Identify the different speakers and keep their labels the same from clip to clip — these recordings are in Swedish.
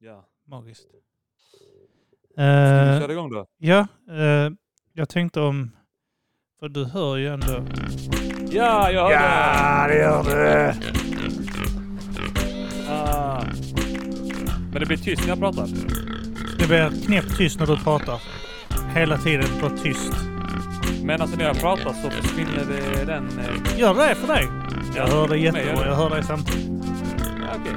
Speaker 1: Ja.
Speaker 2: Magiskt.
Speaker 1: Ska
Speaker 2: Eh,
Speaker 1: vi köra igång då?
Speaker 2: ja, eh, jag tänkte om... För du hör ju ändå...
Speaker 1: Ja, jag hörde!
Speaker 2: det gör du!
Speaker 1: Ah. Men det blir tyst när jag pratar.
Speaker 2: Det blir knäpptyst när du pratar. Hela tiden bara tyst.
Speaker 1: Men alltså när jag pratar så försvinner det den... eh,
Speaker 2: Gör det för dig! Jag hör dig
Speaker 1: men
Speaker 2: jättebra. Jag hör dig samtidigt.
Speaker 1: Ja, okej.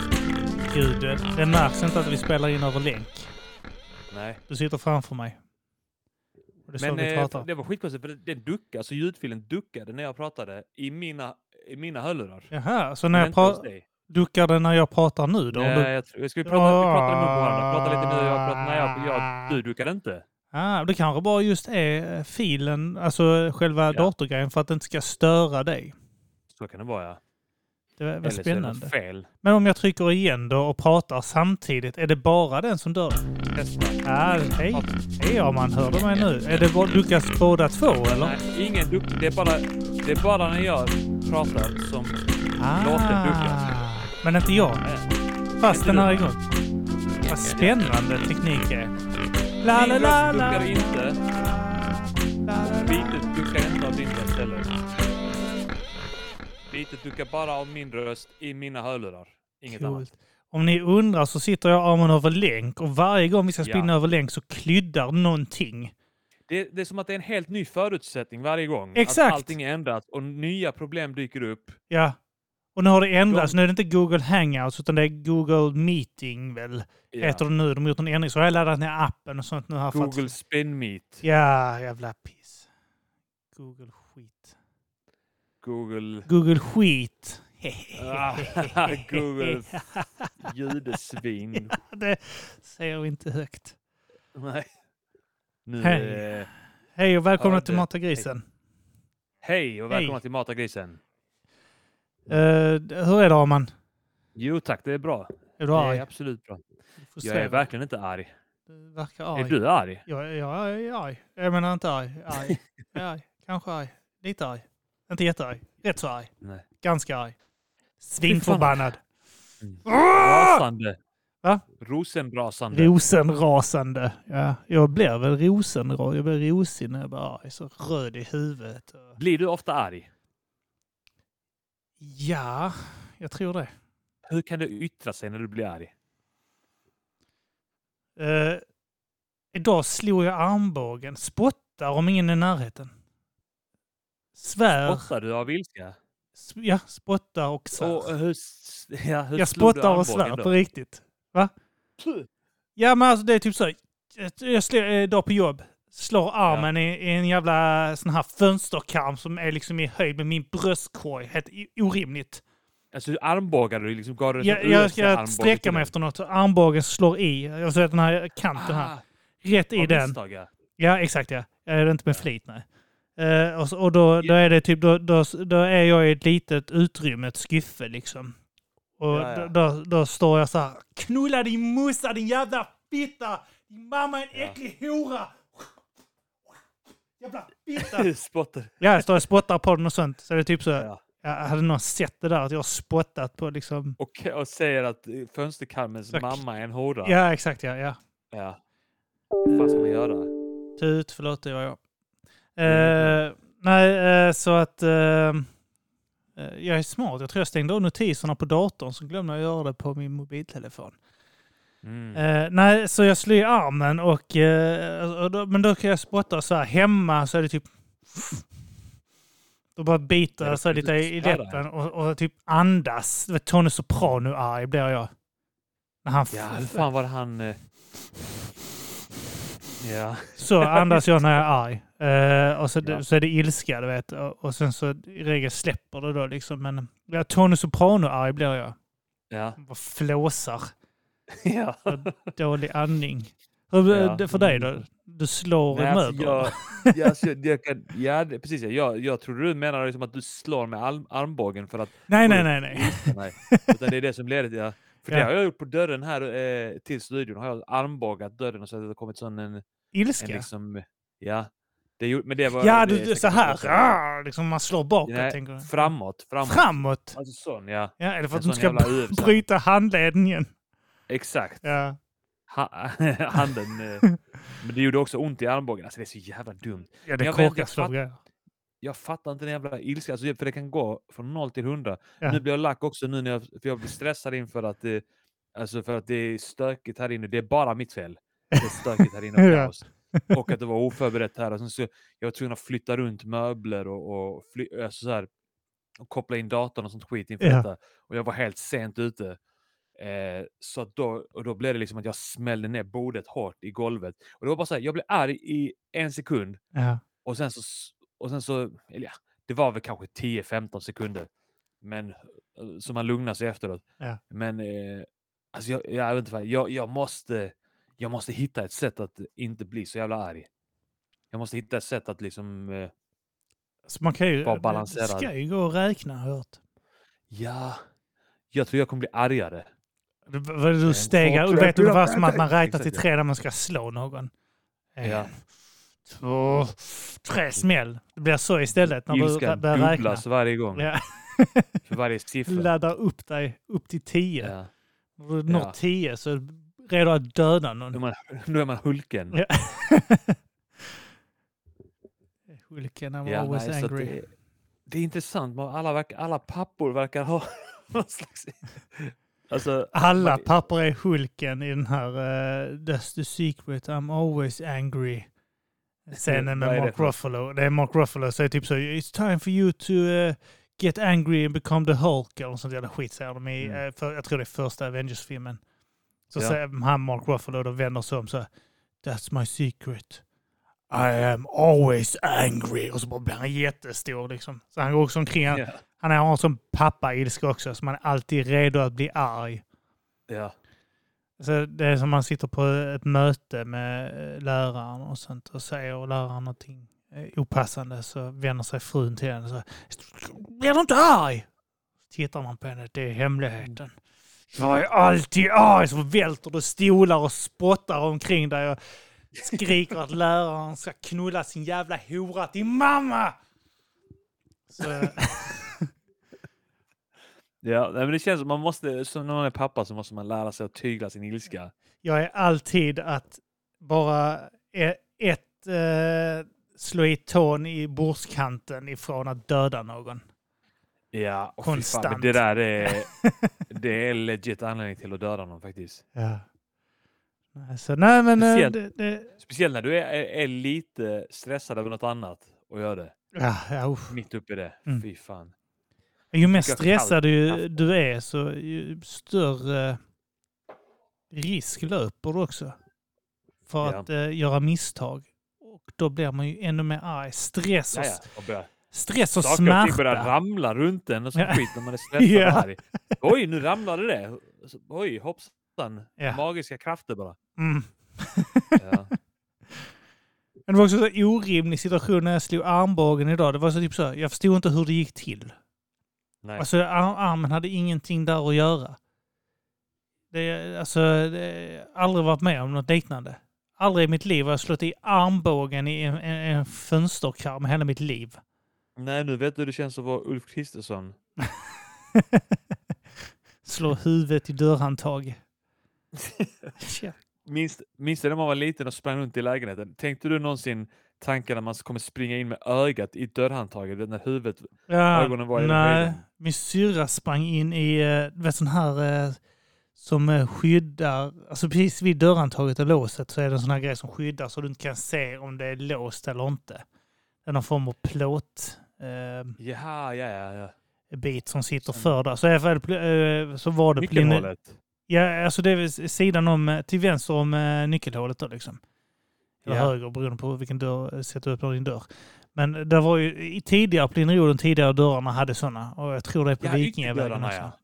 Speaker 2: Gud, det, det märks inte att vi spelar in över länk.
Speaker 1: Nej.
Speaker 2: Du sitter framför mig. Och det är så
Speaker 1: Men
Speaker 2: vi
Speaker 1: eh,
Speaker 2: pratar.
Speaker 1: det var skitkonstigt för den duckade, alltså ljudfilen duckade när jag pratade i mina, i mina hörlurar.
Speaker 2: Jaha, så
Speaker 1: Men
Speaker 2: när jag
Speaker 1: inte hos
Speaker 2: pratar...
Speaker 1: dig.
Speaker 2: Duckar det när jag pratar nu då? Om
Speaker 1: Nej,
Speaker 2: du-
Speaker 1: jag tror... Ska vi prata, vi pratar i mun på varandra? Prata lite nu, jag pratar... Nej, jag, jag, du duckade inte.
Speaker 2: Ah, det kanske bara just är eh, filen, alltså själva datorgrejen för att det inte ska störa dig.
Speaker 1: Så kan det vara ja.
Speaker 2: Det var, var
Speaker 1: Eller så är det något
Speaker 2: spännande.
Speaker 1: fel.
Speaker 2: Men om jag trycker igen då och pratar samtidigt, är det bara den som dör?
Speaker 1: Testa.
Speaker 2: Ah, hej! Hej ja, man hörde mig nu. Är det bara- duckas båda två eller?
Speaker 1: Nej, ingen duck. Det är bara, det är bara när jag pratar som... låten duckas.
Speaker 2: Ah. Men inte jag, fast
Speaker 1: Inte
Speaker 2: den
Speaker 1: du.
Speaker 2: är igång. Vad spännande teknik är.
Speaker 1: Min röst duckar inte. Beatet duckar inte av din röst heller. Beatet duckar bara av min röst i mina hörlurar. Inget annat.
Speaker 2: Coolt. Om ni undrar så sitter jag och Arman över länk och varje gång vi ska spinna
Speaker 1: Ja.
Speaker 2: över länk så kryddar någonting.
Speaker 1: Det, det är som att det är en helt ny förutsättning varje gång. Att
Speaker 2: Exakt.
Speaker 1: allting är ändrat och nya problem dyker upp.
Speaker 2: Ja. Och nu har det ändrats. Nu är det inte Google Hangouts utan det är Google Meeting väl?
Speaker 1: Ja.
Speaker 2: Heter det nu. De har gjort en ändring. Så har jag laddat ner appen och sånt nu här. för att-
Speaker 1: Google Spin Meet.
Speaker 2: Ja, jävla piss. Google skit.
Speaker 1: Google...
Speaker 2: Google skit.
Speaker 1: Ah, Google Judesvin.
Speaker 2: det säger vi inte högt.
Speaker 1: Nej. Nu,
Speaker 2: Hej.
Speaker 1: eh,
Speaker 2: Hej och välkomna
Speaker 1: Ja,
Speaker 2: till
Speaker 1: det-
Speaker 2: Mata Grisen.
Speaker 1: hej och välkomna
Speaker 2: Hej.
Speaker 1: till Mata grisen.
Speaker 2: Eh, hur är det Arman?
Speaker 1: Jo tack, det är bra.
Speaker 2: Är
Speaker 1: Det
Speaker 2: du
Speaker 1: är
Speaker 2: arg?
Speaker 1: absolut bra. Jag är
Speaker 2: Frustrerad?
Speaker 1: verkligen inte arg.
Speaker 2: Du verkar
Speaker 1: Är
Speaker 2: arg.
Speaker 1: du arg?
Speaker 2: Jag, jag är arg. Jag menar inte arg. Arg. Jag är arg. Kanske arg. Lite arg. Inte jättearg. Rätt så arg.
Speaker 1: Nej.
Speaker 2: Ganska arg. Svinförbannad.
Speaker 1: Mm. Rasande.
Speaker 2: Ah! Va?
Speaker 1: Rosenrasande.
Speaker 2: Rosenrasande. Ja, jag blir väl rosenrasande. Jag blir rosig när jag blir arg. Så röd i huvudet. och-
Speaker 1: Blir du ofta arg?
Speaker 2: Ja, jag tror det.
Speaker 1: Hur kan du yttra sig när du blir arg?
Speaker 2: Eh, idag slog jag armbågen. Spottar om ingen är i närheten. Svär.
Speaker 1: Spottar du av ilska?
Speaker 2: Sp- ja, spottar och svär.
Speaker 1: Och eh, hur, s- ja, hur
Speaker 2: eh, jag
Speaker 1: slog du
Speaker 2: spottar och
Speaker 1: armbågen
Speaker 2: svär
Speaker 1: då?
Speaker 2: på riktigt. Va? Ja men alltså det är typ så. Jag slår idag på jobb. Slår armen i, i en jävla sån här fönsterkarm som är liksom i höjd med min bröstkorg. Helt i- orimligt.
Speaker 1: Alltså armbågar du liksom? Gav du en
Speaker 2: Jag,
Speaker 1: sån
Speaker 2: jag
Speaker 1: USA
Speaker 2: ska
Speaker 1: armbåge
Speaker 2: sträcka
Speaker 1: till
Speaker 2: mig
Speaker 1: den?
Speaker 2: efter något. Armbågen slår i. Jag ser den här kanten här.
Speaker 1: Ah,
Speaker 2: Rätt i
Speaker 1: av
Speaker 2: den.
Speaker 1: misstag, ja.
Speaker 2: Ja, exakt ja. Jag är det inte med flit, nej. Eh, och så, och då, då är det typ, då, då, då är jag i ett litet utrymme, ett skyffe liksom. Och
Speaker 1: Ja, ja.
Speaker 2: Då, då, då står jag så här, knulla din morsa din jävla fitta! Din mamma är en
Speaker 1: Ja.
Speaker 2: äcklig hora! Jävla fitta!
Speaker 1: Spottar.
Speaker 2: ja, jag står och spottar på den och sånt. Så det är typ så,
Speaker 1: Ja.
Speaker 2: jag hade någon sett det där att jag har spottat på liksom.
Speaker 1: Och, och säger att eh, fönsterkarmens
Speaker 2: Tack.
Speaker 1: mamma är en hora.
Speaker 2: Ja, exakt ja. ja.
Speaker 1: Ja. Vad fan ska man göra?
Speaker 2: Tut, förlåt det var jag.
Speaker 1: Mm.
Speaker 2: Eh, nej, eh, så att eh, eh, jag är smart. Jag tror jag stängde av notiserna på datorn så glömde jag göra det på min mobiltelefon.
Speaker 1: Mm.
Speaker 2: Eh, nej, så jag slår i armen och, eh, och då, men då kan jag spotta så här hemma så är det typ då bara biter
Speaker 1: Ja,
Speaker 2: jag så här
Speaker 1: det är
Speaker 2: lite i i
Speaker 1: lite spännande.
Speaker 2: läppen och, och typ andas. Det var Tony Soprano-arg blir jag. När han
Speaker 1: Ja, hur fan var det han... eh? Ja.
Speaker 2: Så andas jag när jag är arg. Eh, och så,
Speaker 1: Ja.
Speaker 2: så är det ilska, du vet. Och, och sen så i regel släpper det då liksom. Men ja, Tony Soprano-arg blir jag.
Speaker 1: Ja.
Speaker 2: Jag Bara flåsar.
Speaker 1: ja.
Speaker 2: Dålig andning. Hur är
Speaker 1: Ja.
Speaker 2: det för dig då? Du slår
Speaker 1: Nej,
Speaker 2: i
Speaker 1: alltså,
Speaker 2: möbler?
Speaker 1: jag, jag, alltså, jag, jag kan, ja, det- precis. ja. Jag, jag tror du menar liksom att du slår med arm, armbågen för att...
Speaker 2: Nej, nej, nej, nej.
Speaker 1: Nej, utan det är det som leder till... Ja. För det
Speaker 2: Ja.
Speaker 1: har jag gjort på dörren här eh, till studion. Har jag armbågat dörren och så att det har kommit sån en... en
Speaker 2: Ilska?
Speaker 1: liksom, ja. Det, gjorde- men det var,
Speaker 2: ja,
Speaker 1: det
Speaker 2: du,
Speaker 1: är
Speaker 2: du, så
Speaker 1: säkert
Speaker 2: här.
Speaker 1: också-
Speaker 2: rar, Liksom man slår bakåt,
Speaker 1: Nej,
Speaker 2: tänker du.
Speaker 1: Framåt, framåt.
Speaker 2: Framåt?
Speaker 1: Alltså sån, ja.
Speaker 2: Ja, eller för
Speaker 1: En
Speaker 2: att du
Speaker 1: sån
Speaker 2: inte ska
Speaker 1: jävla UFC.
Speaker 2: bryta handleden.
Speaker 1: Exakt.
Speaker 2: Ja.
Speaker 1: ha, handen. eh, men det gjorde också ont i armbågen. Alltså det är så jävla dumt.
Speaker 2: Ja, det
Speaker 1: Jag vet, jag
Speaker 2: korkas
Speaker 1: fatt-
Speaker 2: nog. ja.
Speaker 1: Jag fattar inte den jävla ilskan. Alltså, för det kan gå från noll till hundra.
Speaker 2: Ja.
Speaker 1: Nu blir jag lack också nu när jag, för jag blir stressad inför att, eh, alltså för att det är stökigt här inne. Det är bara mitt fel. Det är stökigt här inne och
Speaker 2: Ja.
Speaker 1: kaos. Och att det var oförberett här. Och sen så jag var tvungen att flytta runt möbler och, och, fly, alltså så här, och koppla in datorn och sånt skit inför
Speaker 2: Ja.
Speaker 1: detta. Och jag var helt sent ute. Eh, så att då, och då blev det liksom att jag smällde ner bordet hårt i golvet. Och det var bara så här, jag blev arg i en sekund.
Speaker 2: Ja.
Speaker 1: Och sen så, s- och sen så eller ja, det var väl kanske 10-15 sekunder. Men eh, så man lugnar sig efteråt.
Speaker 2: Ja.
Speaker 1: Men eh, alltså jag, jag vet inte vad, jag, jag måste, jag måste hitta ett sätt att inte bli så jävla arg. Jag måste hitta ett sätt att liksom, eh,
Speaker 2: Så man kan ju...
Speaker 1: Bara
Speaker 2: Det
Speaker 1: balanserad.
Speaker 2: ska ju gå att räkna, har jag hört.
Speaker 1: ja, jag tror jag kommer bli argare.
Speaker 2: Du, vad du stegar,
Speaker 1: två,
Speaker 2: du
Speaker 1: tre,
Speaker 2: vet ungefär
Speaker 1: fyra,
Speaker 2: som att man
Speaker 1: fem,
Speaker 2: räknar
Speaker 1: Eh,
Speaker 2: till
Speaker 1: exakt, ja.
Speaker 2: tre när man ska slå någon. En,
Speaker 1: Ja.
Speaker 2: Två, tre smäll. Det blir så istället när du rä-
Speaker 1: Ilskan
Speaker 2: börjar räkna.
Speaker 1: dubblas varje gång,
Speaker 2: Ja.
Speaker 1: för varje
Speaker 2: Du
Speaker 1: siffra.
Speaker 2: laddar upp dig upp till tio.
Speaker 1: Ja.
Speaker 2: När du når
Speaker 1: Ja. Mm.
Speaker 2: tio så är du redo att döda någon.
Speaker 1: Nu, är man, nu är man Hulken.
Speaker 2: Ja. Hulken, I'm always
Speaker 1: nej, så att
Speaker 2: angry.
Speaker 1: Det, det är intressant. Man, alla, verk, alla pappor verkar ha någon slags... Alltså,
Speaker 2: Alla
Speaker 1: man-
Speaker 2: papper är Hulken i den här eh, That's the secret, I'm always angry. Scenen
Speaker 1: Vad
Speaker 2: med
Speaker 1: är det
Speaker 2: Mark
Speaker 1: för något?
Speaker 2: Ruffalo. Det är Mark Ruffalo säger typ så It's time for you to eh, get angry and become the Hulk. Eller något sånt jävla skit säger de i,
Speaker 1: Mm.
Speaker 2: eh, för, jag tror det är första Avengers-filmen. Så
Speaker 1: Ja.
Speaker 2: säger han Mark Ruffalo då vänder sig om så här, That's my secret. I am always angry. Och så bara blir han jättestor liksom. Så han går också omkring. Han,
Speaker 1: ja,
Speaker 2: han har en sån pappa-ilska också. Så man är alltid redo att bli arg.
Speaker 1: ja,
Speaker 2: Så det är som man sitter på ett möte med eh, läraren och sånt och säger läraren någonting eh, opassande så vänder sig frun till henne och säger Blir du inte arg? Tittar man på henne, det är hemligheten. Jag är alltid arg! Så välter du stolar och spottar omkring dig och skriker att läraren ska knulla sin jävla hora till mamma! Så, eh,
Speaker 1: ja. Nej, men det känns som man måste, som när man är pappa så måste man lära sig att tygla sin ilska.
Speaker 2: jag är alltid att bara e- ett eh, slå i tån i bordskanten ifrån att döda någon.
Speaker 1: Ja, och fy fan,
Speaker 2: Konstant.
Speaker 1: men det där är, det är legit anledning till att döda någon faktiskt.
Speaker 2: Ja. Så, nej men... eh,
Speaker 1: Speciellt.
Speaker 2: Det, det,
Speaker 1: Speciellt när du är, är, är lite stressad över något annat och gör det.
Speaker 2: ja, ja, usch.
Speaker 1: Mitt uppe i det.
Speaker 2: Mm.
Speaker 1: Fy fan.
Speaker 2: ju mer
Speaker 1: kallt
Speaker 2: stressad du,
Speaker 1: kaffe.
Speaker 2: du är så ju större risk löper du också. För
Speaker 1: Ja.
Speaker 2: att eh, göra misstag. Och då blir man ju ännu mer arg. Stress och,
Speaker 1: Ja, ja. Och börja
Speaker 2: stress och
Speaker 1: Saker och ting börjar
Speaker 2: smärta.
Speaker 1: ramla runt en och så
Speaker 2: Ja.
Speaker 1: skit när man är stressad
Speaker 2: Ja.
Speaker 1: och arg. Oj, nu ramlade det. Så- Oj, hoppsan.
Speaker 2: Ja.
Speaker 1: Magiska krafter bara.
Speaker 2: Mm.
Speaker 1: Ja.
Speaker 2: Men det var också en så orimlig situation när jag slog armbågen idag. Det var så typ så, jag förstod inte hur det gick till.
Speaker 1: Nej.
Speaker 2: Alltså ar- armen hade ingenting där att göra. Det, alltså, det, aldrig varit med om något liknande. Aldrig i mitt liv har jag slått i armbågen i en, en, en fönsterkarm hela mitt liv.
Speaker 1: Nej, nu vet du hur det känns att vara Ulf Kristersson.
Speaker 2: Slå huvudet i dörrhandtag. Tja.
Speaker 1: Minns, minns du när man var liten och sprang runt i lägenheten? Tänkte du någonsin tanken att man kommer springa in med ögat i dörrhandtaget? du vet, När huvudet...
Speaker 2: Ja,
Speaker 1: Ögonen var i den
Speaker 2: nej,
Speaker 1: höjden.
Speaker 2: min syrra sprang in i, eh, du vet sån här eh, som eh, skyddar, alltså precis vid dörrhandtaget och låset så är det en sån här grej som skyddar så du inte kan se om det är låst eller inte. Det är någon form av plåt. Eh,
Speaker 1: Ja, ja, ja. ja.
Speaker 2: bit som sitter
Speaker 1: Som-
Speaker 2: för där. Så, i alla fall, pl- eh, så var det plinne,
Speaker 1: Nyckelhålet.
Speaker 2: Ja, alltså det är väl s- sidan om, eh, till vänster om eh, nyckelhålet då liksom. Eller
Speaker 1: Ja.
Speaker 2: höger beroende på vilken dörr, eh, sätt du öppnar din dörr. Men det var ju i tidigare, på Linnero, de tidigare dörrarna hade sådana. Och jag tror det är på
Speaker 1: Ja,
Speaker 2: Vikingavägen
Speaker 1: ytterdörrarna,
Speaker 2: också. Ja.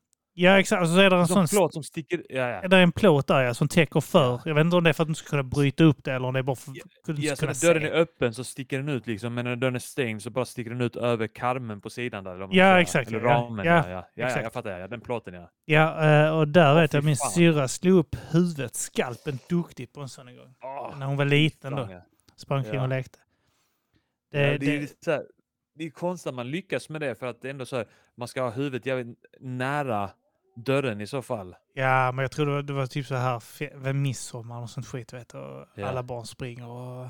Speaker 1: ja.
Speaker 2: exakt. Och så är det en
Speaker 1: Som
Speaker 2: sån...
Speaker 1: plåt som sticker... Ja, ja.
Speaker 2: Det är en plåt där ja, som täcker för. Jag vet inte om det är för att du ska kunna bryta upp det eller om det är bara för att du inte
Speaker 1: Ja,
Speaker 2: ska
Speaker 1: så
Speaker 2: kunna
Speaker 1: när dörren är
Speaker 2: se.
Speaker 1: öppen så sticker den ut liksom, men när dörren är stängd så bara sticker den ut över karmen på sidan där. Eller vad man
Speaker 2: Ja,
Speaker 1: ska säga.
Speaker 2: exakt,
Speaker 1: Eller
Speaker 2: ja, ja,
Speaker 1: ramen. Ja, ja, ja, ja,
Speaker 2: exakt.
Speaker 1: jag fattar. Ja, den plåten ja.
Speaker 2: Ja, eh, och där
Speaker 1: Åh,
Speaker 2: vet jag
Speaker 1: fy
Speaker 2: min
Speaker 1: fan.
Speaker 2: syrra slog upp huvudet, skalpen, duktigt på en sån en gång.
Speaker 1: Åh,
Speaker 2: När hon var liten då.
Speaker 1: fan, ja.
Speaker 2: Sprang omkring
Speaker 1: Ja.
Speaker 2: och lekte. Det,
Speaker 1: ja, det, är ju
Speaker 2: det,
Speaker 1: så här, det är konstigt att man lyckas med det för att det är ändå så här, man ska ha huvudet jävligt nära dörren i så fall.
Speaker 2: Ja, men jag tror det var, det var typ så här fe- vid midsommar och sånt skit, vet du. Och
Speaker 1: Ja.
Speaker 2: Alla barn springer och...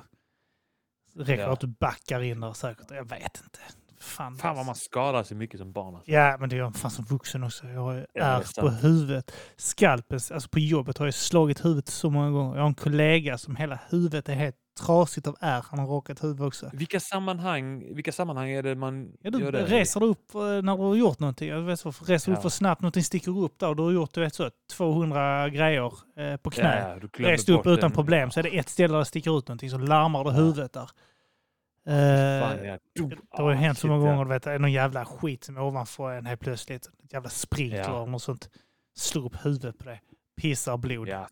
Speaker 2: Räcker
Speaker 1: Ja.
Speaker 2: att du backar in där säkert. Jag vet inte. Fan,
Speaker 1: Fan vad man skadar sig mycket som barn. Alltså.
Speaker 2: Ja, men det gör jag fan som vuxen också. Jag har ju
Speaker 1: det är
Speaker 2: ärr på
Speaker 1: sant.
Speaker 2: huvudet. Skalpen, alltså på jobbet har jag slagit huvudet så många gånger. Jag har en kollega som hela huvudet är helt trasigt av ärr. Han har rakat huvudet också.
Speaker 1: Vilka sammanhang, vilka sammanhang är det man
Speaker 2: Ja, du
Speaker 1: gör det?
Speaker 2: reser du upp eh, när du har gjort någonting. Jag vet, så, reser du upp
Speaker 1: Ja.
Speaker 2: för snabbt, någonting sticker upp där och du har gjort du vet, så, 200 grejer eh, på knä.
Speaker 1: Ja, du glömmer
Speaker 2: Rest upp
Speaker 1: bort
Speaker 2: utan
Speaker 1: den.
Speaker 2: problem så är det ett ställe där det sticker ut någonting så larmar det huvudet där. Eh,
Speaker 1: Fan, ja. Du-
Speaker 2: det har ju
Speaker 1: ah,
Speaker 2: hänt så
Speaker 1: shit,
Speaker 2: många
Speaker 1: ja.
Speaker 2: gånger, du vet, det är någon jävla skit som är ovanför en helt plötsligt. Ett jävla sprinkler
Speaker 1: Ja.
Speaker 2: eller något sånt. Slår upp huvudet på det. Pissar blod.
Speaker 1: Ja.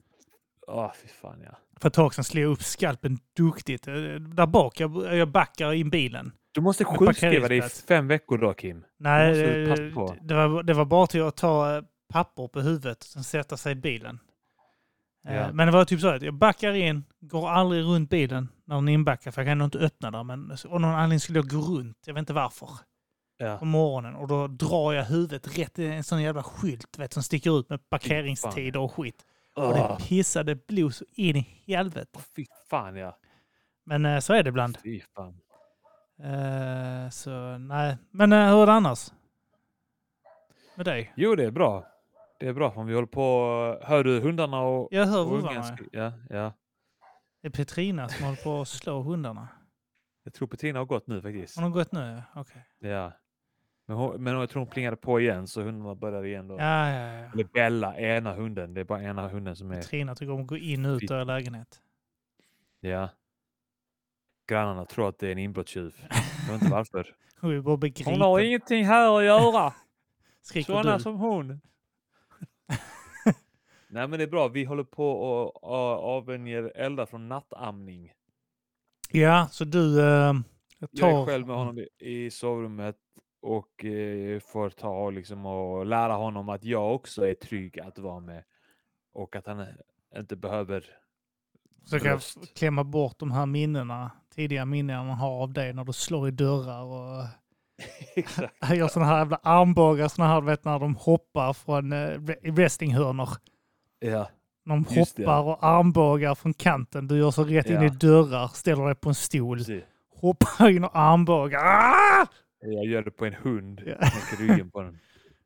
Speaker 1: Åh, fy fan ja.
Speaker 2: För ett tag sedan slog jag upp skalpen duktigt. Eh, Där bak, jag, jag backar in bilen.
Speaker 1: Du måste
Speaker 2: Men
Speaker 1: sjukskriva dig i
Speaker 2: parkeringsplats.
Speaker 1: fem veckor då, Kim.
Speaker 2: Nej,
Speaker 1: måste du
Speaker 2: eh,
Speaker 1: passa på.
Speaker 2: det var, det var bara till att ta eh, papper på huvudet och sen sätta sig i bilen. Eh,
Speaker 1: Ja.
Speaker 2: Men det var typ så att jag backar in, går aldrig runt bilen när den är inbackad för jag kan nog inte öppna den. Men av någon anledning skulle jag gå runt, jag vet inte varför, på
Speaker 1: Ja.
Speaker 2: morgonen. Och då drar jag huvudet rätt i en sån jävla skylt vet, som sticker ut med parkeringstider och skit. Och det
Speaker 1: Åh,
Speaker 2: pissade blod så in i helvete.
Speaker 1: fy fan ja.
Speaker 2: Men eh, så är det ibland.
Speaker 1: Fy fan.
Speaker 2: Eh, Så nej. Men eh, hur är det annars? Med dig?
Speaker 1: Jo, det är bra. Det är bra. Om vi håller på... Hör du hundarna och...
Speaker 2: Jag hör
Speaker 1: och
Speaker 2: vurrarna.
Speaker 1: ungen skri- Ja, ja.
Speaker 2: Det är Petrina som håller på att slå hundarna.
Speaker 1: Jag tror Petrina har gått nu faktiskt.
Speaker 2: Har de gått nu? Okej.
Speaker 1: Ja. Men, hon, men jag tror hon plingade på igen så hundarna började igen då.
Speaker 2: Ja, ja, ja.
Speaker 1: Eller Bella, ena hunden. Det är bara ena hunden som är...
Speaker 2: Petrina tycker om att gå in och ut ur er lägenhet.
Speaker 1: Ja. Grannarna tror att det är en inbrottstjuv. Jag vet inte varför.
Speaker 2: Hon är bara begripen.
Speaker 1: Hon har ingenting här att göra.
Speaker 2: Skriker
Speaker 1: Sådana
Speaker 2: du?
Speaker 1: som hon. Nej men det är bra. Vi håller på och, och avvänjer eldar från nattamning.
Speaker 2: Ja, så du... eh, jag tar...
Speaker 1: Jag är själv med honom i- i sovrummet och eh, får ta och liksom och lära honom att jag också är trygg att vara med och att han inte behöver.
Speaker 2: Försöker jag
Speaker 1: bröst.
Speaker 2: f- klämma bort de här minnena, tidiga minnen man har av dig när du slår i dörrar och
Speaker 1: Exakt.
Speaker 2: Han gör sådana här jävla armbågar, sådana här du vet när de hoppar från eh, re- i wrestlinghörnor.
Speaker 1: Ja,
Speaker 2: De
Speaker 1: Just det, ja.
Speaker 2: hoppar och armbågar från kanten. Du gör så rätt in
Speaker 1: Ja.
Speaker 2: i dörrar, ställer dig på en stol,
Speaker 1: precis.
Speaker 2: hoppar in och armbågar. Ah!
Speaker 1: Jag gör det på en hund.
Speaker 2: Ja.
Speaker 1: Knäcker ryggen på den.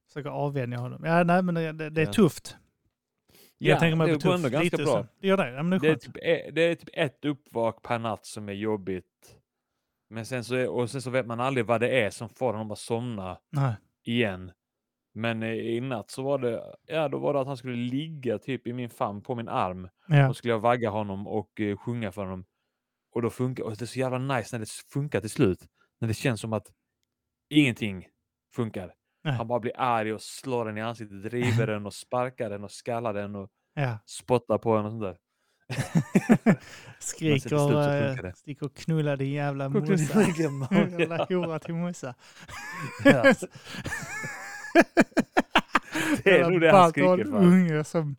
Speaker 2: Försöker avvänja honom. Ja, nej, men det, det, det är
Speaker 1: Ja.
Speaker 2: tufft.
Speaker 1: Ja,
Speaker 2: jag tänker mig
Speaker 1: det
Speaker 2: att
Speaker 1: går
Speaker 2: är
Speaker 1: ändå
Speaker 2: tufft.
Speaker 1: ganska
Speaker 2: Lite
Speaker 1: bra.
Speaker 2: så. Det gör det? Ja, men det
Speaker 1: Det
Speaker 2: är
Speaker 1: är,
Speaker 2: skönt.
Speaker 1: typ, e- det är typ ett uppvak per natt som är jobbigt. Men sen så, är, och sen så vet man aldrig vad det är som får honom att somna
Speaker 2: Nej.
Speaker 1: igen. Men eh, i natt så var det, ja, då var det att han skulle ligga typ i min famn på min arm.
Speaker 2: Ja.
Speaker 1: Då skulle jag vagga honom och eh, sjunga för honom. Och då funkar och det är så jävla nice när det s- funkar till slut. När det känns som att ingenting funkar.
Speaker 2: Nej.
Speaker 1: Han bara blir arg och slår den i ansiktet, driver den och sparkar den och skallar den och
Speaker 2: Ja.
Speaker 1: spottar på den och sånt där. Men sen till slut så
Speaker 2: Skriker,
Speaker 1: funkar
Speaker 2: eh,
Speaker 1: det.
Speaker 2: sticker och knullar din jävla
Speaker 1: Kolla din
Speaker 2: morsa.
Speaker 1: egen mamma.
Speaker 2: Jävla hora till morsa.
Speaker 1: Ja. Det är nog det han skriker
Speaker 2: för.
Speaker 1: för.
Speaker 2: unge som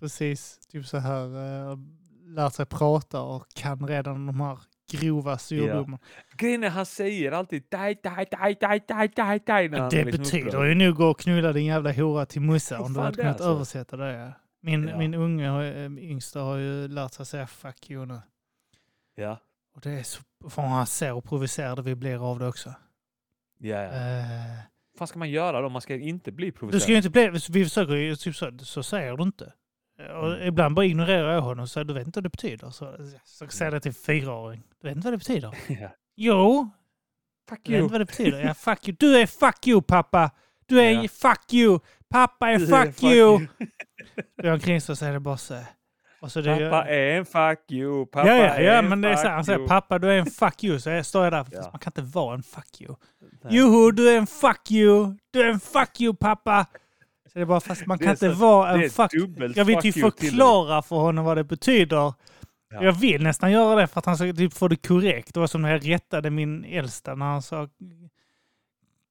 Speaker 2: precis typ så här uh, lärt sig prata och kan redan de här grova svordomarna.
Speaker 1: Grejen är, han säger alltid daj, daj, daj, daj, daj, daj, daj. när han
Speaker 2: Det
Speaker 1: är liksom
Speaker 2: betyder
Speaker 1: upprörd.
Speaker 2: ju nog att knulla din jävla hora till mussa
Speaker 1: Vad
Speaker 2: om du
Speaker 1: fan
Speaker 2: hade
Speaker 1: det
Speaker 2: kunnat
Speaker 1: alltså?
Speaker 2: översätta det. Ja. Min,
Speaker 1: Ja.
Speaker 2: min unge, har, ju- eh, yngsta, har ju lärt sig säga fuck you nu.
Speaker 1: Ja,
Speaker 2: Och det är så, fan han ser provocerade vi blir av det också.
Speaker 1: ja, ja.
Speaker 2: Eh,
Speaker 1: Vad fan ska man göra då? Man ska inte bli provocerad.
Speaker 2: Du ska ju inte bli, vi försöker ju, typ så, så säger du inte. Eh, Och
Speaker 1: Mm.
Speaker 2: Ibland bara ignorerar jag honom och säger du vet inte vad det betyder. Så, så säger det till en fyraåring. Du vet inte vad det betyder?
Speaker 1: Ja.
Speaker 2: Jo,
Speaker 1: Fuck
Speaker 2: du vet
Speaker 1: you.
Speaker 2: inte vad det betyder. Ja, fuck you. Du är fuck you pappa! Du är
Speaker 1: Ja.
Speaker 2: fuck you! Pappa är
Speaker 1: Du är
Speaker 2: fuck, you! Du har omkring sig och säger det bara så. Och så det,
Speaker 1: Pappa är en fuck you. Pappa
Speaker 2: ja, ja,
Speaker 1: är
Speaker 2: ja,
Speaker 1: en
Speaker 2: men det är
Speaker 1: fuck
Speaker 2: så här, Han säger
Speaker 1: you.
Speaker 2: pappa du är en fuck you. Så jag står jag där. Fast
Speaker 1: Ja.
Speaker 2: Man kan inte vara en fuck you.
Speaker 1: Nej.
Speaker 2: Joho, du är en fuck you! Du är en fuck you pappa! Så det är bara, fast man
Speaker 1: Det
Speaker 2: kan
Speaker 1: är
Speaker 2: inte
Speaker 1: så-
Speaker 2: vara
Speaker 1: det är
Speaker 2: en fuck
Speaker 1: dubbelt
Speaker 2: Jag vill
Speaker 1: fuck
Speaker 2: ju
Speaker 1: you till dig.
Speaker 2: förklara för honom vad det betyder.
Speaker 1: Ja.
Speaker 2: Jag vill nästan göra det för att han ska typ få det korrekt. Det var som när jag rättade min äldsta när han sa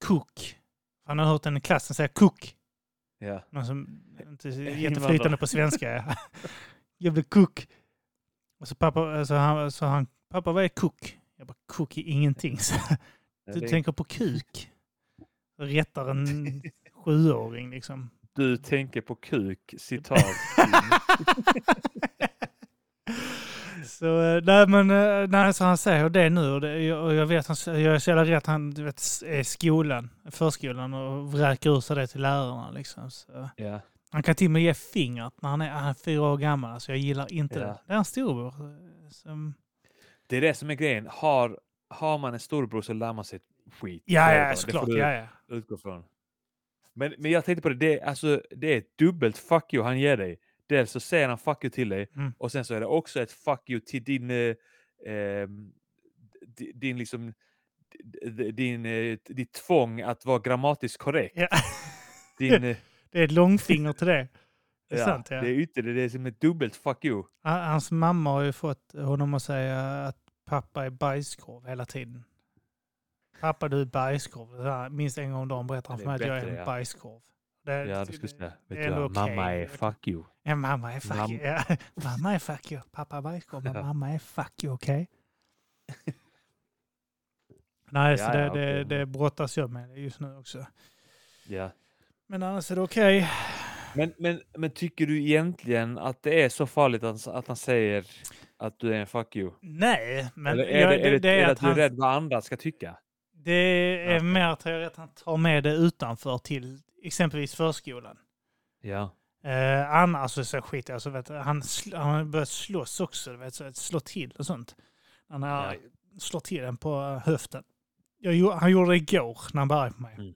Speaker 2: kook. Han har hört den i klassen säga kook.
Speaker 1: Ja.
Speaker 2: Någon som inte är
Speaker 1: Invandrare.
Speaker 2: jätteflytande på svenska. jag blev kook. Och så pappa, så han, så han, pappa vad är kook? Jag bara, kook är ingenting. Så
Speaker 1: Ja,
Speaker 2: du
Speaker 1: det-
Speaker 2: tänker på kuk. Rättar en sjuåring liksom.
Speaker 1: Du tänker på kuk, citat.
Speaker 2: Så, eh, nej, men eh, nej, så han säger det nu och, det, jag- och jag vet, han, s- jag är så jävla rätt, han du vet, s- är i skolan, förskolan och vräker ur sig det till lärarna liksom. Så.
Speaker 1: ja.
Speaker 2: Han kan till och med ge fingret när han är, han är fyra år gammal, alltså jag gillar inte
Speaker 1: Ja.
Speaker 2: det. Det är hans storbror. eh, Som,
Speaker 1: Det är det som är grejen. Har, har man en storbror så lär man sig skit.
Speaker 2: ja,
Speaker 1: Det är bara-
Speaker 2: ja,
Speaker 1: det
Speaker 2: såklart,
Speaker 1: får du
Speaker 2: ja, ja.
Speaker 1: utgå från. Men, men jag tänkte på det, det, är- alltså, det är ett dubbelt fuck you han ger dig. Dels så säger han fuck you till dig
Speaker 2: Mm.
Speaker 1: och sen så är det också ett fuck you till din, eh, ehm, di- din liksom, di- di- din, eh, ditt tvång att vara grammatiskt korrekt.
Speaker 2: ja.
Speaker 1: Din, eh,
Speaker 2: Det är ett långfinger till det. Det är
Speaker 1: ja,
Speaker 2: sant, ja.
Speaker 1: det är ytterligare, det är som ett dubbelt fuck you.
Speaker 2: Han- Hans mamma har ju fått honom att säga att pappa är bajskorv hela tiden. Pappa du är bajskorv. Så här, Minst en gång om dagen berättar han
Speaker 1: Det
Speaker 2: för
Speaker 1: är
Speaker 2: mig att jag är
Speaker 1: bättre,
Speaker 2: en
Speaker 1: ja.
Speaker 2: bajskorv.
Speaker 1: Ja, du skulle säga,
Speaker 2: det
Speaker 1: vet
Speaker 2: är
Speaker 1: du vad,
Speaker 2: ändå
Speaker 1: mamma
Speaker 2: okej.
Speaker 1: är fuck you.
Speaker 2: Ja, mamma är fuck
Speaker 1: Mam-
Speaker 2: you. Ja. Mamma är fuck you. Pappa är bajskorv, men
Speaker 1: Ja.
Speaker 2: mamma är fuck you, okej? Nej, så
Speaker 1: Ja,
Speaker 2: det,
Speaker 1: ja,
Speaker 2: det,
Speaker 1: okej.
Speaker 2: det brottas jag med just nu också.
Speaker 1: Ja.
Speaker 2: Men annars är det okej.
Speaker 1: Men, men, men tycker du egentligen att det är så farligt att, att han säger att du är en fuck you?
Speaker 2: Nej, men
Speaker 1: Eller är
Speaker 2: jag-
Speaker 1: det, är det, är det att, du är
Speaker 2: han-
Speaker 1: rädd vad andra ska tycka?
Speaker 2: Det är
Speaker 1: Ja.
Speaker 2: mer tror jag att han tar med det utanför till exempelvis förskolan.
Speaker 1: Ja.
Speaker 2: Eh, annars så- så skit alltså, vet, du, han, sl- han har börjat slåss också, du vet, så att slå till och sånt. Han har,
Speaker 1: Ja.
Speaker 2: slår till den på eh, höften. Jag, gjo- han gjorde det igår när han var arg på mig.
Speaker 1: Mm.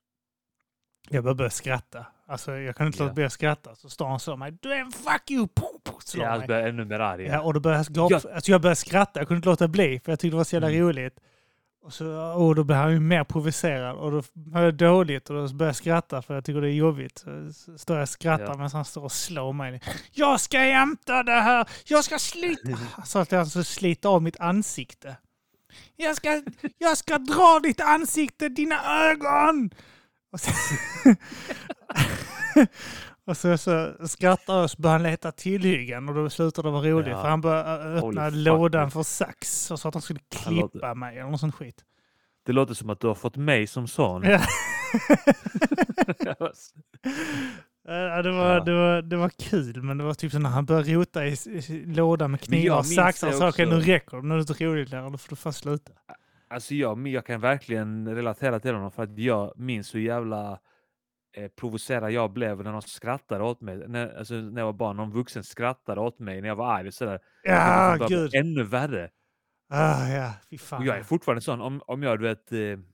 Speaker 2: Jag bara började skratta. Alltså, jag kan inte
Speaker 1: Ja.
Speaker 2: låta bli att skratta. Så står han så mig. Du är en fuck you! Pum, pum, slår
Speaker 1: Ja,
Speaker 2: mig.
Speaker 1: alltså blir ännu mer arg.
Speaker 2: Ja, och då började jag,
Speaker 1: Jag-
Speaker 2: jag... Alltså jag började skratta, jag kunde inte låta bli för jag tyckte det var så jävla
Speaker 1: Mm.
Speaker 2: roligt. Och, så, och då blev han ju mer provocerad och då mår jag dåligt och då började jag skratta för jag tycker det är jobbigt. Så s- står jag och skrattar
Speaker 1: Ja.
Speaker 2: medan han står och slår mig. Jag ska hämta det här! Jag ska slita! Så att han så sliter av mitt ansikte. Jag ska, jag ska dra ditt ansikte, dina ögon! Och så, och så, så skrattar jag och så börjar han leta tillhyggen och då slutar det vara roligt
Speaker 1: Ja.
Speaker 2: för han börjar
Speaker 1: Holy
Speaker 2: öppna
Speaker 1: fuck.
Speaker 2: lådan för sax och så att han skulle
Speaker 1: Han låter-
Speaker 2: klippa mig eller något sånt skit.
Speaker 1: Det låter som att du har fått mig som son.
Speaker 2: Ja. Ja, Eh, det, var,
Speaker 1: Ja.
Speaker 2: det, var, det var kul men det var typ så när han började rota i, s- i lådan med
Speaker 1: Men jag
Speaker 2: knivar och
Speaker 1: minns
Speaker 2: saxar
Speaker 1: det
Speaker 2: och sa okej nu
Speaker 1: också."
Speaker 2: räcker det, nu är det inte roligt längre, då får du fan sluta.
Speaker 1: alltså jag, men jag kan verkligen relatera till honom för att jag minns hur jävla eh, provocerad jag blev när någon skrattade åt mig. När, alltså, när jag var barn, någon vuxen skrattade åt mig när jag var arg. och Sådär.
Speaker 2: Ja,
Speaker 1: Det bara blev
Speaker 2: Ah, gud.
Speaker 1: Ännu värre.
Speaker 2: Ah, ja, fy
Speaker 1: Och
Speaker 2: fan.
Speaker 1: jag är fortfarande sån. Om, om jag du vet, eh,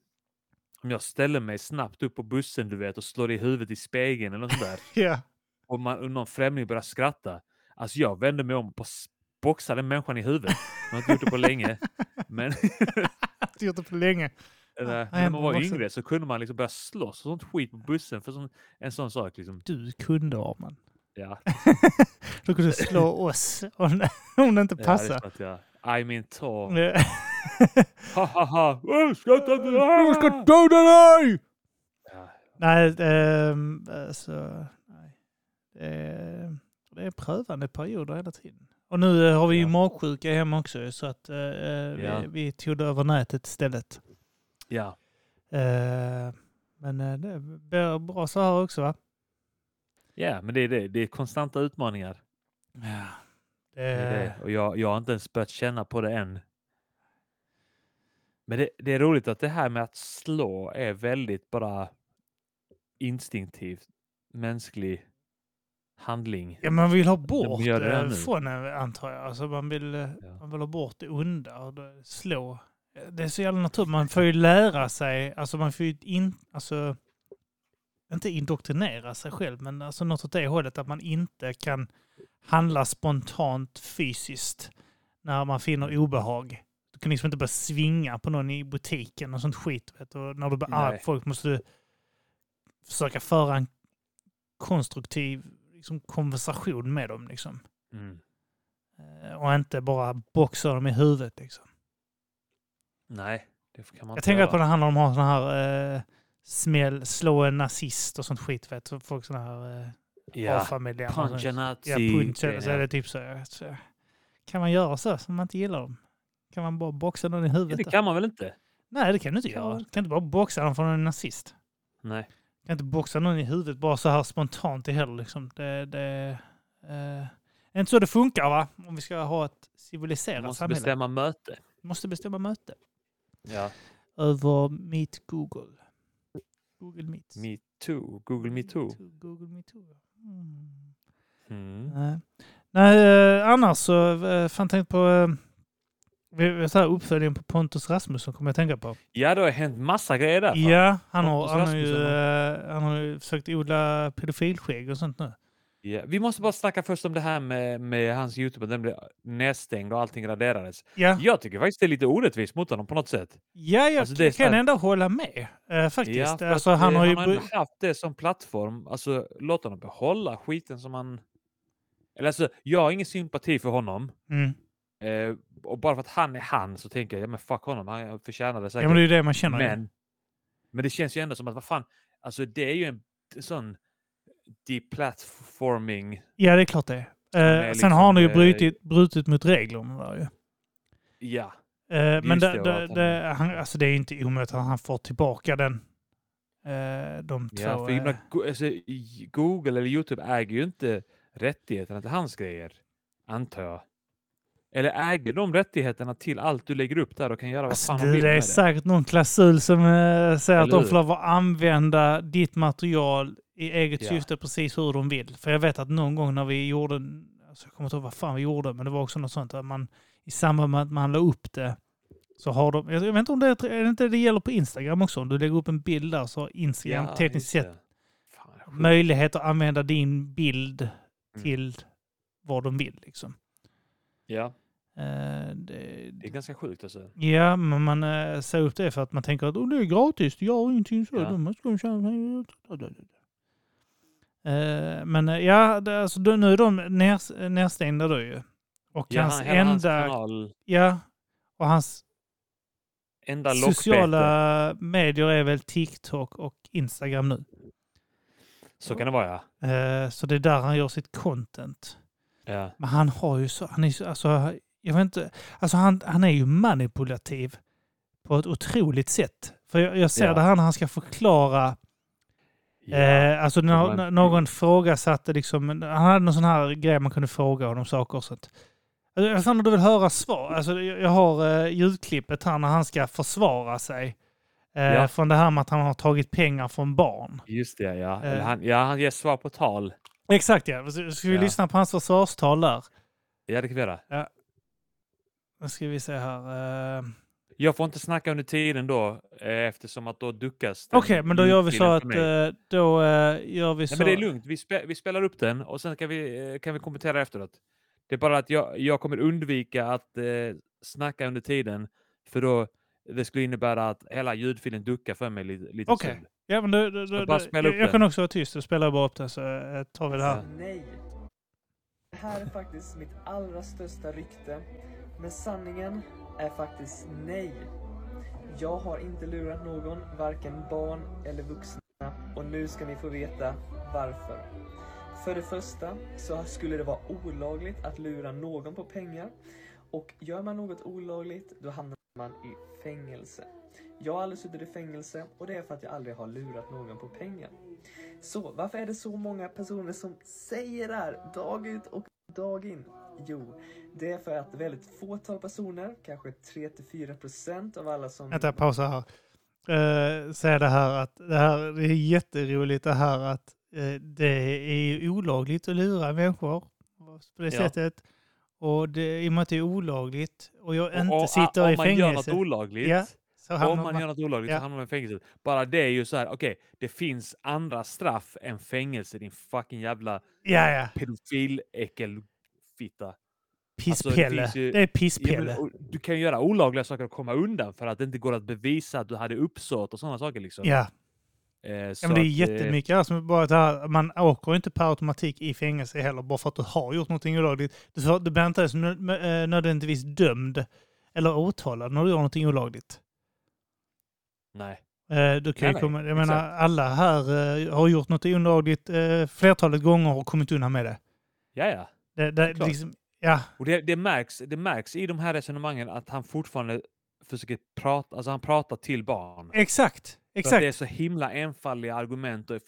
Speaker 1: om jag ställer mig snabbt upp på bussen du vet och slår i huvudet i spegeln eller något sånt där.
Speaker 2: Ja.
Speaker 1: Och, man, och någon främling börjar skratta. Alltså jag vänder mig om och s- boxar den människan i huvudet. Man har inte gjort det på länge. Men
Speaker 2: Jag har inte gjort det på länge.
Speaker 1: eller,
Speaker 2: nej,
Speaker 1: när
Speaker 2: man
Speaker 1: man var
Speaker 2: måste-
Speaker 1: yngre så kunde man liksom börja slåss och sånt skit på bussen för sån, en sån sak. Liksom.
Speaker 2: Du kunde Arman.
Speaker 1: Ja,
Speaker 2: Då kunde du slå oss om, om det inte
Speaker 1: ja, det
Speaker 2: passar.
Speaker 1: är som att jag, I mean ta.
Speaker 2: Ja.
Speaker 1: Ha ha ha! Åh, skratta inte!
Speaker 2: Jag ska
Speaker 1: Ah!
Speaker 2: döda dig!
Speaker 1: Ja,
Speaker 2: Nej, ehm, alltså, nej. Det, är, det är prövande perioder hela tiden. Och nu eh, har vi ju
Speaker 1: Ja.
Speaker 2: magsjuka hemma också så att eh, eh,
Speaker 1: Ja.
Speaker 2: vi, vi tog det över nätet istället.
Speaker 1: ja.
Speaker 2: Eh, men eh, det blir bra så här också va?
Speaker 1: ja, men det är det. Det är konstanta utmaningar.
Speaker 2: Ja.
Speaker 1: Det är
Speaker 2: Det,
Speaker 1: det. Och jag, jag har inte ens börjat känna på det än. Men det, det är roligt att det här med att slå är väldigt bara instinktivt mänsklig handling.
Speaker 2: ja, man vill ha bort
Speaker 1: gör det
Speaker 2: det
Speaker 1: nu.
Speaker 2: från en, antar jag. Alltså, man, vill, eh,
Speaker 1: Ja.
Speaker 2: man vill ha bort det onda och det, slå. Det är så jävla naturligt. Man får ju lära sig, alltså man får ju in, alltså, inte indoktrinera sig själv, men alltså något åt det hållet att man inte kan handla spontant fysiskt när man finner obehag. Du kan liksom inte bara svinga på någon i butiken och sånt skit. Vet du. Och när du blir arg
Speaker 1: Nej.
Speaker 2: på folk måste du försöka föra en konstruktiv liksom, konversation med dem. Liksom.
Speaker 1: Mm.
Speaker 2: Eh, Och inte bara boxa dem i huvudet. Liksom.
Speaker 1: Nej, det kan man
Speaker 2: Jag
Speaker 1: inte
Speaker 2: tänker
Speaker 1: göra.
Speaker 2: på när han de har såna här eh, smäll, slå en nazist och sånt skit. Vet du. Folk såna här eh,
Speaker 1: Ja.
Speaker 2: A-familjen.
Speaker 1: Punch a nazi.
Speaker 2: alltså, Ja, punch eller så
Speaker 1: grejen,
Speaker 2: är
Speaker 1: ja.
Speaker 2: det typ så. ja. så. Kan man göra så som man inte gillar dem? Kan man bara boxa någon i
Speaker 1: Ja,
Speaker 2: huvudet?
Speaker 1: det
Speaker 2: då?
Speaker 1: kan man väl inte?
Speaker 2: Nej, det kan du inte
Speaker 1: kan
Speaker 2: göra.
Speaker 1: man.
Speaker 2: Du kan inte bara boxa någon från en nazist.
Speaker 1: Nej.
Speaker 2: Du kan inte boxa någon i huvudet bara så här spontant det heller. Liksom. Det, det, eh, är inte så det funkar va? Om vi ska ha ett
Speaker 1: Man
Speaker 2: civiliserat
Speaker 1: måste
Speaker 2: samhälle.
Speaker 1: bestämma möte.
Speaker 2: Måste bestämma möte.
Speaker 1: Ja.
Speaker 2: Över Meet Google. Google Meet.
Speaker 1: Me too. Google me too.
Speaker 2: Google Meet Too. ja. Mm.
Speaker 1: Mm.
Speaker 2: Nej. Nej, eh, annars så eh, fan tänkt på eh, vi- vi- så här uppföljningen på Pontus Rasmusson kommer jag tänka på.
Speaker 1: Ja, det har hänt massa grejer där. fan.
Speaker 2: Ja, han har,
Speaker 1: Pontus
Speaker 2: han, har ju,
Speaker 1: Rasmusson,
Speaker 2: eh, han har ju försökt odla pedofilskägg och sånt nu.
Speaker 1: Ja. Vi måste bara snacka först om det här med, med hans Youtube, att den blev nedstängd och allting raderades.
Speaker 2: Ja,
Speaker 1: Jag tycker faktiskt det är lite orättvist mot honom på något sätt.
Speaker 2: ja jag
Speaker 1: Alltså, det är så
Speaker 2: kan
Speaker 1: här-
Speaker 2: ändå hålla med eh, faktiskt.
Speaker 1: för
Speaker 2: alltså,
Speaker 1: att,
Speaker 2: han
Speaker 1: eh,
Speaker 2: har ju...
Speaker 1: han
Speaker 2: bry-
Speaker 1: ändå haft det som plattform. Alltså, låt honom behålla skiten som han... Eller alltså, jag har ingen sympati för honom.
Speaker 2: Mm.
Speaker 1: Eh, och bara för att han är han så tänker jag, ja men fuck honom, han förtjänar det
Speaker 2: Ja,
Speaker 1: säkert.
Speaker 2: men det är ju det man känner. ju.
Speaker 1: men, men det känns ju ändå som att, vad fan, alltså det är ju en sån deplatforming.
Speaker 2: Ja, det är klart det.
Speaker 1: är
Speaker 2: Eh, sen
Speaker 1: liksom,
Speaker 2: har han ju
Speaker 1: eh,
Speaker 2: brutit, brutit mot reglerna där ju.
Speaker 1: Ja,
Speaker 2: Eh, men
Speaker 1: Just
Speaker 2: det,
Speaker 1: det, och
Speaker 2: det,
Speaker 1: att
Speaker 2: det, han, alltså det är ju inte omöjligt att han får tillbaka den. Eh, de två.
Speaker 1: ja för jag
Speaker 2: eh,
Speaker 1: menar, Go- alltså, i- Google eller YouTube äger ju inte rättigheterna till hans grejer, antar jag. Eller äger de rättigheterna till allt du lägger upp där och kan göra vad
Speaker 2: alltså,
Speaker 1: fan de
Speaker 2: det,
Speaker 1: vill
Speaker 2: det är
Speaker 1: med det?
Speaker 2: säkert någon klausul som eh, säger att
Speaker 1: Eller
Speaker 2: de
Speaker 1: hur?
Speaker 2: får lov att använda ditt material i eget
Speaker 1: Ja.
Speaker 2: syfte precis hur de vill. För jag vet att någon gång när vi gjorde, en- alltså jag kommer inte ihåg vad fan vi gjorde, men det var också något sånt att man i samband med att man la upp det så har de, jag vet inte om det, är är det inte det gäller på Instagram också, om du lägger upp en bild där så har Instagram
Speaker 1: Ja,
Speaker 2: tekniskt
Speaker 1: just
Speaker 2: sett
Speaker 1: det. Fan, sjukt.
Speaker 2: möjlighet att använda din bild
Speaker 1: Mm.
Speaker 2: till vad de vill. Liksom.
Speaker 1: ja,
Speaker 2: Eh, det,
Speaker 1: det är ganska sjukt alltså.
Speaker 2: ja, men man eh, säger upp det för att man tänker att oh, det är gratis, det gör ingenting så.
Speaker 1: Ja.
Speaker 2: Man ska tjäna... Eh, men eh, ja, det, alltså, då- nu är de ner, nerstängda då ju. Och
Speaker 1: Ja,
Speaker 2: hans
Speaker 1: han, hela hans
Speaker 2: enda...
Speaker 1: kanal,
Speaker 2: ja, och hans
Speaker 1: enda lockbete.
Speaker 2: sociala medier är väl TikTok och Instagram nu.
Speaker 1: Så kan det vara ja.
Speaker 2: Eh, så det är där han gör sitt content.
Speaker 1: ja.
Speaker 2: Men han har ju så, han är så, alltså, jag vet inte, alltså han, han är ju manipulativ på ett otroligt sätt. För jag, jag ser
Speaker 1: Ja.
Speaker 2: det här när han ska förklara,
Speaker 1: ja.
Speaker 2: eh, alltså
Speaker 1: var
Speaker 2: när,
Speaker 1: en-
Speaker 2: när någon frågasatte liksom, han hade någon sån här grej man kunde fråga honom saker och sånt. Alltså, jag fan om du vill höra svar, alltså jag, jag har eh, ljudklippet här när han ska försvara sig. Eh,
Speaker 1: Ja.
Speaker 2: Från det här med att han har tagit pengar från barn.
Speaker 1: Just det ja. Eller
Speaker 2: eh.
Speaker 1: Han, ja, han ger svar på tal.
Speaker 2: Exakt ja, så ska vi
Speaker 1: Ja.
Speaker 2: lyssna på hans försvarstal där?
Speaker 1: Ja, det kan vi göra.
Speaker 2: Nu ska vi se här. Eh,
Speaker 1: Jag får inte snacka under tiden då eh, eftersom att då duckas den
Speaker 2: Okej, men då gör vi så
Speaker 1: ljudfilen
Speaker 2: att
Speaker 1: mm, för mig.
Speaker 2: eh, då eh, gör vi så.
Speaker 1: Nej, men det är lugnt. Vi, spe, vi spelar upp den och sen kan vi, eh, kan vi kommentera efteråt. Det är bara att jag, jag kommer undvika att eh, snacka under tiden för då det skulle innebära att hela ljudfilen duckar för mig lite, lite
Speaker 2: Okej.
Speaker 1: stund.
Speaker 2: Ja, men då, då, då,
Speaker 1: Jag bara
Speaker 2: då,
Speaker 1: spelar
Speaker 2: jag,
Speaker 1: upp
Speaker 2: jag
Speaker 1: den.
Speaker 2: kan också vara tyst och spela bara upp den så eh, tar vi det här.
Speaker 3: Nej. Det här är faktiskt mitt allra största rykte. Men sanningen är faktiskt nej. Jag har inte lurat någon, varken barn eller vuxna. Och nu ska ni få veta varför. För det första så skulle det vara olagligt att lura någon på pengar. Och gör man något olagligt, då hamnar man i fängelse. Jag har aldrig suttit i fängelse och det är för att jag aldrig har lurat någon på pengar. Så varför är det så många personer som säger det här dag ut och dag in? Jo, det är för att väldigt fåtal personer, kanske 3-4% av alla som...
Speaker 2: Vänta, pausa här. Uh, säga det här att det, här, det är jätteroligt det här att eh, det är ju olagligt att lura människor på det
Speaker 1: Ja.
Speaker 2: sättet. Och det, i och med att det är olagligt och jag inte
Speaker 1: och, och,
Speaker 2: sitter
Speaker 1: om
Speaker 2: i
Speaker 1: man gör något
Speaker 2: fängelse.
Speaker 1: olagligt
Speaker 2: Ja, så hamnar
Speaker 1: Om man gör något olagligt
Speaker 2: Ja.
Speaker 1: så hamnar man i fängelse. Bara det är ju så här, okej, det finns andra straff än fängelse, din fucking jävla
Speaker 2: Ja, ja.
Speaker 1: pedofiläckelfitta. Alltså, det
Speaker 2: Pisspelle.
Speaker 1: finns ju-
Speaker 2: det är
Speaker 1: Ja,
Speaker 2: pisspelle.
Speaker 1: men, och du kan ju göra olagliga saker och komma undan för att det inte går att bevisa att du hade uppsåt och sådana saker. Liksom.
Speaker 2: ja.
Speaker 1: Eh,
Speaker 2: Ja,
Speaker 1: så
Speaker 2: men det är
Speaker 1: att, eh,
Speaker 2: jättemycket här som är bara det här, man åker ju inte per automatik i fängelse heller bara för att du har gjort någonting olagligt. Du, får, du blir inte ens nö- eh, nödvändigtvis dömd eller åtalad när du gör någonting olagligt.
Speaker 1: Nej.
Speaker 2: Eh, Du kan
Speaker 1: Nej,
Speaker 2: ju
Speaker 1: nej,
Speaker 2: komma, jag menar,
Speaker 1: exakt.
Speaker 2: alla här eh, har gjort något olagligt eh, flertalet gånger och kommit undan med det.
Speaker 1: Ja, ja.
Speaker 2: det, det
Speaker 1: Klart.
Speaker 2: liksom, ja,
Speaker 1: Och det, det, märks, det märks i de här resonemangen att han fortfarande försöker prata, alltså han pratar till barn.
Speaker 2: exakt.
Speaker 1: För att
Speaker 2: Exakt.
Speaker 1: det är så himla enfaldiga argument och, eh,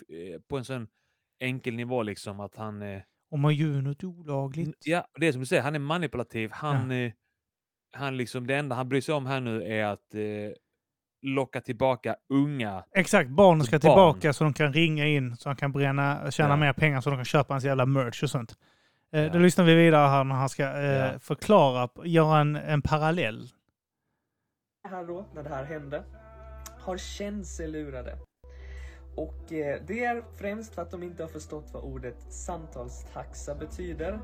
Speaker 1: på en sån enkel nivå liksom att han... Eh,
Speaker 2: Om man gör något olagligt.
Speaker 1: ja, det är som du säger, han är manipulativ. Han, eh, han liksom, det enda han bryr sig om här nu är att eh, locka tillbaka unga.
Speaker 2: Exakt, barnen ska
Speaker 1: Barn.
Speaker 2: tillbaka så de kan ringa in så han kan bränna, tjäna
Speaker 1: Ja.
Speaker 2: mer pengar så de kan köpa hans jävla merch och sånt. Eh, Då
Speaker 1: Ja.
Speaker 2: lyssnar vi vidare här när han ska eh,
Speaker 1: Ja.
Speaker 2: förklara, göra en, en parallell.
Speaker 3: här då, när det här hände, har känt sig lurade. Och eh, det är främst för att de inte har förstått vad ordet samtalstaxa betyder.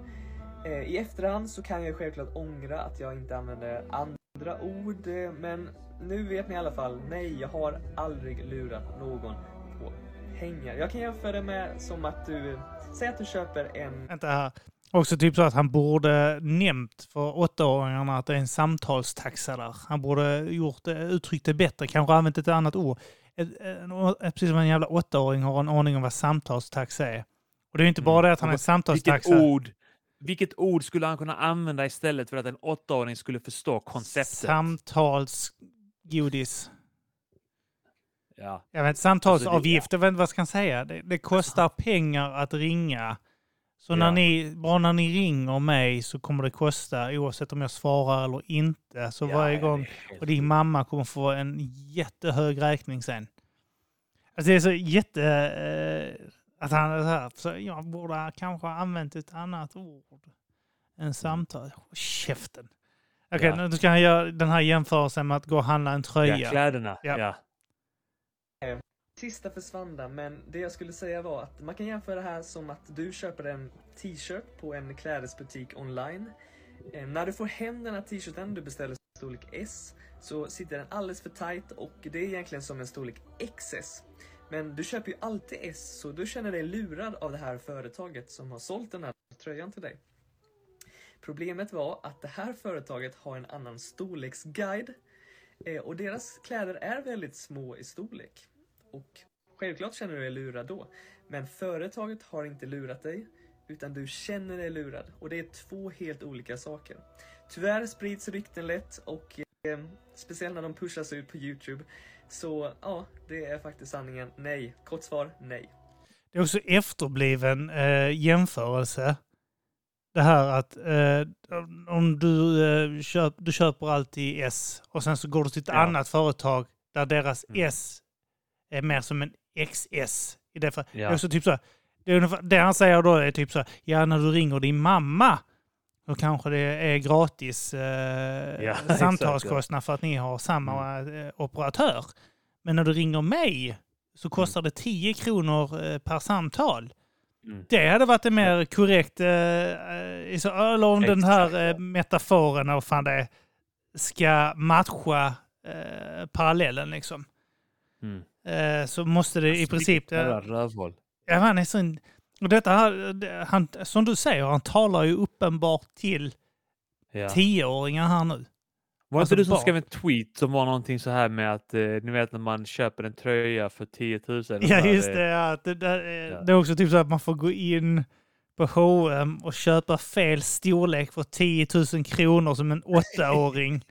Speaker 3: Eh, I efterhand så kan jag självklart ångra att jag inte använde andra ord, eh, men nu vet ni i alla fall, nej, jag har aldrig lurat någon på pengar. Jag kan jämföra det med som att du, säg att du köper en
Speaker 2: Vänta här. Också typ så att han borde nämnt för åttaåringarna att det är en samtalstaxa där. Han borde gjort det, uttryckt det bättre, kanske använt ett annat ord. Ett, en, precis som en jävla åttaåring har en aning om vad samtalstaxa är. Och det är ju inte bara
Speaker 1: Mm.
Speaker 2: det att han
Speaker 1: Och
Speaker 2: är
Speaker 1: vad-
Speaker 2: en samtalstaxa.
Speaker 1: Vilket ord, vilket ord skulle han kunna använda istället för att en åttaåring skulle förstå konceptet?
Speaker 2: Samtalsgodis.
Speaker 1: ja.
Speaker 2: Jag vet,
Speaker 1: Alltså,
Speaker 2: samtalsavgift, jag vet inte vad jag ska säga. Det, det kostar pengar att ringa. Så när
Speaker 1: Ja.
Speaker 2: ni, bara när ni ringer mig så kommer det kosta oavsett om jag svarar eller inte. Så
Speaker 1: Ja,
Speaker 2: varje
Speaker 1: ja,
Speaker 2: gång.
Speaker 1: det är helt
Speaker 2: Och din mamma kommer få en jättehög räkning sen. Alltså det är så jätte... Eh, att han är så här, så jag borde kanske ha använt ett annat ord än samtal. Käften. Okej,
Speaker 1: Mm. Ja.
Speaker 2: nu ska han göra den här jämförelsen med att gå och handla en tröja.
Speaker 1: Ja, kläderna.
Speaker 2: Ja.
Speaker 1: Ja.
Speaker 3: Sista försvann där, men det jag skulle säga var att man kan jämföra det här som att du köper en t-shirt på en klädesbutik online. Eh, När du får hem den här t-shirten du beställer storlek S så sitter den alldeles för tight och det är egentligen som en storlek XS. Men du köper ju alltid S så du känner dig lurad av det här företaget som har sålt den här tröjan till dig. Problemet var att det här företaget har en annan storleksguide eh, och deras kläder är väldigt små i storlek. Och självklart känner du dig lurad då. Men företaget har inte lurat dig, utan du känner dig lurad. Och det är två helt olika saker. Tyvärr sprids rykten lätt och eh, speciellt när de pushas ut på Youtube. Så ja, det är faktiskt sanningen. Nej. Kort svar, nej.
Speaker 2: Det är också efterbliven eh, jämförelse. Det här att eh, om du, eh, köp, du köper alltid S och sen så går du till ett
Speaker 1: Ja.
Speaker 2: annat företag där deras
Speaker 1: Mm.
Speaker 2: S är mer som en XS. I det, fall. det
Speaker 1: Ja.
Speaker 2: är också typ så här, det, är ungefär, det han säger då är typ så här, ja när du ringer din mamma då kanske det är gratis eh,
Speaker 1: Ja, Mm. exakt, ja.
Speaker 2: samtalskostnad för att ni har samma eh, operatör. Men när du ringer mig så kostar det 10 kronor eh, per samtal.
Speaker 1: Mm.
Speaker 2: Det hade varit en mer korrekt, eh, eh, i så- eller om den
Speaker 1: Exakt,
Speaker 2: här eh,
Speaker 1: ja.
Speaker 2: metaforen, eller vad fan det är, ska matcha eh, parallellen liksom.
Speaker 1: Mm.
Speaker 2: Eh, så måste det i
Speaker 1: Alltså,
Speaker 2: princip...
Speaker 1: vilket
Speaker 2: Eh,
Speaker 1: jävla rövhål.
Speaker 2: ja, han är sån, och detta här, det- han, som du säger, han talar ju uppenbart till
Speaker 1: Ja.
Speaker 2: tioåringar här nu.
Speaker 1: Var det
Speaker 2: Alltså,
Speaker 1: inte du som
Speaker 2: barn.
Speaker 1: skrev en tweet som var någonting så här med att eh, ni vet när man köper en tröja för 10 000? och
Speaker 2: Ja,
Speaker 1: bara,
Speaker 2: just
Speaker 1: eh,
Speaker 2: det. Ja, att det, där är,
Speaker 1: Ja.
Speaker 2: det är också typ så att man får gå in på H&M och köpa fel storlek för 10 000 kronor som en åttaåring.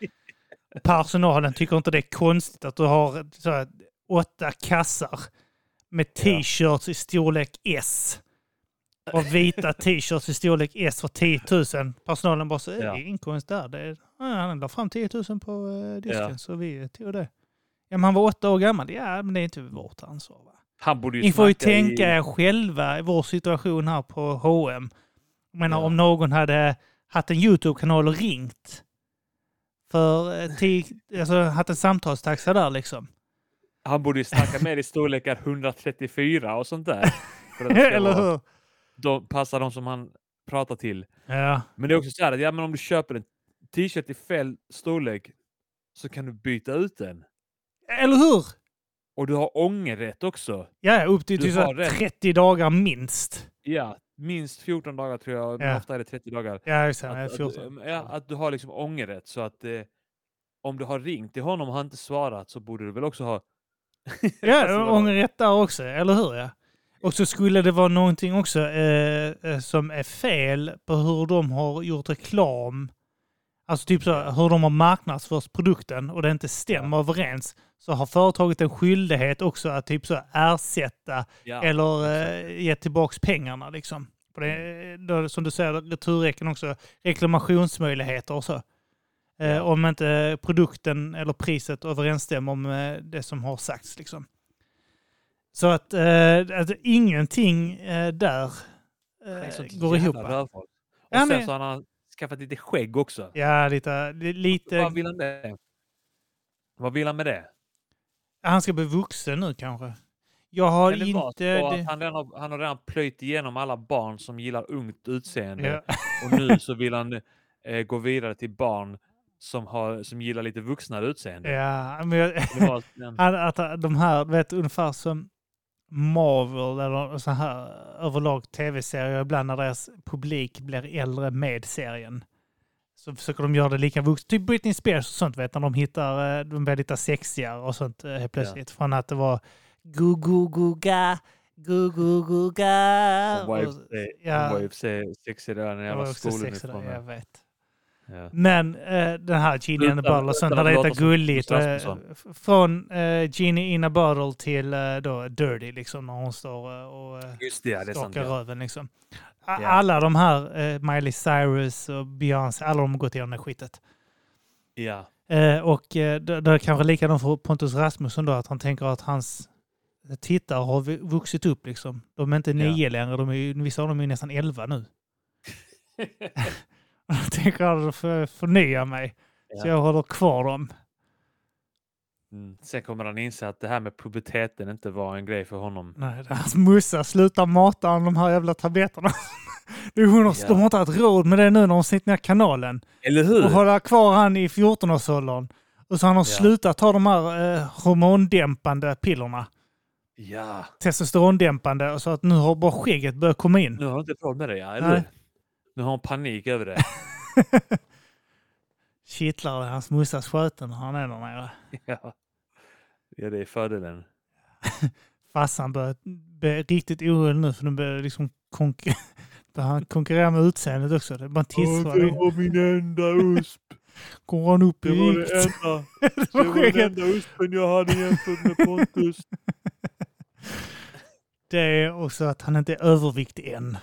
Speaker 2: Personalen tycker inte det är konstigt att du har så här, åtta kassar med t-shirts i storlek S. Och vita t-shirts i storlek S för 10 000. Personalen bara så, "Eh, det
Speaker 1: Ja.
Speaker 2: är ingen konst där. Det är, "Ja, han la fram 10 000 på eh, disken
Speaker 1: Ja.
Speaker 2: så vi tog det. Ja, men han var åtta år gammal. Ja, men det är inte vårt ansvar. Va?
Speaker 1: Han borde ju
Speaker 2: Ni får ju
Speaker 1: snacka i-
Speaker 2: tänka er själva i vår situation här på H&M. Jag menar
Speaker 1: Ja.
Speaker 2: om någon hade haft en YouTube-kanal och ringt för eh, ti- alltså haft en samtalstaxa där liksom.
Speaker 1: Han borde ju snacka med i storlekar 134 och sånt där. För att det ska
Speaker 2: Eller
Speaker 1: vara-
Speaker 2: hur?
Speaker 1: de, passa de som han pratar till.
Speaker 2: Ja,
Speaker 1: Men det är också så här att ja, men om du köper en t-shirt i fel storlek så kan du byta ut den.
Speaker 2: eller hur?
Speaker 1: Och du har ångerrätt också.
Speaker 2: Ja, upp till,
Speaker 1: Du
Speaker 2: till så
Speaker 1: har
Speaker 2: här
Speaker 1: rätt.
Speaker 2: 30 dagar minst.
Speaker 1: Ja, minst 14 dagar tror jag, men
Speaker 2: Ja.
Speaker 1: ofta är det 30 dagar.
Speaker 2: Ja, exakt.
Speaker 1: Att,
Speaker 2: Nej,
Speaker 1: att, du-
Speaker 2: 14.
Speaker 1: ja, att du har liksom ångerrätt så att eh, om du har ringt till honom och han inte svarat så borde du väl också ha... Alltså,
Speaker 2: Ja,
Speaker 1: vadå?
Speaker 2: ångerrätt där också, eller hur? Ja. Och så skulle det vara någonting också eh, eh, som är fel på hur de har gjort reklam. Alltså typ så här, hur de har marknadsfört produkten och det inte stämmer överens så har företaget en skyldighet också att typ så här ersätta
Speaker 1: Ja.
Speaker 2: eller eh, ge tillbaka pengarna. Liksom. För
Speaker 1: Mm.
Speaker 2: det, då, som du säger, returräcken också, reklamationsmöjligheter och så. Eh, om inte produkten eller priset överensstämmer med det som har sagts. Liksom. Så att, eh, att ingenting eh, där
Speaker 1: Det är sånt
Speaker 2: eh, går
Speaker 1: liksom jävla
Speaker 2: ihop.
Speaker 1: rövhål. Och
Speaker 2: Ja,
Speaker 1: sen
Speaker 2: men-
Speaker 1: så har han skaffat lite skägg också.
Speaker 2: Ja, lite, lite
Speaker 1: Vad vill han med det? Vad vill han med det?
Speaker 2: Han ska bli vuxen nu kanske. Jag har
Speaker 1: Kan det vara
Speaker 2: inte...
Speaker 1: så att
Speaker 2: Det,
Speaker 1: han, redan har, han har redan plöjt igenom alla barn som gillar ungt utseende
Speaker 2: ja,
Speaker 1: och nu så vill han eh, gå vidare till barn som, har, som gillar lite vuxnare utseende.
Speaker 2: ja, men jag,
Speaker 1: Det var den-
Speaker 2: han- att de här, du vet ungefär som Marvel eller så här överlag tv-serier ibland när deras publik blir äldre med serien. Så försöker de göra det lika vuxet. Typ Britney Spears och sånt vet när de hittar, eh, de blir lite sexigare och sånt eh, helt plötsligt. Från att det var gu gu gu ga, gu gu gu ga.
Speaker 1: hon var i och
Speaker 2: Och-
Speaker 1: för sig-
Speaker 2: ja.
Speaker 1: hon var i och för sig sexig där när
Speaker 2: Det
Speaker 1: jag
Speaker 2: var
Speaker 1: var
Speaker 2: också sexigt, jag
Speaker 1: skoluniformen.
Speaker 2: vet.
Speaker 1: Ja.
Speaker 2: Men eh, den här Genie in a
Speaker 1: Sluta-
Speaker 2: Bottle och sånt,
Speaker 1: sluta
Speaker 2: när det heter
Speaker 1: låta som
Speaker 2: gulligt.
Speaker 1: Kristin
Speaker 2: Eh,
Speaker 1: Rasmusson.
Speaker 2: f- från eh, Genie in a Bottle till eh, då Dirty, liksom, när hon står eh, och eh,
Speaker 1: Just det, ja, det är sant.
Speaker 2: stånkar
Speaker 1: Ja.
Speaker 2: röven. Liksom. A-
Speaker 1: Ja.
Speaker 2: Alla de här, eh, Miley Cyrus och Beyoncé, alla de har gått igenom det skitet.
Speaker 1: Ja.
Speaker 2: Eh, och eh, då, då är det kanske likadant för Pontus Rasmusson då, att han tänker att hans tittare har vu- vuxit upp liksom. De är inte
Speaker 1: Ja.
Speaker 2: nio längre, de är, ju- vissa av dem är ju nästan elva nu. Jag tänker aldrig för, förnya mig. Så
Speaker 1: Ja.
Speaker 2: jag håller kvar dem.
Speaker 1: Mm. Sen kommer han inse att det här med puberteten inte var en grej för honom.
Speaker 2: Nej, det är hans morsa slutar mata honom de här jävla tabletterna. Det är hon,
Speaker 1: Ja.
Speaker 2: De har inte haft råd med det nu när hon sänkt ner kanalen.
Speaker 1: Eller hur?
Speaker 2: Och hålla kvar han i 14-årsåldern. Och så han har
Speaker 1: Ja.
Speaker 2: slutat ta de här eh, hormondämpande pillerna.
Speaker 1: Ja,
Speaker 2: Testosterondämpande. Och så att nu har bara skägget börjat komma in.
Speaker 1: nu har han inte råd med det, ja, eller
Speaker 2: Nej.
Speaker 1: hur? Nu har han panik över det.
Speaker 2: Kittlar det hans morsas sköten när han är där nere.
Speaker 1: ja. ja, det är fördelen.
Speaker 2: Farsan börjar bli riktigt orolig nu för nu börjar liksom konkur- börjar han konkurrera med utseendet också. Det är bara en tidsfråga.
Speaker 1: var min enda usp.
Speaker 2: Går han upp i vikt?
Speaker 1: enda,
Speaker 2: Det var skägget.
Speaker 1: uspen jag hade jämfört med Pontus.
Speaker 2: Det är också att han inte är överviktig än.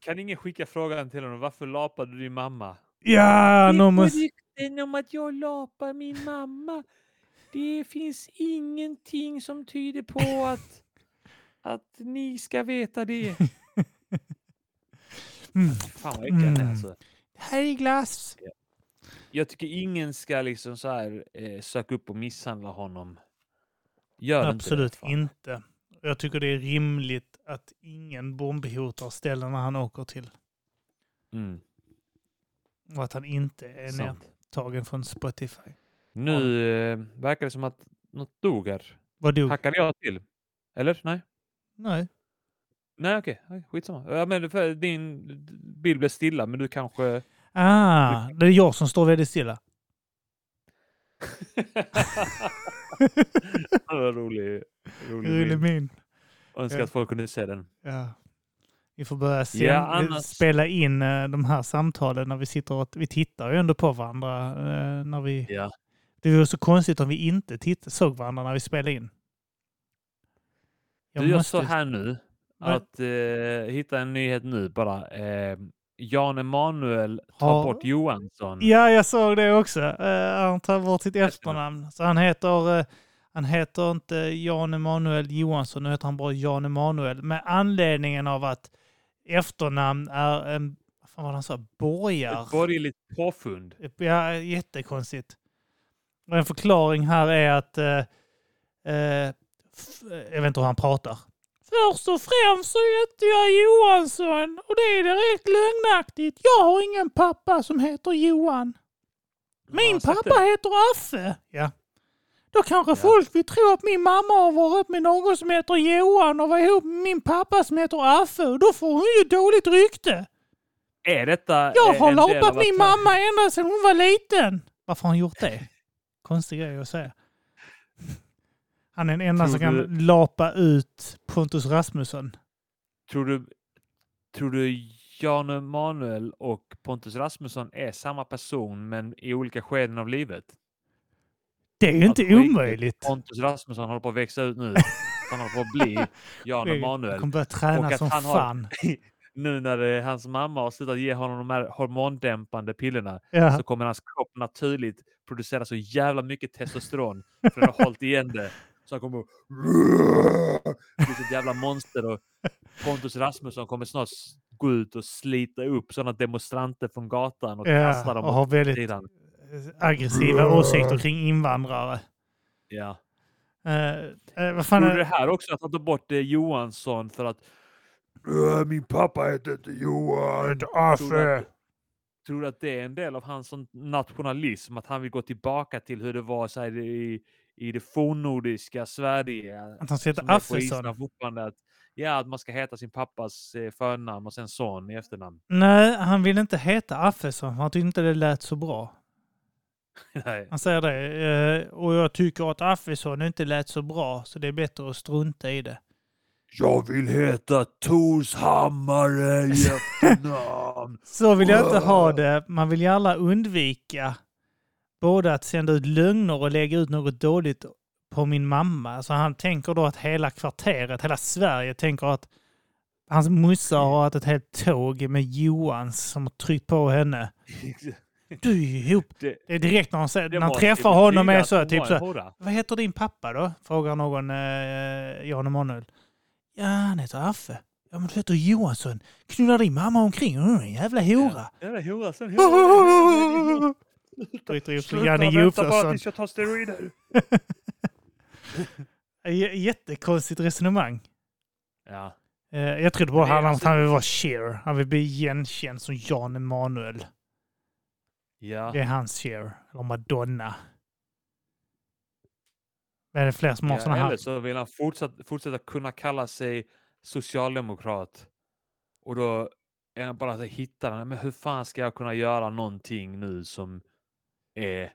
Speaker 1: Kan ingen skicka frågan till honom? Varför lapade du din mamma?
Speaker 2: Ja, någon måste...
Speaker 1: rykten om att jag lapar min mamma. Det finns ingenting som tyder på att, att ni ska veta det.
Speaker 2: Mm.
Speaker 1: Fan vad äckligt det är,
Speaker 2: Mm.
Speaker 1: alltså.
Speaker 2: Här är glass.
Speaker 1: Jag tycker ingen ska liksom så här eh, söka upp och misshandla honom. Gör
Speaker 2: Absolut
Speaker 1: inte det.
Speaker 2: inte. Jag tycker det är rimligt att ingen bombhotar ställena han åker till.
Speaker 1: Mm,
Speaker 2: Och att han inte är
Speaker 1: sant.
Speaker 2: nedtagen från Spotify.
Speaker 1: Nu eh, verkar det som att något dog här.
Speaker 2: Vad dog?
Speaker 1: Hackade jag till? Eller? Nej?
Speaker 2: Nej.
Speaker 1: Nej okej, Nej, skitsamma. Ja, men för din bild blev stilla men du kanske...
Speaker 2: Ah, det är jag som står väldigt stilla.
Speaker 1: Vad rolig. Rolig,
Speaker 2: Rulle
Speaker 1: bild.
Speaker 2: min.
Speaker 1: Önskar
Speaker 2: Ja.
Speaker 1: att folk kunde se den.
Speaker 2: Ja. Vi får börja sen,
Speaker 1: Ja, annars-
Speaker 2: spela in eh, de här samtalen när vi sitter och vi tittar ju ändå på varandra eh, när vi
Speaker 1: Ja.
Speaker 2: Det vore så konstigt om vi inte titt- såg varandra när vi spelade in.
Speaker 1: Du, jag står här nu.
Speaker 2: Nej.
Speaker 1: Att eh, hitta en nyhet nu bara. Eh, Jan Emanuel tar
Speaker 2: Har-
Speaker 1: bort Johansson.
Speaker 2: Ja, jag såg det också. Eh, han tar bort sitt efternamn. Så han heter, eh, han heter inte Jan Emanuel Johansson, nu heter han bara Jan Emanuel. Med anledningen av att efternamn är en, vad fan var det han sa, borgar.
Speaker 1: Ett borgerligt påfund.
Speaker 2: Ja, jättekonstigt. Och en förklaring här är att... Eh, eh, f- jag vet inte hur han pratar. Först och främst så heter jag Johansson och det är direkt lögnaktigt. Jag har ingen pappa som heter Johan.
Speaker 1: Har
Speaker 2: Min
Speaker 1: han sagt
Speaker 2: pappa
Speaker 1: det?
Speaker 2: heter Affe. Ja. Då kanske
Speaker 1: Ja.
Speaker 2: folk vill tro att min mamma har varit med någon som heter Johan och var ihop med min pappa som heter Affe. Och då får hon ju dåligt rykte.
Speaker 1: Är detta...
Speaker 2: Jag
Speaker 1: eh,
Speaker 2: har
Speaker 1: en del
Speaker 2: lapat
Speaker 1: av att-
Speaker 2: min mamma ända sedan hon var liten. Varför har han gjort det? Konstig grej att säga. Han är den enda som
Speaker 1: Tror
Speaker 2: kan
Speaker 1: du-
Speaker 2: lapa ut Pontus Rasmusson.
Speaker 1: Tror du... Tror du Jan Emanuel och Pontus Rasmusson är samma person men i olika skeden av livet.
Speaker 2: Det är ju
Speaker 1: Att på
Speaker 2: inte
Speaker 1: riktigt,
Speaker 2: omöjligt.
Speaker 1: Pontus Rasmusson håller på att växa ut nu. Han håller på att bli Jan
Speaker 2: Jag
Speaker 1: Emanuel.
Speaker 2: kommer börja
Speaker 1: Och
Speaker 2: träna
Speaker 1: att
Speaker 2: som
Speaker 1: han har-
Speaker 2: fan.
Speaker 1: Nu när eh, hans mamma har slutat ge honom de här hormondämpande pillerna
Speaker 2: Ja.
Speaker 1: så kommer hans kropp naturligt producera så jävla mycket testosteron för den har hållit igen det. Så han kommer att bli ett jävla monster och Pontus Rasmusson kommer snart s- gå ut och slita upp sådana demonstranter från gatan och kasta
Speaker 2: Ja,
Speaker 1: dem
Speaker 2: och
Speaker 1: åt
Speaker 2: har väldigt
Speaker 1: sidan.
Speaker 2: Eh, aggressiva åsikter kring invandrare.
Speaker 1: Ja.
Speaker 2: Eh, eh, vad fan
Speaker 1: Gjorde det
Speaker 2: är...
Speaker 1: här också att han tog bort eh, Johansson för att "Äh, min pappa heter inte Johan.
Speaker 2: Alltså-
Speaker 1: Tror du att- Tror du att det är en del av hans sån nationalism? Att han vill gå tillbaka till hur det var så här, i, i det fornnordiska Sverige?
Speaker 2: Att han ska heta
Speaker 1: som är på
Speaker 2: Affelson.
Speaker 1: Island fortfarande. Att, ja, att man ska heta sin pappas eh, förnamn och sen son i efternamn.
Speaker 2: Nej, han vill inte heta Affelson. för Han tyckte inte det lät så bra.
Speaker 1: Nej.
Speaker 2: Han säger det. eh, Och jag tycker att Affelson inte lät så bra, så det är bättre att strunta i det.
Speaker 1: Jag vill heta Torshammare i efternamn.
Speaker 2: Så vill jag inte ha det. Man vill gärna undvika både att sända ut lögner och lägga ut något dåligt på min mamma. Så han tänker då att hela kvarteret, hela Sverige tänker att hans morsa har haft ett helt tåg med Johans som har tryckt på henne. Du är ihop.
Speaker 1: Det-
Speaker 2: Det är direkt när han, säger, när han
Speaker 1: måste
Speaker 2: träffar
Speaker 1: betyda
Speaker 2: honom är
Speaker 1: att
Speaker 2: så
Speaker 1: hon var
Speaker 2: typ
Speaker 1: en
Speaker 2: så här,
Speaker 1: hora.
Speaker 2: Vad heter din pappa då? Frågar någon eh, Jan Emanuel. Ja, han heter Affe. Ja, men du heter Johansson. Knullar din mamma omkring? Hon är en jävla hora.
Speaker 1: Jävla hora. Sen
Speaker 2: Bryter ihop som
Speaker 1: Sluta
Speaker 2: Janne
Speaker 1: vänta bara
Speaker 2: Josefsson.
Speaker 1: tills jag tar steroider.
Speaker 2: J- Jättekonstigt resonemang.
Speaker 1: Ja.
Speaker 2: Eh, Jag trodde bara
Speaker 1: Men det är
Speaker 2: han,
Speaker 1: alltså-
Speaker 2: att han vill vara Cher. Han vill bli igenkänd som Jan Emanuel.
Speaker 1: Ja.
Speaker 2: Det är hans Cher. Eller Madonna. Men det är fler som har såna
Speaker 1: Ja, eller
Speaker 2: här.
Speaker 1: så vill han fortsatt, fortsätta kunna kalla sig socialdemokrat. Och då är han bara så här, hittar han, men hur fan ska jag kunna göra någonting nu som är...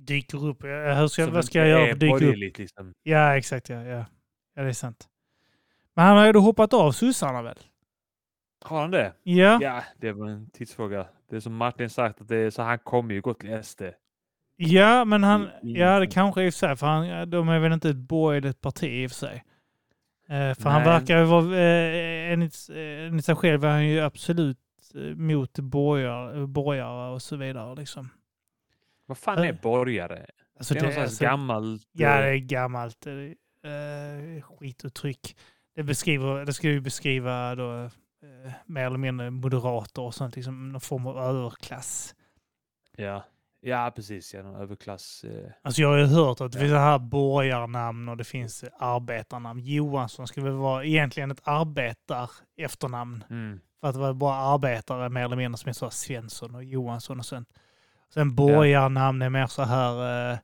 Speaker 2: Dyker upp. Eh, Hur ska,
Speaker 1: som
Speaker 2: vad ska
Speaker 1: inte
Speaker 2: jag göra
Speaker 1: är
Speaker 2: för att dyka upp?
Speaker 1: borgerligt, Liksom.
Speaker 2: Ja, exakt. Ja, ja. ja, det är sant. Men han har ju då hoppat av sossarna väl?
Speaker 1: Har han det?
Speaker 2: Ja. ja.
Speaker 1: Ja, det var en tidsfråga. Det är som Martin sagt, att det är, så han kommer ju gå till SD.
Speaker 2: men han...
Speaker 1: I- i-
Speaker 2: Ja, det kanske är i och för sig, för han, de är väl inte ett borgerligt parti i och för sig. Eh, för han
Speaker 1: Nej.
Speaker 2: verkar ju vara... Eh, enligt, eh, enligt sig själv är han ju absolut eh, mot borgare, borgare och så vidare. Liksom.
Speaker 1: Vad fan är
Speaker 2: Eh,
Speaker 1: borgare?
Speaker 2: Alltså,
Speaker 1: Det är någon slags
Speaker 2: alltså-
Speaker 1: gammalt...
Speaker 2: Ja,
Speaker 1: eh,
Speaker 2: det är gammalt eh, eh, skituttryck. Det, beskriver, det ska ju beskriva då, eh, mer eller mindre moderater och sånt, liksom någon form av överklass.
Speaker 1: ja. ja, precis. Ja, någon överklass... Eh.
Speaker 2: Alltså jag har ju hört att det finns så här borgarnamn och det finns eh, arbetarnamn. Johansson skulle väl vara egentligen ett arbetar efternamn.
Speaker 1: Mm.
Speaker 2: För att det var bara arbetare mer eller mindre som är så här Svensson och Johansson och sånt. Sen borgarnamn är mer så här eh,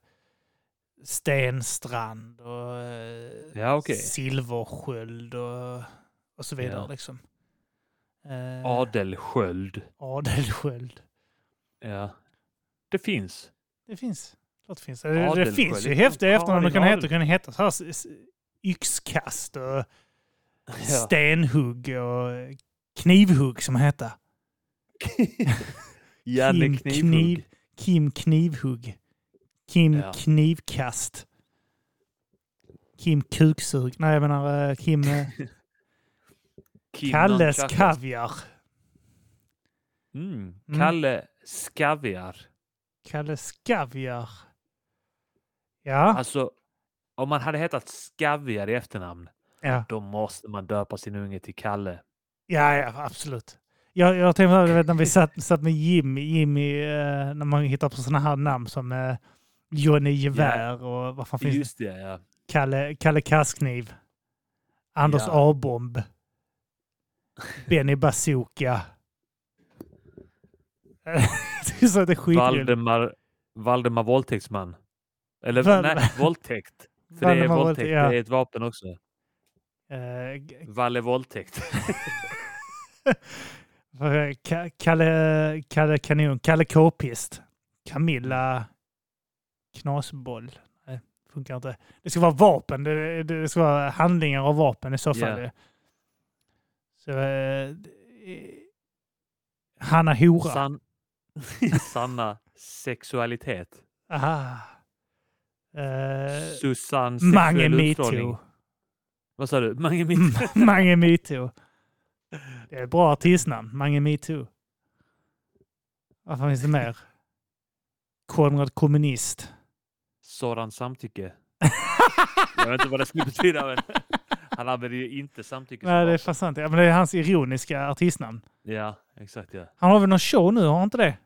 Speaker 2: Stenstrand och eh,
Speaker 1: Ja, okej.
Speaker 2: Silversköld och, och så vidare.
Speaker 1: Ja.
Speaker 2: Liksom. Eh,
Speaker 1: Adelsköld.
Speaker 2: Adelsköld.
Speaker 1: Ja. Det finns.
Speaker 2: Det finns. Klart det finns. Det, det
Speaker 1: Adelsköld,
Speaker 2: finns
Speaker 1: det
Speaker 2: ju
Speaker 1: är
Speaker 2: häftiga
Speaker 1: klart.
Speaker 2: efternamn. Du kan
Speaker 1: Karin
Speaker 2: heta, du kan heta så här s- s- yxkast och
Speaker 1: Ja.
Speaker 2: stenhugg och eh, knivhugg som heter.
Speaker 1: Janne
Speaker 2: Kim
Speaker 1: Knivhugg.
Speaker 2: Kniv- Kim Knivhugg. Kim
Speaker 1: Ja.
Speaker 2: Knivkast. Kim Kuksug. Nej, jag menar eh, Kim eh,
Speaker 1: Kim
Speaker 2: Kalles
Speaker 1: Nunchakas.
Speaker 2: Kaviar.
Speaker 1: Mm.
Speaker 2: Mm.
Speaker 1: Kalle Skaviar.
Speaker 2: Kalles Kaviar. Ja,
Speaker 1: Alltså, om man hade hetat Skaviar i efternamn,
Speaker 2: ja,
Speaker 1: då måste man döpa sin unge till Kalle.
Speaker 2: ja, ja absolut. Jag, jag tänkte på det, vet, när vi satt, satt med Jimmy, Jimmy eh, när man hittar på sådana här namn som eh, Johnny Gevär och vad fan finns det?
Speaker 1: Just det, ja.
Speaker 2: Kalle, Kalle Kastkniv. Anders
Speaker 1: Ja.
Speaker 2: A-bomb. Benny Bazooka. det är så att det är skitroligt.
Speaker 1: Valdemar, Valdemar våldtäktsman. Eller
Speaker 2: Val-
Speaker 1: nej, våldtäkt. För det är
Speaker 2: Valdemar
Speaker 1: våldtäkt,
Speaker 2: Våldtäkt, ja.
Speaker 1: det är ett vapen också.
Speaker 2: Eh, g-
Speaker 1: Valle våldtäkt.
Speaker 2: för, eh, Ka- Kalle, Kalle Kanon. Kalle K-pist. Camilla Knasboll. Nej, funkar inte. Det ska vara vapen. Det, det, det ska vara handlingar och vapen i så fall.
Speaker 1: Ja.
Speaker 2: Så, eh, Hanna Hora.
Speaker 1: San... Sanna sexualitet.
Speaker 2: Aha. Eh,
Speaker 1: Susanne
Speaker 2: Mange
Speaker 1: sexuell utstrålning.
Speaker 2: metoo.
Speaker 1: Vad sa du? Mange
Speaker 2: Mm,
Speaker 1: metoo.
Speaker 2: Mange metoo. Det är ett bra artistnamn. Mange metoo. Vad fan finns det mer? Konrad Kommunist.
Speaker 1: Soran samtycke. Jag vet inte vad det skulle betyda men han använder ju inte samtycke. som
Speaker 2: Nej, det är
Speaker 1: vapen.
Speaker 2: fan sant. Ja, men det är hans ironiska artistnamn.
Speaker 1: Ja, exakt ja.
Speaker 2: Han har väl någon show nu, har han inte det?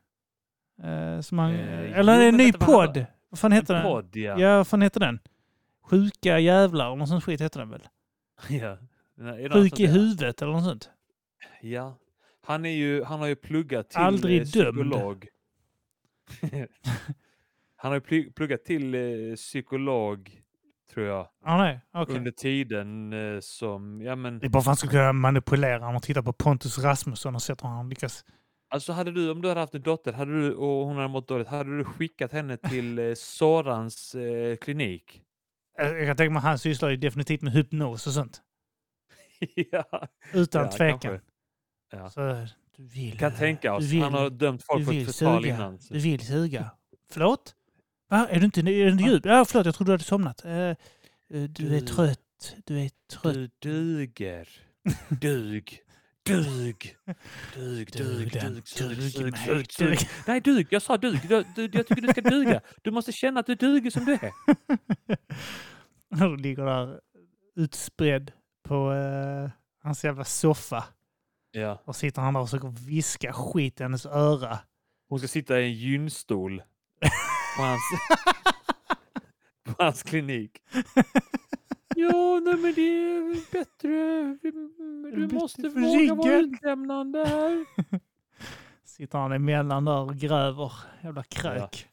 Speaker 2: Eh, som han,
Speaker 1: Eh,
Speaker 2: eller
Speaker 1: jo,
Speaker 2: en
Speaker 1: men
Speaker 2: ny
Speaker 1: vänta, vad han-
Speaker 2: podd. Vad fan heter den?
Speaker 1: Podd ja.
Speaker 2: Ja, vad fan heter den? Sjuka jävlar eller något sånt skit heter den väl?
Speaker 1: ja. Nej, är det något
Speaker 2: Sjuk
Speaker 1: sånt
Speaker 2: i
Speaker 1: där?
Speaker 2: huvudet eller något sånt.
Speaker 1: Ja. Han, är ju, han har ju pluggat till
Speaker 2: Aldrig
Speaker 1: eh,
Speaker 2: dömd.
Speaker 1: psykolog. han har ju ply- pluggat till eh, psykolog, tror jag,
Speaker 2: Ja, nej. okej.
Speaker 1: under tiden eh, som... Ja, men,
Speaker 2: Det är bara för att han ska kunna manipulera. Om man tittar på Pontus Rasmusson och sett hur han lyckas.
Speaker 1: alltså hade du, om du hade haft en dotter hade du, och hon hade mått dåligt, hade du skickat henne till eh, Sorans eh, klinik?
Speaker 2: Eh, Jag kan tänka mig att han sysslar ju definitivt med hypnos och sånt.
Speaker 1: ja,
Speaker 2: Utan
Speaker 1: Ja,
Speaker 2: tvekan.
Speaker 1: kanske. Ja.
Speaker 2: Så, du vill,
Speaker 1: kan tänka oss.
Speaker 2: Du vill-
Speaker 1: Han har dömt folk
Speaker 2: du
Speaker 1: för
Speaker 2: vill
Speaker 1: förtal
Speaker 2: suga.
Speaker 1: innan. så-
Speaker 2: Du vill suga. Förlåt? Va? Är du inte, är du inte djup? Ja, förlåt. Jag trodde du hade somnat. Eh, eh, du är
Speaker 1: Du-
Speaker 2: trött. Du är trött.
Speaker 1: Du duger. Dug. Dug. Dug, dug,
Speaker 2: den.
Speaker 1: dug, sug,
Speaker 2: Dug
Speaker 1: sug,
Speaker 2: mig,
Speaker 1: sug,
Speaker 2: dug.
Speaker 1: sug. Nej, dug. Jag sa dug. Du, du, jag tycker du ska duga. Du måste känna att du duger som du är.
Speaker 2: Han ligger där utspridd på eh, hans jävla soffa.
Speaker 1: Ja.
Speaker 2: Och sitter han där och försöker viska skit i hennes öra.
Speaker 1: Hon ska sitta i en gynstol på hans, på hans klinik. Ja, nej, men det är bättre. Du
Speaker 2: Bättre
Speaker 1: måste
Speaker 2: för
Speaker 1: våga vara
Speaker 2: ryggen.
Speaker 1: utlämnande här.
Speaker 2: Sitter han emellan där och gräver. Jävla krök.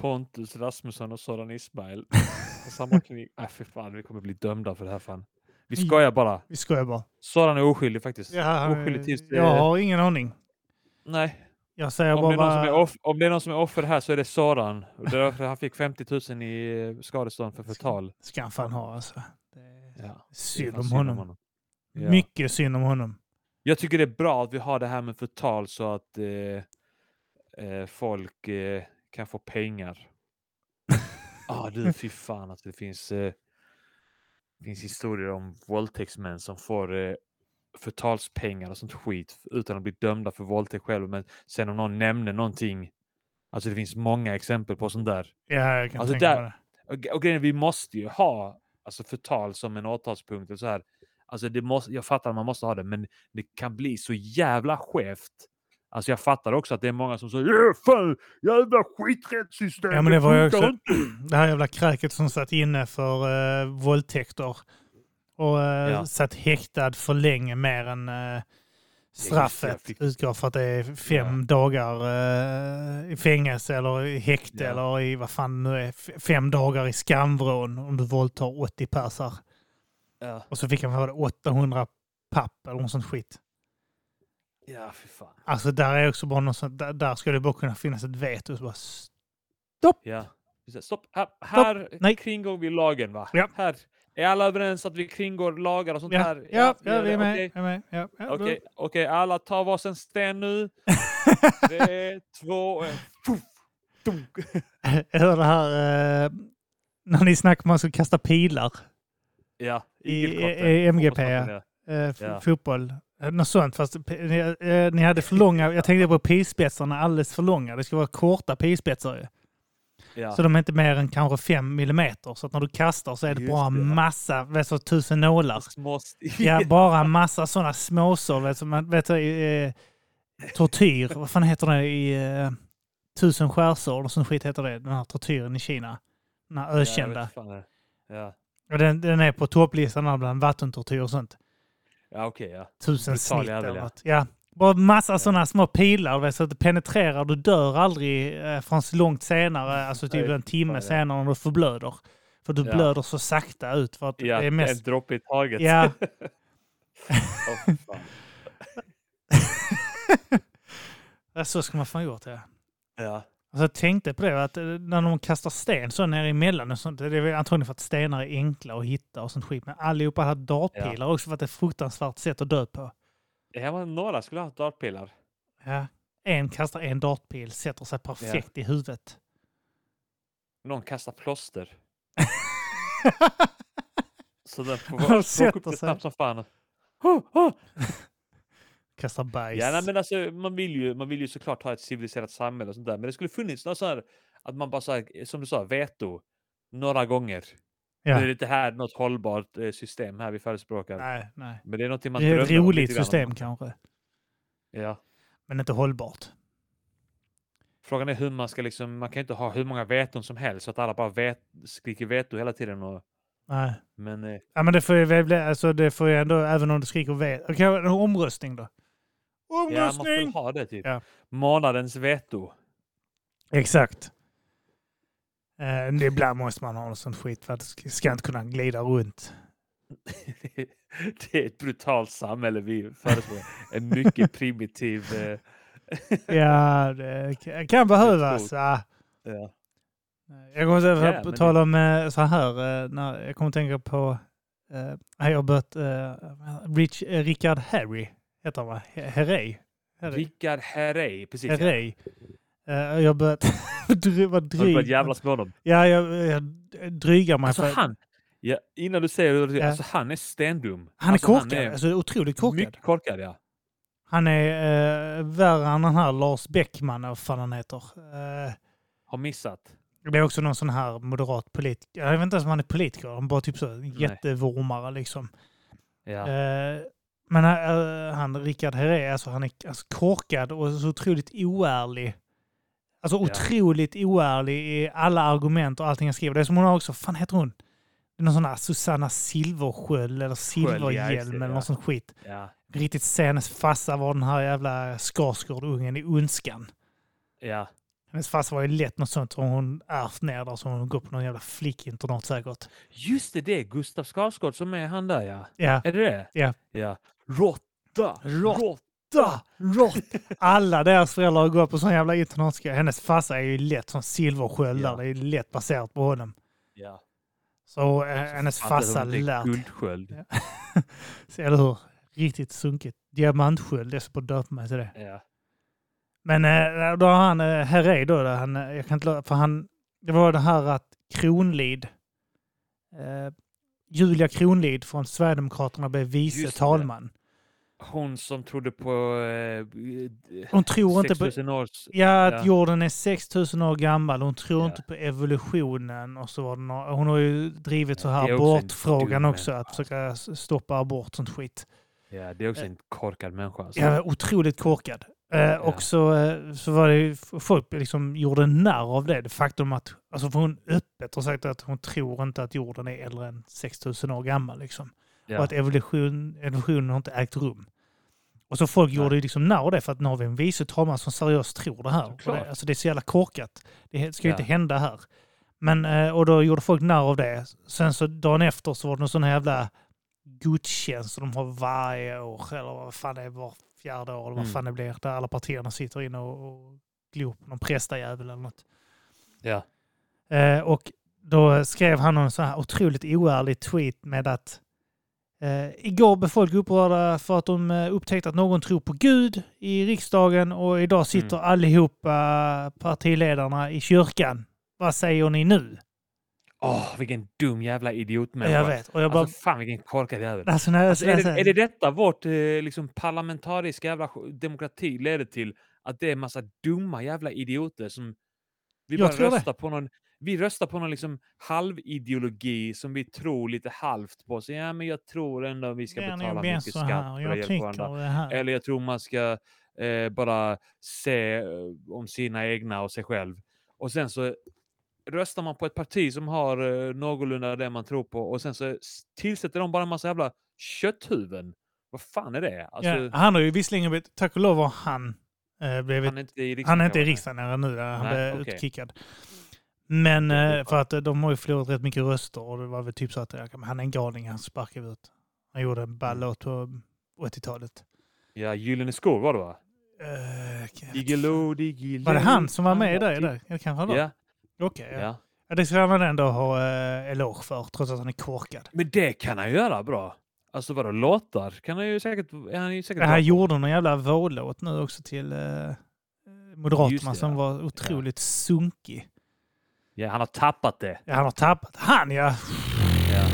Speaker 1: Pontus Rasmusson och Soran Ismail på samma klinik. Nej, fy fan, vi kommer bli dömda för det här fan. Vi
Speaker 2: Vi-
Speaker 1: skojar bara.
Speaker 2: Vi skojar bara.
Speaker 1: Soran är oskyldig faktiskt.
Speaker 2: Ja, han-
Speaker 1: Oskyldig tills det...
Speaker 2: jag har ingen aning.
Speaker 1: Nej,
Speaker 2: Jag säger
Speaker 1: om det, är någon som
Speaker 2: bara...
Speaker 1: är off... om det är någon som är offer här så är det Soran. Och det är därför han fick 50 000 i eh, skadestånd för förtal.
Speaker 2: ska han fan ha alltså. Det är
Speaker 1: Ja, det är
Speaker 2: synd
Speaker 1: fan
Speaker 2: om honom.
Speaker 1: Ja.
Speaker 2: Mycket synd om honom.
Speaker 1: Jag tycker det är bra att vi har det här med förtal så att eh, eh, folk eh, kan få pengar. ah, du, fy fan att det finns, eh, finns historier om våldtäktsmän som får eh, förtalspengar och sånt skit utan att bli dömda för våldtäkt själv. Men sen om någon nämner någonting, alltså det finns många exempel på sånt där.
Speaker 2: Ja, jag kan
Speaker 1: Alltså,
Speaker 2: tänka
Speaker 1: där-
Speaker 2: mig det.
Speaker 1: Och, gre- och grejen är, vi måste ju ha alltså, förtal som en åtalspunkt. Och så här. Alltså, det måste, jag fattar att man måste ha det, men det kan bli så jävla skevt. Alltså jag fattar också att det är många som säger "Ja, fan, jävla skiträttssystem.
Speaker 2: Ja, men det var ju
Speaker 1: funkar
Speaker 2: också
Speaker 1: inte."
Speaker 2: det här jävla kräket som satt inne för uh, våldtäkter och eh,
Speaker 1: Ja.
Speaker 2: satt häktad för länge mer än eh,
Speaker 1: jag
Speaker 2: straffet
Speaker 1: fick-
Speaker 2: utgår för att det är fem
Speaker 1: Ja.
Speaker 2: dagar eh, i fängelse eller i häkte
Speaker 1: Ja.
Speaker 2: eller i vad fan nu är, f- fem dagar i skamvrån om du våldtar 80 persar.
Speaker 1: Ja,
Speaker 2: Och så fick han vara 800 papp eller något sånt skit.
Speaker 1: ja fy fan.
Speaker 2: Alltså där är också bara något sånt, där, där skulle det bara kunna finnas ett veto. Så bara, s-
Speaker 1: Ja. Precis. Stopp, här, här
Speaker 2: Nej.
Speaker 1: kringgår vi lagen va?
Speaker 2: Ja.
Speaker 1: Här. Är alla överens att vi kringgår lagar och sånt
Speaker 2: ja,
Speaker 1: här?
Speaker 2: ja, ja,
Speaker 1: gör
Speaker 2: vi
Speaker 1: det.
Speaker 2: är med.
Speaker 1: Okej.
Speaker 2: vi är med ja, ja,
Speaker 1: Okej, okej, alla tar varsin sten nu. Tre, två, och en. Puff, dunk.
Speaker 2: Jag hör det här eh, när ni snackar om att man ska kasta pilar.
Speaker 1: Ja,
Speaker 2: I-
Speaker 1: igelkotten.
Speaker 2: i- i MGP,
Speaker 1: Hoppas man
Speaker 2: ja.
Speaker 1: kan göra.
Speaker 2: Eh, f-
Speaker 1: Ja.
Speaker 2: Fotboll. Eh, Något sånt. Fast p- ni, eh, ni hade för långa. Jag tänkte på pilspetsarna alldeles för långa. Det ska vara korta pilspetsar ju.
Speaker 1: Ja.
Speaker 2: Så de är inte mer än kanske 5 millimeter. Så att när du kastar så är det
Speaker 1: Just
Speaker 2: bara
Speaker 1: det, ja.
Speaker 2: massa, vet så tusen nålar.
Speaker 1: Små st-
Speaker 2: Ja, bara massa sådana småsår. Vet, som man, vet, så, eh, tortyr. Vad fan heter det i eh, tusen skärsår? Och sån skit heter det. Den här tortyren i Kina. Den här
Speaker 1: Ja, jag
Speaker 2: ökända.
Speaker 1: vet fan det. ja.
Speaker 2: Ja, den, den är på topplistan här bland vattentortyr och sånt.
Speaker 1: ja okej ja.
Speaker 2: Tusen
Speaker 1: Brutal
Speaker 2: snitt
Speaker 1: jävel,
Speaker 2: eller
Speaker 1: ja.
Speaker 2: något. Ja. Bara massa sådana små pilar vet, så att det penetrerar. Du dör aldrig eh, förrän så långt senare, alltså typ
Speaker 1: Nej,
Speaker 2: en timme
Speaker 1: fan, ja.
Speaker 2: senare när du förblöder. För du
Speaker 1: Ja.
Speaker 2: blöder så sakta ut för att
Speaker 1: Ja,
Speaker 2: det är
Speaker 1: en
Speaker 2: mest...
Speaker 1: droppe i taget.
Speaker 2: Ja,
Speaker 1: Åh, fy fan.
Speaker 2: ja, så ska man fan gjort ja.
Speaker 1: ja.
Speaker 2: Alltså, jag tänkte på det, att eh, när de kastar sten så nere emellan och sånt, det är väl antagligen för att stenar är enkla att hitta och sånt skit. Men allihopa hade dartpilar också för att det är ett fruktansvärt sätt att dö på.
Speaker 1: Det här var några skulle ha haft dartpilar.
Speaker 2: Ja. En kastar en dartpil, sätter sig perfekt i huvudet.
Speaker 1: Någon kastar plåster. Så den får
Speaker 2: Han
Speaker 1: plocka
Speaker 2: sätter
Speaker 1: upp det
Speaker 2: sig.
Speaker 1: snabbt som fan. Huh, huh.
Speaker 2: Kastar bajs.
Speaker 1: Ja, nej, men alltså, man, vill ju, man vill ju såklart ha ett civiliserat samhälle och sånt där. Men det skulle funnits något så här att man bara så här, som du sa, veto några gånger.
Speaker 2: Ja.
Speaker 1: Nu är det inte här något hållbart eh, system här vi förespråkar.
Speaker 2: nej, nej.
Speaker 1: Men det är någonting man
Speaker 2: Det är ett
Speaker 1: drömmer om
Speaker 2: roligt
Speaker 1: lite grann.
Speaker 2: system kanske,
Speaker 1: Ja.
Speaker 2: men inte hållbart.
Speaker 1: Frågan är hur man ska liksom, man kan ju inte ha hur många veton som helst så att alla bara vet, skriker veto hela tiden. Och,
Speaker 2: Nej.
Speaker 1: men eh,
Speaker 2: Ja, men det får ju väl bli, alltså det får ju ändå, även om du skriker ve... Okej, en omröstning då?
Speaker 1: ja, man får väl
Speaker 2: Omröstning!
Speaker 1: ha det typ.
Speaker 2: Ja.
Speaker 1: Månadens veto.
Speaker 2: Exakt. Eh, men ibland måste man ha något sånt skit för att det ska inte kunna glida runt.
Speaker 1: det är ett brutalt samhälle vi förespråkar. En mycket primitiv... Eh,
Speaker 2: Ja, det k- kan behövas. Ja.
Speaker 1: ja.
Speaker 2: Jag kommer att
Speaker 1: Ja,
Speaker 2: tänka
Speaker 1: men
Speaker 2: på, på tal om eh, så här, eh, när jag kommer att tänka på, eh, jag har börjat, eh, Rich, eh, Richard Harry heter han va? He- Herrey? Herrey?
Speaker 1: Rickard Herrey, precis. ja.
Speaker 2: Herrey. Eh, jag har börjat, dry- vad
Speaker 1: Har du börjat
Speaker 2: dryg.
Speaker 1: jävlas med honom?
Speaker 2: Ja, jag, jag drygar mig.
Speaker 1: Alltså
Speaker 2: för, han,
Speaker 1: han, ja, innan du säger hur det
Speaker 2: Ja.
Speaker 1: alltså han är stendum.
Speaker 2: är
Speaker 1: alltså,
Speaker 2: korkad, alltså otroligt korkad.
Speaker 1: Mycket korkad, ja.
Speaker 2: Han är eh, värre än den här Lars Bäckman, eller vad fan han heter. Eh,
Speaker 1: Har missat.
Speaker 2: det blir också någon sån här moderat politiker. Jag vet inte ens om han är politiker, han är bara typ så jättevurmare liksom.
Speaker 1: Ja.
Speaker 2: Eh, men eh, han, Rickard Herré, alltså han är alltså, korkad och så otroligt oärlig. Alltså otroligt oärlig i alla argument och allting han skriver. Det är som hon har också, fan heter hon? Det är någon sån här Susanna Silversköld eller
Speaker 1: ja, just
Speaker 2: Silverhjälm
Speaker 1: det,
Speaker 2: eller
Speaker 1: ja.
Speaker 2: någon sån skit.
Speaker 1: ja.
Speaker 2: Riktigt sen hennes farsa var den här jävla Skarsgård-ungen i Ondskan.
Speaker 1: ja.
Speaker 2: Hennes farsa var ju lätt något sånt som hon ärvt ner där som hon går på någon jävla flickinternat säkert.
Speaker 1: Just det, det är Gustav Skarsgård som är han där, ja.
Speaker 2: Ja.
Speaker 1: Är det det?
Speaker 2: Ja.
Speaker 1: ja. Råtta!
Speaker 2: Råtta.
Speaker 1: Råtta!
Speaker 2: Da, rått. Alla deras föräldrar går på sån jävla internatskola. Hennes farsa är ju lätt som silversköld
Speaker 1: Ja.
Speaker 2: där. Det är lätt baserat på honom.
Speaker 1: Ja.
Speaker 2: Så eh, hennes
Speaker 1: Fattar du
Speaker 2: farsa
Speaker 1: om det är
Speaker 2: lärt.
Speaker 1: Guldsköld.
Speaker 2: Eller hur? Riktigt sunkigt. Diamantsköld, jag ska på döpa mig till det.
Speaker 1: Ja.
Speaker 2: Men eh, då har han eh, Herrey då, då han, eh, jag kan inte lova- för han, det var det här att Kronlid, eh, Julia Kronlid från Sverigedemokraterna blev vice
Speaker 1: Just det.
Speaker 2: talman.
Speaker 1: Hon som trodde på... Eh,
Speaker 2: Hon tror inte på,
Speaker 1: 6000 års...
Speaker 2: ja, att
Speaker 1: ja.
Speaker 2: jorden är 6000 år gammal, hon tror
Speaker 1: Ja.
Speaker 2: inte på evolutionen och så var det några, hon har ju drivit så
Speaker 1: Ja,
Speaker 2: här
Speaker 1: det är också en
Speaker 2: abortfrågan
Speaker 1: dum
Speaker 2: också, att
Speaker 1: människa.
Speaker 2: försöka s- stoppa abort sånt skit.
Speaker 1: Ja, det är också en korkad människa. Alltså.
Speaker 2: Ja, otroligt korkad. Eh, Och så, eh, så var det ju, f- folk liksom gjorde narr av det, det faktum att, alltså för hon öppet har sagt att hon tror inte att jorden är äldre än 6000 år gammal liksom.
Speaker 1: Ja.
Speaker 2: Och att evolution, evolutionen har inte ägt rum. Och så folk
Speaker 1: Nej.
Speaker 2: gjorde ju liksom narr av det för att nu har vi en vice talman som seriöst tror det här. Och
Speaker 1: Såklart.
Speaker 2: det, alltså det är så jävla korkat. Det ska ju
Speaker 1: Ja.
Speaker 2: inte hända här. Men, eh, och då gjorde folk narr av det. Sen så dagen efter så var det någon sån här jävla gudstjänst som de har varje år, eller vad fan det är, var fjärde år eller vad
Speaker 1: Mm.
Speaker 2: fan det blir, där alla partierna sitter inne och, och glor på någon prästajävel eller något.
Speaker 1: Ja.
Speaker 2: Eh, och då skrev han en sån här otroligt oärlig tweet med att eh, igår blev folk upprörda för att de eh, upptäckte att någon tror på Gud i riksdagen och
Speaker 1: Mm.
Speaker 2: idag sitter allihopa partiledarna i kyrkan. Vad säger ni nu?
Speaker 1: Åh, vilken dum jävla idiotmänniska.
Speaker 2: jag vet. Och jag bara...
Speaker 1: Alltså, fan vilken korkad jävel.
Speaker 2: Alltså, när jag
Speaker 1: Alltså, är,
Speaker 2: läser-
Speaker 1: det, är det detta vårt eh, liksom parlamentariska jävla sj- demokrati leder till? Att det är en massa dumma jävla idioter som... Vi
Speaker 2: Jag
Speaker 1: bara
Speaker 2: tror det.
Speaker 1: röstar på någon... Vi röstar på någon liksom halvideologi som vi tror lite halvt på. Så ja, men jag tror ändå vi ska
Speaker 2: Det är nog
Speaker 1: betala
Speaker 2: bäst
Speaker 1: mycket
Speaker 2: så
Speaker 1: skatt
Speaker 2: här,
Speaker 1: för att
Speaker 2: Jag
Speaker 1: hjälpa varandra.
Speaker 2: tycker det här.
Speaker 1: Eller jag tror man ska eh, bara se eh, om sina egna och sig själv. Och sen så röstar man på ett parti som har eh, någorlunda det man tror på och sen så s- tillsätter de bara en massa jävla kötthuvuden. Vad fan är det? Alltså,
Speaker 2: ja, han har ju visserligen blivit, tack och lov har han eh, blivit
Speaker 1: han är inte i riksdagen.
Speaker 2: Han är inte i
Speaker 1: kanske.
Speaker 2: riksdagen nu, där han
Speaker 1: Nej,
Speaker 2: blev
Speaker 1: okej.
Speaker 2: utkickad. Men
Speaker 1: Det är
Speaker 2: eh, för att eh, de har ju förlorat rätt mycket röster och det var väl typ så att eh, han är en galning, han sparkar vi ut. Han gjorde en ball
Speaker 1: Mm.
Speaker 2: eh, låt på 80-talet.
Speaker 1: Ja, Gyllene skor var det va?
Speaker 2: Eh, kan jag-
Speaker 1: Diggiloo, diggiloo.
Speaker 2: var det han som var med där? där? Jag kan vara
Speaker 1: typ- Ja,
Speaker 2: Okej, ja.
Speaker 1: ja.
Speaker 2: ja. Det ska han väl ändå ha eh, eloge för, trots att han är korkad.
Speaker 1: Men det kan han göra bra. Alltså vadå låtar? Kan han ju säkert... är Han är ju säkert
Speaker 2: Han
Speaker 1: bra.
Speaker 2: gjorde någon jävla vållåt nu också till eh,
Speaker 1: Just
Speaker 2: Moderaterna
Speaker 1: det,
Speaker 2: som
Speaker 1: ja.
Speaker 2: var otroligt sunkig.
Speaker 1: ja, han har tappat det.
Speaker 2: Ja, han har tappat. Han ja!
Speaker 1: Ja.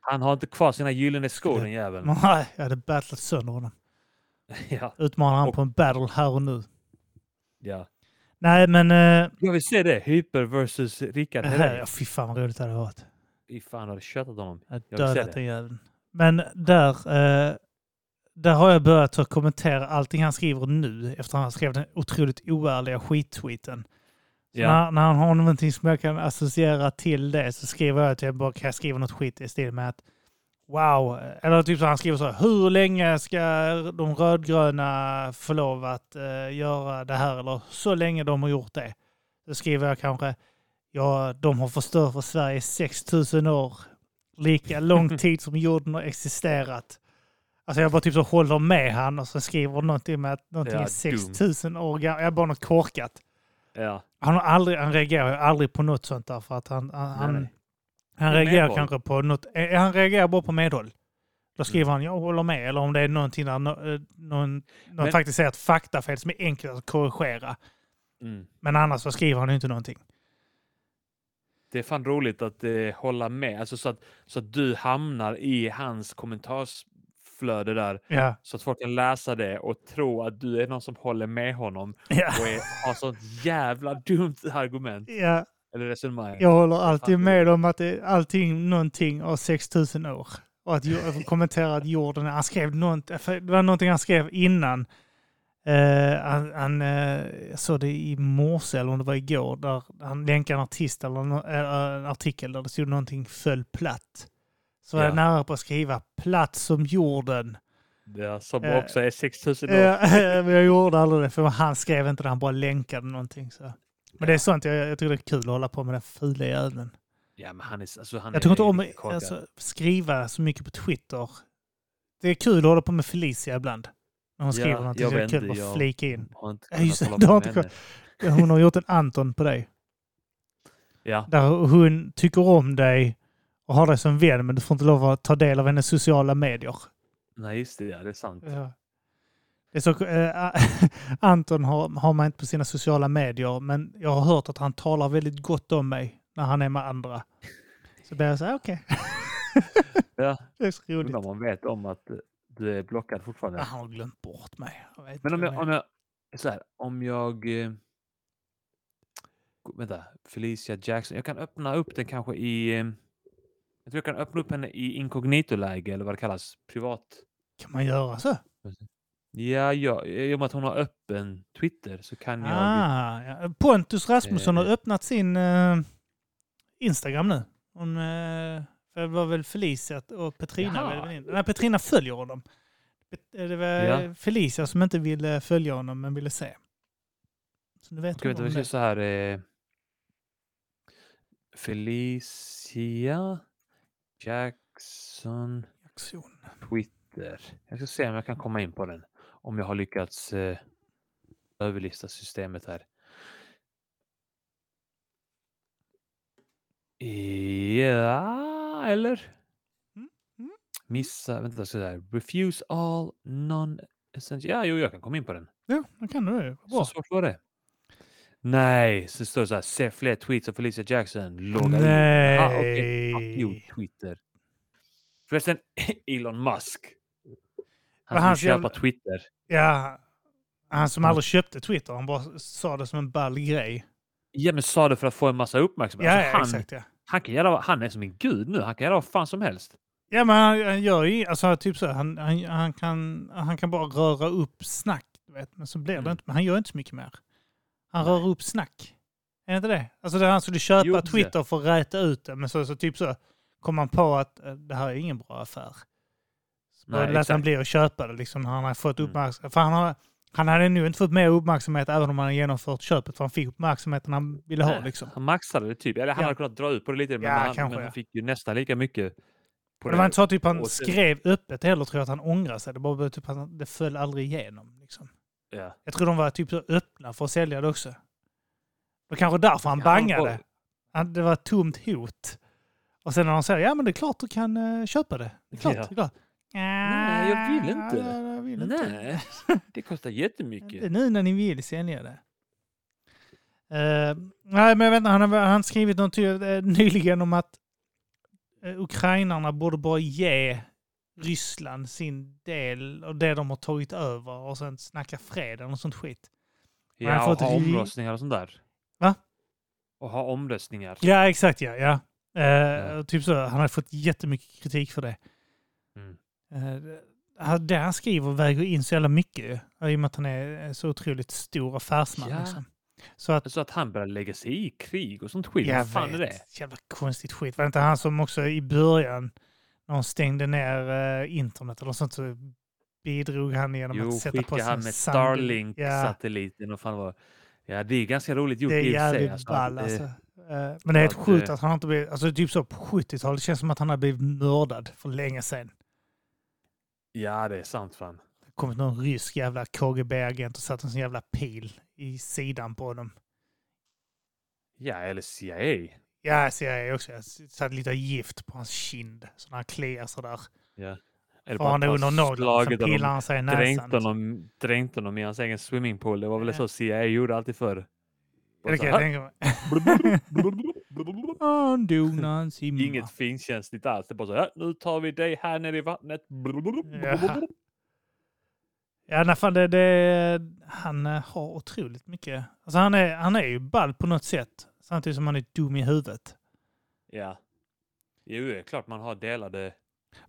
Speaker 1: Han har inte kvar sina gyllene skor den jäveln.
Speaker 2: Nej, jag hade battlat sönder honom.
Speaker 1: Ja,
Speaker 2: Utmanar han
Speaker 1: Och-
Speaker 2: på en battle här och nu.
Speaker 1: ja.
Speaker 2: Nej, men... Eh,
Speaker 1: Jag vill se det. Hyper versus Rickard
Speaker 2: här,
Speaker 1: Herrey.
Speaker 2: ja, fy fan vad roligt det hade varit.
Speaker 1: Fy fan, har du köttat honom?
Speaker 2: Jag
Speaker 1: Jag vill se
Speaker 2: dödat
Speaker 1: det.
Speaker 2: den jäveln. Men där, eh, där har jag börjat att kommentera allting han skriver nu efter han skrev den otroligt oärliga skittweeten. Så
Speaker 1: Ja,
Speaker 2: När, när han har någonting som jag kan associera till det så skriver jag att jag bara kan skriva något skit i stil med att wow, eller typ så han skriver så här, hur länge ska de rödgröna få lov att eh, göra det här eller så länge de har gjort det. Så skriver jag kanske, ja de har förstört för Sverige i 6000 år, lika lång tid som jorden har existerat. Alltså jag bara typ så håller med han och så skriver någonting med att någonting
Speaker 1: Ja,
Speaker 2: är
Speaker 1: dumt.
Speaker 2: 6000 år gammalt, jag bara något korkat.
Speaker 1: ja.
Speaker 2: Han, har aldrig, han reagerar ju aldrig på något sånt där för att han, han, han,
Speaker 1: nej.
Speaker 2: han
Speaker 1: Det är
Speaker 2: reagerar
Speaker 1: medhåll. Mm.
Speaker 2: kanske på något. eh, Han reagerar bara på medhåll. Då skriver han jag håller med eller om det är någonting där nå- eh, någon, någon
Speaker 1: Men-
Speaker 2: faktiskt säger ett faktafel som är enkelt att korrigera.
Speaker 1: Mm.
Speaker 2: Men annars så skriver han ju inte någonting.
Speaker 1: Det är fan roligt att eh, hålla med. Alltså, så, att, så att du hamnar i hans kommentarsflöde där.
Speaker 2: Ja.
Speaker 1: Så att folk kan läsa det och tro att du är någon som håller med honom
Speaker 2: Ja.
Speaker 1: och är, har sånt jävla dumt argument
Speaker 2: ja,
Speaker 1: eller resonemang.
Speaker 2: jag håller alltid
Speaker 1: Fattar.
Speaker 2: med om att det är allting någonting av 6000 år. Och att jag kommenterar att jorden, han skrev någonting, för det var någonting han skrev innan. Eh, han, han eh, jag såg det i morse eller om det var igår, där han länkade en artist eller nå- eh, en artikel där det stod någonting föll platt. Så var
Speaker 1: Ja.
Speaker 2: jag nära på att skriva platt som jorden.
Speaker 1: Ja, som
Speaker 2: Eh,
Speaker 1: också är 6000 år.
Speaker 2: Eh, men jag gjorde aldrig det, för han skrev inte det, han bara länkade någonting. Så. Men det är sånt, jag, jag tycker det är kul att hålla på med den fula jäveln.
Speaker 1: Ja, men han är, alltså, han
Speaker 2: Jag
Speaker 1: är
Speaker 2: tycker inte om
Speaker 1: riktigt korkad.
Speaker 2: alltså, skriva så mycket på Twitter. Det är kul att hålla på med Felicia ibland. När hon
Speaker 1: Ja,
Speaker 2: skriver någonting
Speaker 1: jag
Speaker 2: så är det
Speaker 1: vet
Speaker 2: kul
Speaker 1: inte,
Speaker 2: att bara
Speaker 1: jag-
Speaker 2: flika in.
Speaker 1: Har inte
Speaker 2: Ja,
Speaker 1: kunnat
Speaker 2: just det,
Speaker 1: hålla på
Speaker 2: du har
Speaker 1: med
Speaker 2: inte
Speaker 1: henne.
Speaker 2: Hon har gjort en Anton på dig.
Speaker 1: Ja,
Speaker 2: Där hon tycker om dig och har dig som vän men du får inte lov att ta del av hennes sociala medier.
Speaker 1: nej just det, ja, det är sant.
Speaker 2: Ja. Det är så, eh, Anton har, har man inte på sina sociala medier men jag har hört att han talar väldigt gott om mig när han är med andra. Så blir jag så här, okej.
Speaker 1: Ja,
Speaker 2: Det är så roligt.
Speaker 1: undrar om man vet om att eh, du är blockad fortfarande.
Speaker 2: Ah, Han har glömt bort mig. Jag vet
Speaker 1: Men om
Speaker 2: inte
Speaker 1: jag,
Speaker 2: vad
Speaker 1: om jag, så här, om jag... eh, gå- Vänta, Felicia Jackson. Jag kan öppna upp den kanske i... eh, Jag tror jag kan öppna upp henne i inkognito-läge eller vad det kallas. Privat.
Speaker 2: det är. Kan man göra så?
Speaker 1: Mm, Ja, ja, i och med att hon har öppen Twitter så kan jag...
Speaker 2: Ah, ja. Pontus Rasmusson har
Speaker 1: Eh.
Speaker 2: öppnat sin eh, Instagram nu. Hon, eh, för det var väl Felicia och Petrina.
Speaker 1: Jaha.
Speaker 2: var det väl in- Nej, Petrina följer honom. Pet- eh, Det var
Speaker 1: Ja.
Speaker 2: Felicia som inte ville följa honom men ville se. Så nu vet
Speaker 1: Okej,
Speaker 2: hon
Speaker 1: vänta,
Speaker 2: om
Speaker 1: vi kör
Speaker 2: det.
Speaker 1: så här. Eh, Felicia Jackson
Speaker 2: Aktion.
Speaker 1: Twitter. Jag ska se om jag kan komma in på den. Om jag har lyckats eh, överlista systemet här. Ja, eller?
Speaker 2: Mm, mm.
Speaker 1: Missa, vänta sådär. Refuse all non-essential. Ja, jo, jag kan komma in på den.
Speaker 2: Ja, då kan du ju.
Speaker 1: Så
Speaker 2: Bra.
Speaker 1: svårt var det. Nej, så står det så här. Se fler tweets av Felicia Jackson. Logga ur." Ah, okej. Fuck you,
Speaker 2: Nej.
Speaker 1: Twitter. Förresten, Elon Musk. Han
Speaker 2: Vad
Speaker 1: som
Speaker 2: hans
Speaker 1: vill köpa
Speaker 2: jävla-
Speaker 1: Twitter.
Speaker 2: Ja, han som
Speaker 1: Ja.
Speaker 2: aldrig köpte Twitter. Han bara sa det som en ball grej.
Speaker 1: Ja, men sa det för att få en massa uppmärksamhet.
Speaker 2: Ja,
Speaker 1: Alltså,
Speaker 2: ja
Speaker 1: han,
Speaker 2: exakt ja.
Speaker 1: han, kan göra, vad- han är som en gud nu. Han kan göra vad fan som helst.
Speaker 2: Ja, men han, han gör ju alltså, typ så. här, Han, han, han, kan, han kan bara röra upp snack. du Vet, men så blir det
Speaker 1: Mm.
Speaker 2: inte. Men han gör inte så mycket mer. Han rör upp snack. Är det inte det? Alltså det han skulle köpa
Speaker 1: Jo, det.
Speaker 2: Twitter för att räta ut det. Men så, så typ så kom han på att eh, det här är ingen bra affär. Så
Speaker 1: Nej,
Speaker 2: Nej, lät han
Speaker 1: exakt.
Speaker 2: bli att köpa det liksom när han har fått
Speaker 1: Mm.
Speaker 2: uppmärksamhet. För han, har, han hade nu inte fått mer uppmärksamhet även om han hade genomfört köpet. För han fick uppmärksamheten han ville ha
Speaker 1: Nej,
Speaker 2: liksom.
Speaker 1: Han maxade det typ. Eller han
Speaker 2: Ja.
Speaker 1: hade kunnat dra ut på det lite, men,
Speaker 2: Ja,
Speaker 1: han,
Speaker 2: kanske,
Speaker 1: men
Speaker 2: ja.
Speaker 1: han fick ju nästan lika mycket. På
Speaker 2: Och det var inte så att typ han
Speaker 1: Och sen-
Speaker 2: skrev öppet heller tror jag att han ångrar sig. Det, bara, typ, att han, det föll aldrig igenom. Liksom.
Speaker 1: Ja.
Speaker 2: Jag tror de var typ så öppna för att sälja det också. Det var kanske därför han
Speaker 1: Ja, han var-
Speaker 2: bangade. Han, det var ett tomt hot. Och sen när de säger ja men det är klart du kan eh, köpa det. Det är klart.
Speaker 1: Ja.
Speaker 2: Det är klart.
Speaker 1: Nej, jag vill inte.
Speaker 2: Ja, jag vill inte.
Speaker 1: Nej, det kostar
Speaker 2: Inte
Speaker 1: jättemycket.
Speaker 2: nu när ni vill sälja det. Eh, nej, men jag vet inte, han har han skrivit något till, eh, nyligen om att uh, ukrainarna borde bara ge Ryssland sin del och det de har tagit över och sen snacka freden och sånt skit. Man
Speaker 1: Ja,
Speaker 2: får
Speaker 1: och ha
Speaker 2: ett ri-
Speaker 1: omröstningar och sånt där.
Speaker 2: Va?
Speaker 1: Och ha omröstningar.
Speaker 2: Ja, exakt ja. ja. Eh, Typ så, han har fått jättemycket kritik för det.
Speaker 1: Mm.
Speaker 2: Eh, han- det han skriver väger in så jävla mycket ju. i och med att han är så otroligt stor affärsman.
Speaker 1: Ja.
Speaker 2: Liksom. Så att
Speaker 1: Så att han börjar lägga sig i krig och sånt skit.
Speaker 2: Jag
Speaker 1: Vad fan är
Speaker 2: vet.
Speaker 1: det?
Speaker 2: Jävla konstigt skit. Var det inte han som också i början, när de stängde ner eh, internet eller sånt, så bidrog han genom
Speaker 1: Jo,
Speaker 2: att sätta på
Speaker 1: skicka
Speaker 2: sig
Speaker 1: han
Speaker 2: en
Speaker 1: med
Speaker 2: sand- Ja,
Speaker 1: Starlink-satelliten och fan vad... Ja, det är ganska roligt gjort
Speaker 2: det är
Speaker 1: i och för sig.
Speaker 2: jävligt
Speaker 1: alltså,
Speaker 2: ball
Speaker 1: att, eh,
Speaker 2: alltså. Eh, Men det är helt
Speaker 1: att,
Speaker 2: sjukt
Speaker 1: eh,
Speaker 2: att han inte blev, alltså typ så på 70-talet, det känns som att han har blivit mördad för länge sedan.
Speaker 1: Ja, det är sant fan.
Speaker 2: Det kommit någon rysk jävla KGB-agent och satt en sån jävla pil i sidan på honom.
Speaker 1: Ja, eller CIA.
Speaker 2: Ja, ser jag också. Jag satt lite gift på hans kind, så när han kliar sådär.
Speaker 1: Ja. Eller
Speaker 2: Får han det
Speaker 1: bara
Speaker 2: under nollan, sen
Speaker 1: slagit
Speaker 2: pillar
Speaker 1: honom,
Speaker 2: han sig i
Speaker 1: dränkt
Speaker 2: näsan. liksom.
Speaker 1: honom, dränkt honom i hans egen swimmingpool. Det var väl
Speaker 2: Ja.
Speaker 1: så CIA gjorde alltid förr.
Speaker 2: Ja, liksom. det kan
Speaker 1: Så
Speaker 2: jag
Speaker 1: här.
Speaker 2: tänka mig.
Speaker 1: Blablabla.
Speaker 2: Han dog när han simmade.
Speaker 1: Inget finkänsligt alls. Det är bara så här, nu tar vi dig här nere i vattnet.
Speaker 2: Ja. Ja, nej, fan, det, det, han eh, har otroligt mycket. Alltså, han, är, han är ju ball på något sätt, samtidigt som han är dum i huvudet.
Speaker 1: Ja. Jo, det är klart man har delade...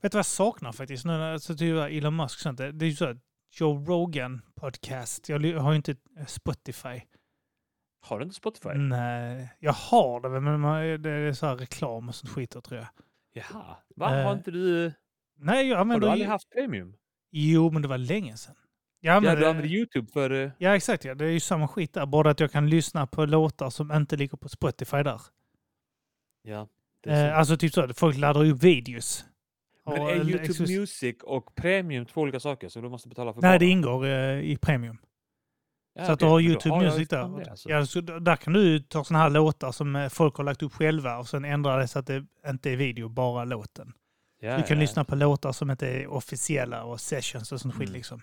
Speaker 2: Vet du vad jag saknar faktiskt nu när alltså, typ Elon Musk och sånt? Det, det är ju så här, Joe Rogan podcast. Jag ly- har ju inte eh, Spotify.
Speaker 1: Har du inte Spotify?
Speaker 2: Mm. Nej, jag har det, men man, det är så här reklam och sånt skit då, tror jag.
Speaker 1: Jaha. Va? har
Speaker 2: Eh,
Speaker 1: inte du...
Speaker 2: Nej, jag
Speaker 1: Har
Speaker 2: använder...
Speaker 1: du aldrig haft premium?
Speaker 2: Jo, men det var länge sedan. Jag
Speaker 1: Ja,
Speaker 2: använde-
Speaker 1: du använder YouTube för... eh,
Speaker 2: Ja, exakt. Ja. Det är ju samma skit där. Bara att jag kan lyssna på låtar som inte ligger på Spotify där.
Speaker 1: Ja. det är
Speaker 2: Eh,
Speaker 1: så.
Speaker 2: alltså typ så att folk laddar upp videos.
Speaker 1: Men
Speaker 2: Och-
Speaker 1: är
Speaker 2: eller
Speaker 1: YouTube
Speaker 2: exklusivt-
Speaker 1: Music och premium två olika saker så du måste betala för
Speaker 2: Nej, det
Speaker 1: båda?
Speaker 2: ingår eh, i Premium.
Speaker 1: Ja,
Speaker 2: så att du
Speaker 1: okej,
Speaker 2: har
Speaker 1: men då
Speaker 2: YouTube
Speaker 1: jag ju
Speaker 2: Music
Speaker 1: fan
Speaker 2: där.
Speaker 1: det, alltså.
Speaker 2: ja, så d- där kan du ju ta sådana här låtar som eh, folk har lagt upp själva och sen ändrar det så att det inte är video, bara låten.
Speaker 1: Ja,
Speaker 2: du kan
Speaker 1: ja.
Speaker 2: lyssna på låtar som inte är officiella och sessions och sånt skit
Speaker 1: Mm.
Speaker 2: liksom.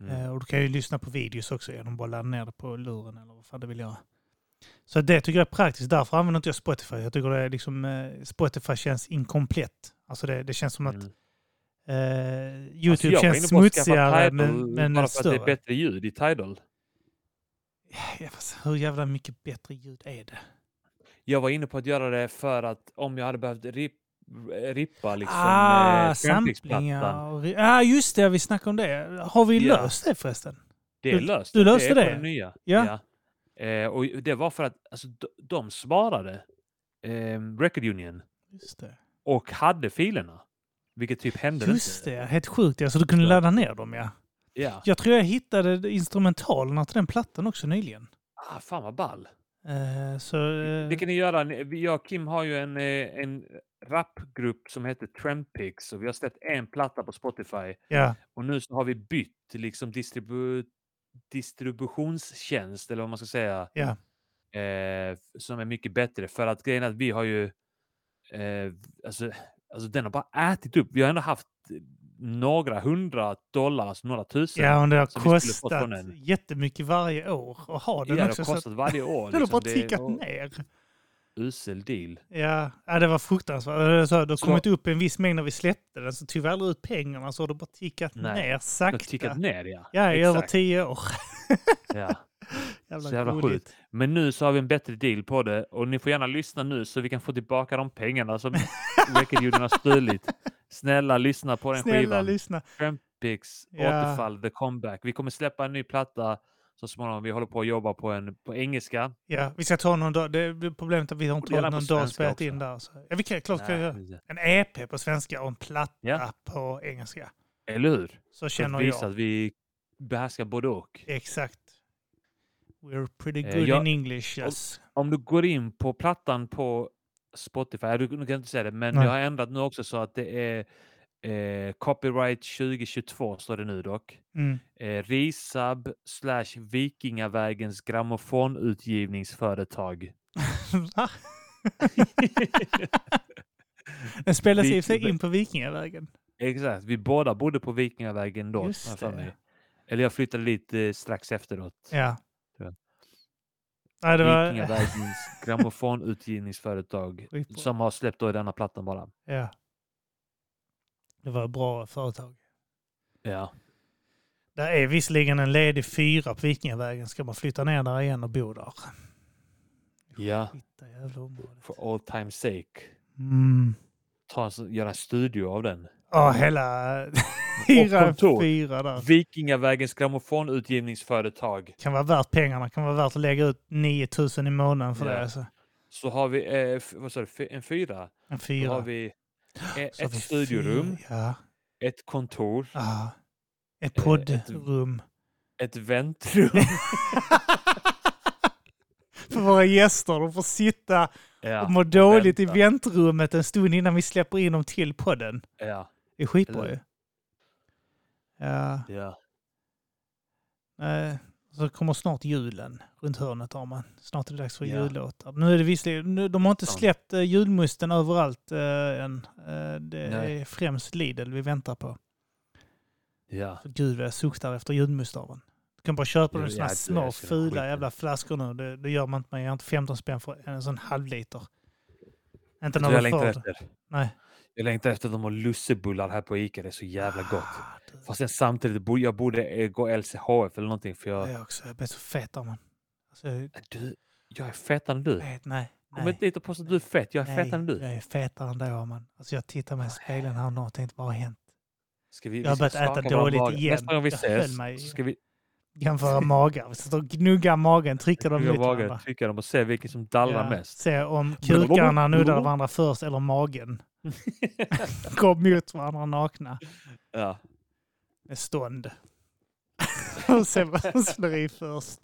Speaker 1: Mm.
Speaker 2: Eh, Och du kan ju lyssna på videos också genom att bara ladda ner det på luren eller vad fan du vill göra. Så det tycker jag är praktiskt. Därför använder inte jag Spotify. Jag tycker det är liksom, eh, Spotify känns inkomplett. Alltså det, det känns som att
Speaker 1: Mm.
Speaker 2: eh,
Speaker 1: Alltså,
Speaker 2: YouTube
Speaker 1: jag var
Speaker 2: känns
Speaker 1: inne på att skaffa
Speaker 2: smutsigare
Speaker 1: Tidal
Speaker 2: men, men
Speaker 1: bara för att
Speaker 2: större.
Speaker 1: det är bättre ljud i Tidal.
Speaker 2: Ja, fast hur jävla mycket bättre ljud är det?
Speaker 1: Jag var inne på att göra det för att om jag hade behövt rip, rippa liksom
Speaker 2: ah,
Speaker 1: eh,
Speaker 2: samplingar.
Speaker 1: sampringsplattan.
Speaker 2: och ri- Ah, just det. Vi snackade om det. Har vi
Speaker 1: Ja.
Speaker 2: löst det förresten?
Speaker 1: Det är
Speaker 2: Du-
Speaker 1: löst.
Speaker 2: du löste
Speaker 1: det? är
Speaker 2: det?
Speaker 1: på den nya.
Speaker 2: Ja.
Speaker 1: Ja. Eh, och det var för att alltså, de, de sparade eh, Record Union
Speaker 2: Just det.
Speaker 1: och hade filerna. Vilket typ hände
Speaker 2: Just
Speaker 1: inte.
Speaker 2: det. Helt sjukt. ja. Så du kunde
Speaker 1: Så-
Speaker 2: ladda ner dem, ja.
Speaker 1: Ja.
Speaker 2: Jag tror jag hittade instrumentalerna till den plattan också nyligen.
Speaker 1: Ah, fan vad ball.
Speaker 2: Eh, så, eh,
Speaker 1: Det kan ni göra. Ni- vi- Jag och Kim har ju en, eh, en rapgrupp som heter Trampix och vi har släppt en platta på Spotify.
Speaker 2: ja,
Speaker 1: Och nu så har vi bytt liksom distribu- distributionstjänst eller vad man ska säga.
Speaker 2: ja,
Speaker 1: Eh, som är mycket bättre för att grejen är att vi har ju eh, alltså, alltså den har bara ätit upp. Vi har ändå haft eh, några hundra dollar, alltså några tusen.
Speaker 2: ja, och det har
Speaker 1: som vi skulle fått
Speaker 2: kostat
Speaker 1: från den.
Speaker 2: jättemycket varje år att ha
Speaker 1: Ja,
Speaker 2: den
Speaker 1: det har
Speaker 2: också. så att
Speaker 1: kostat varje år. liksom.
Speaker 2: den har bara
Speaker 1: Det
Speaker 2: tickat
Speaker 1: var
Speaker 2: ner.
Speaker 1: Usel deal.
Speaker 2: Ja, ja, det var fruktansvärt. Det var så här, Det har
Speaker 1: Så-
Speaker 2: kommit upp en viss mängd när vi släppte den, så tog vi aldrig ut pengarna så har det bara tickat
Speaker 1: Nej,
Speaker 2: ner
Speaker 1: Den har
Speaker 2: sakta.
Speaker 1: tickat ner, ja.
Speaker 2: Ja, i över
Speaker 1: Exakt,
Speaker 2: tio år.
Speaker 1: ja.
Speaker 2: Jävla
Speaker 1: Så jävla
Speaker 2: roligt.
Speaker 1: sjukt. Men nu så har vi en bättre deal på det och ni får gärna lyssna nu så vi kan få tillbaka de pengarna som Recordjuden har stulit. Snälla lyssna på den
Speaker 2: Snälla
Speaker 1: skivan.
Speaker 2: lyssna.
Speaker 1: Trampix,
Speaker 2: Ja.
Speaker 1: Återfall, The Comeback. Vi kommer släppa en ny platta så småningom. Vi håller på att jobba på en på engelska.
Speaker 2: Ja, vi ska ta någon dag. Det är problemet är att vi har inte
Speaker 1: Och gärna
Speaker 2: tagit någon
Speaker 1: på
Speaker 2: dag och
Speaker 1: svenska
Speaker 2: spelat
Speaker 1: också.
Speaker 2: in där. Så. Ja, vi kan klart ska
Speaker 1: Nej,
Speaker 2: göra
Speaker 1: precis.
Speaker 2: en EP på svenska och en platta
Speaker 1: Ja.
Speaker 2: på engelska.
Speaker 1: Eller hur?
Speaker 2: Så
Speaker 1: För
Speaker 2: känner
Speaker 1: att visa
Speaker 2: jag.
Speaker 1: att vi behärskar både och.
Speaker 2: Exakt. We're pretty
Speaker 1: Eh,
Speaker 2: good
Speaker 1: jag-
Speaker 2: in English. Yes.
Speaker 1: Om du går in på plattan på Spotify, du, du kan inte säga det, men
Speaker 2: Nej.
Speaker 1: jag har ändrat nu också så att det är eh, copyright 2022 står det nu dock.
Speaker 2: Mm.
Speaker 1: eh, Risab slash Vikingavägens grammofonutgivningsföretag.
Speaker 2: Va? Den spelas i
Speaker 1: Vi-
Speaker 2: och för sig in på Vikingavägen.
Speaker 1: Exakt, vi båda bodde på Vikingavägen då.
Speaker 2: Just
Speaker 1: har jag för
Speaker 2: det.
Speaker 1: mig. Eller jag flyttade dit eh, strax efteråt.
Speaker 2: Ja.
Speaker 1: Tyvärr.
Speaker 2: Nej, det var...
Speaker 1: Vikingavägens grammofonutgivningsföretag
Speaker 2: Skitbra.
Speaker 1: som har släppt då denna plattan bara.
Speaker 2: Ja. Det var ett bra företag.
Speaker 1: Ja.
Speaker 2: Där är visserligen en ledig fyra på Vikingavägen. Ska man flytta ner där igen och bo där?
Speaker 1: ja,
Speaker 2: Hitta jävla området.
Speaker 1: for all time's sake.
Speaker 2: Mm.
Speaker 1: Ta en, sån- göra en studio av den.
Speaker 2: Ja, hela hyra
Speaker 1: kontor.
Speaker 2: fyra där.
Speaker 1: Vikingavägens grammofonutgivningsföretag.
Speaker 2: Kan vara värt pengarna. Kan vara värt att lägga ut 9000 i månaden för
Speaker 1: Ja.
Speaker 2: det. Alltså.
Speaker 1: Så har vi, eh, f- vad sa du, Fy- en fyra?
Speaker 2: En
Speaker 1: Då
Speaker 2: fyra.
Speaker 1: har vi eh,
Speaker 2: Så har
Speaker 1: ett
Speaker 2: vi
Speaker 1: studiorum,
Speaker 2: fyra. Ja.
Speaker 1: ett kontor,
Speaker 2: Ja. Ett
Speaker 1: Eh, ett-
Speaker 2: poddrum.
Speaker 1: ett väntrum.
Speaker 2: för våra gäster. De får sitta
Speaker 1: Ja,
Speaker 2: och må dåligt
Speaker 1: vänta.
Speaker 2: i väntrummet en stund innan vi släpper in dem till podden.
Speaker 1: ja,
Speaker 2: Det är skitbra
Speaker 1: Eller-
Speaker 2: ju. Ja,
Speaker 1: ja.
Speaker 2: eh, så kommer snart julen runt hörnet har man. Snart är det dags för
Speaker 1: Ja.
Speaker 2: jullåtar. Nu är det visserligen, nu, de har inte
Speaker 1: Sant.
Speaker 2: släppt eh, julmusten överallt eh, än. Eh, det
Speaker 1: Nej.
Speaker 2: är främst Lidl vi väntar på.
Speaker 1: ja.
Speaker 2: För Gud vad jag suktar efter julmustaven. Du kan bara köpa
Speaker 1: Jo,
Speaker 2: de sådana
Speaker 1: ja, du
Speaker 2: små
Speaker 1: älskar
Speaker 2: fula
Speaker 1: den skiten.
Speaker 2: jävla flaskor nu. Det, det gör man inte. Man ger inte 15 spänn för en sån halvliter. Inte
Speaker 1: Vet du
Speaker 2: när
Speaker 1: vad jag
Speaker 2: du
Speaker 1: längtar
Speaker 2: får det.
Speaker 1: efter?
Speaker 2: Nej.
Speaker 1: Jag längtar efter att de har lussebullar här på Ica. Det är så jävla gott.
Speaker 2: Ah, du,
Speaker 1: Fast sen samtidigt, borde- jag borde eh, gå LCHF eller någonting för jag...
Speaker 2: jag också. Jag blir så fet av man. Alltså, jag
Speaker 1: Du, jag är fetare än du.
Speaker 2: vet, nej.
Speaker 1: Kom
Speaker 2: Eh, nej.
Speaker 1: inte hit och påstå att du är fett. Jag är fetare än du.
Speaker 2: jag är fetare än då man. Alltså jag tittar mig i spegeln här nu och tänkte vad har hänt?
Speaker 1: Ska vi,
Speaker 2: Jag
Speaker 1: vi
Speaker 2: har
Speaker 1: ska
Speaker 2: börjat äta
Speaker 1: skaka varandra
Speaker 2: dåligt
Speaker 1: magen.
Speaker 2: igen.
Speaker 1: Nästa gång vi
Speaker 2: Jag höll
Speaker 1: ses
Speaker 2: mig-
Speaker 1: så ska vi
Speaker 2: Jämföra magar. Vi sitter och gnuggar magen, trycker dem
Speaker 1: jag
Speaker 2: mot
Speaker 1: vågar
Speaker 2: varandra.
Speaker 1: trycka dem och se vilken som dallrar
Speaker 2: Ja,
Speaker 1: mest.
Speaker 2: Se om kukarna nuddar varandra först eller magen. Går mot varandra nakna.
Speaker 1: Ja.
Speaker 2: Med stånd. och se vad som slår i först.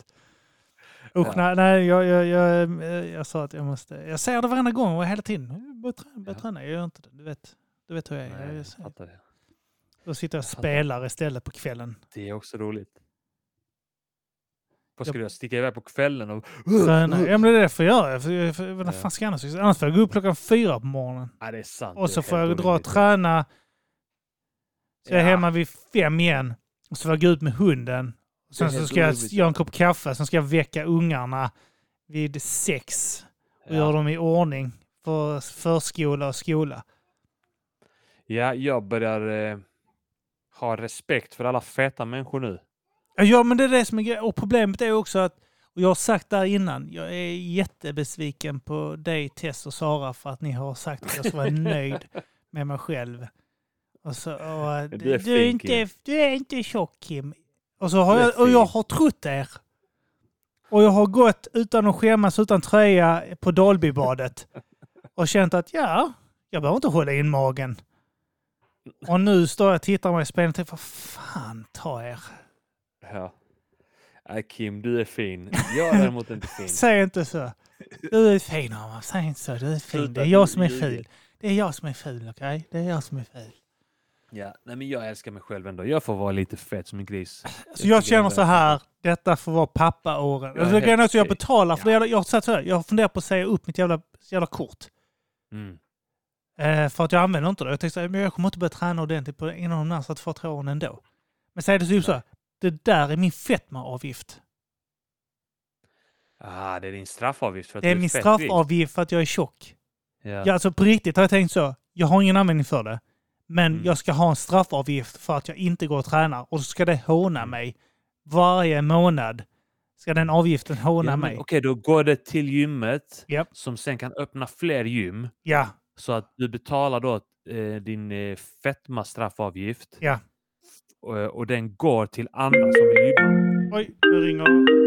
Speaker 2: Usch,
Speaker 1: Ja.
Speaker 2: nej, nej jag, jag, jag, jag, jag sa att jag måste. Jag säger det varenda gång och hela tiden. Börja träna, börja
Speaker 1: Ja.
Speaker 2: träna. Jag gör inte det. Du vet, du vet hur jag är.
Speaker 1: Nej,
Speaker 2: jag,
Speaker 1: jag
Speaker 2: jag,
Speaker 1: fattar det.
Speaker 2: då sitter jag och
Speaker 1: jag fattar.
Speaker 2: spelar istället på kvällen.
Speaker 1: det är också roligt. Vad
Speaker 2: Jag-
Speaker 1: ska du göra? Sticka iväg på kvällen och...
Speaker 2: Träna. Ja, men det är därför jag gör det. För, för, vad
Speaker 1: Ja.
Speaker 2: fan ska jag annars göra? Annars får jag gå upp klockan fyra på morgonen.
Speaker 1: Ja, det är sant.
Speaker 2: Och
Speaker 1: det är
Speaker 2: så får
Speaker 1: helt
Speaker 2: jag dra och
Speaker 1: orimligt.
Speaker 2: träna. Så jag är
Speaker 1: Ja.
Speaker 2: hemma vid fem igen. Och så får jag gå ut med hunden. Och sen
Speaker 1: är
Speaker 2: så
Speaker 1: helt
Speaker 2: ska jag
Speaker 1: orimligt.
Speaker 2: göra en kopp kaffe. Sen ska jag väcka ungarna vid sex. Och göra dem i ordning för förskola och skola.
Speaker 1: Ja, jag börjar eh, ha respekt för alla feta människor nu.
Speaker 2: Ja, men det är det som är grejen. Och problemet är också att, och jag har sagt där innan, jag är jättebesviken på dig Tess och Sara för att ni har sagt att jag ska vara nöjd med mig själv. Och så, och, eh,
Speaker 1: Du är
Speaker 2: du, är
Speaker 1: fin,
Speaker 2: inte,
Speaker 1: Kim."
Speaker 2: du är inte tjock Kim. Och, så har
Speaker 1: Du är
Speaker 2: jag, och jag
Speaker 1: fin.
Speaker 2: har trott er. Och jag har gått utan att skämmas, utan tröja på Dalbybadet. Och känt att ja, jag behöver inte hålla in magen. Och nu står jag och tittar mig i spegeln och tänker, vad fan ta er.
Speaker 1: Ja. Nej, Äh, Kim, du är fin. Jag är däremot inte fin.
Speaker 2: Säg inte så. Du är fin Arman, säg inte så. Du är fin. Det
Speaker 1: Sluta,
Speaker 2: är jag
Speaker 1: du
Speaker 2: som är
Speaker 1: ljuger.
Speaker 2: ful. Det är jag som är ful, okej? Det är jag som är ful.
Speaker 1: Ja, nej, men jag älskar mig själv ändå. Jag får vara lite fet som en gris.
Speaker 2: Så Alltså, jag
Speaker 1: tycker det är
Speaker 2: känner så här, detta får vara pappaåren.
Speaker 1: Ja,
Speaker 2: Ja, jag, jag,
Speaker 1: helt
Speaker 2: jag
Speaker 1: okej.
Speaker 2: betalar för det. jävla- Jag har satt så här, jag funderar på att säga upp mitt jävla, jävla kort.
Speaker 1: Mm.
Speaker 2: Eh, för att jag använder inte det. Jag tänkte så här, men jag kommer inte börja träna ordentligt på innan de närmaste två, tre åren ändå. Men säg det typ så här, det där är min fetmaavgift.
Speaker 1: Ah, det är din straffavgift för att
Speaker 2: Det är
Speaker 1: du är
Speaker 2: min
Speaker 1: fet
Speaker 2: straffavgift för att jag är tjock.
Speaker 1: gris. Ja.
Speaker 2: Ja, alltså på riktigt har jag tänkt så. Jag har ingen användning för det. Men
Speaker 1: Mm.
Speaker 2: jag ska ha en straffavgift för att jag inte går och tränar. Och så ska det håna
Speaker 1: Mm.
Speaker 2: mig. Varje månad ska den avgiften håna
Speaker 1: Ja, men
Speaker 2: mig.
Speaker 1: Okej, då går det till gymmet
Speaker 2: Japp.
Speaker 1: som sen kan öppna fler gym
Speaker 2: Ja,
Speaker 1: så att du betalar då eh, din eh, fetmastraffavgift.
Speaker 2: Ja.
Speaker 1: Och, eh, och den går till andra som vill gymma.
Speaker 2: oj, nu ringer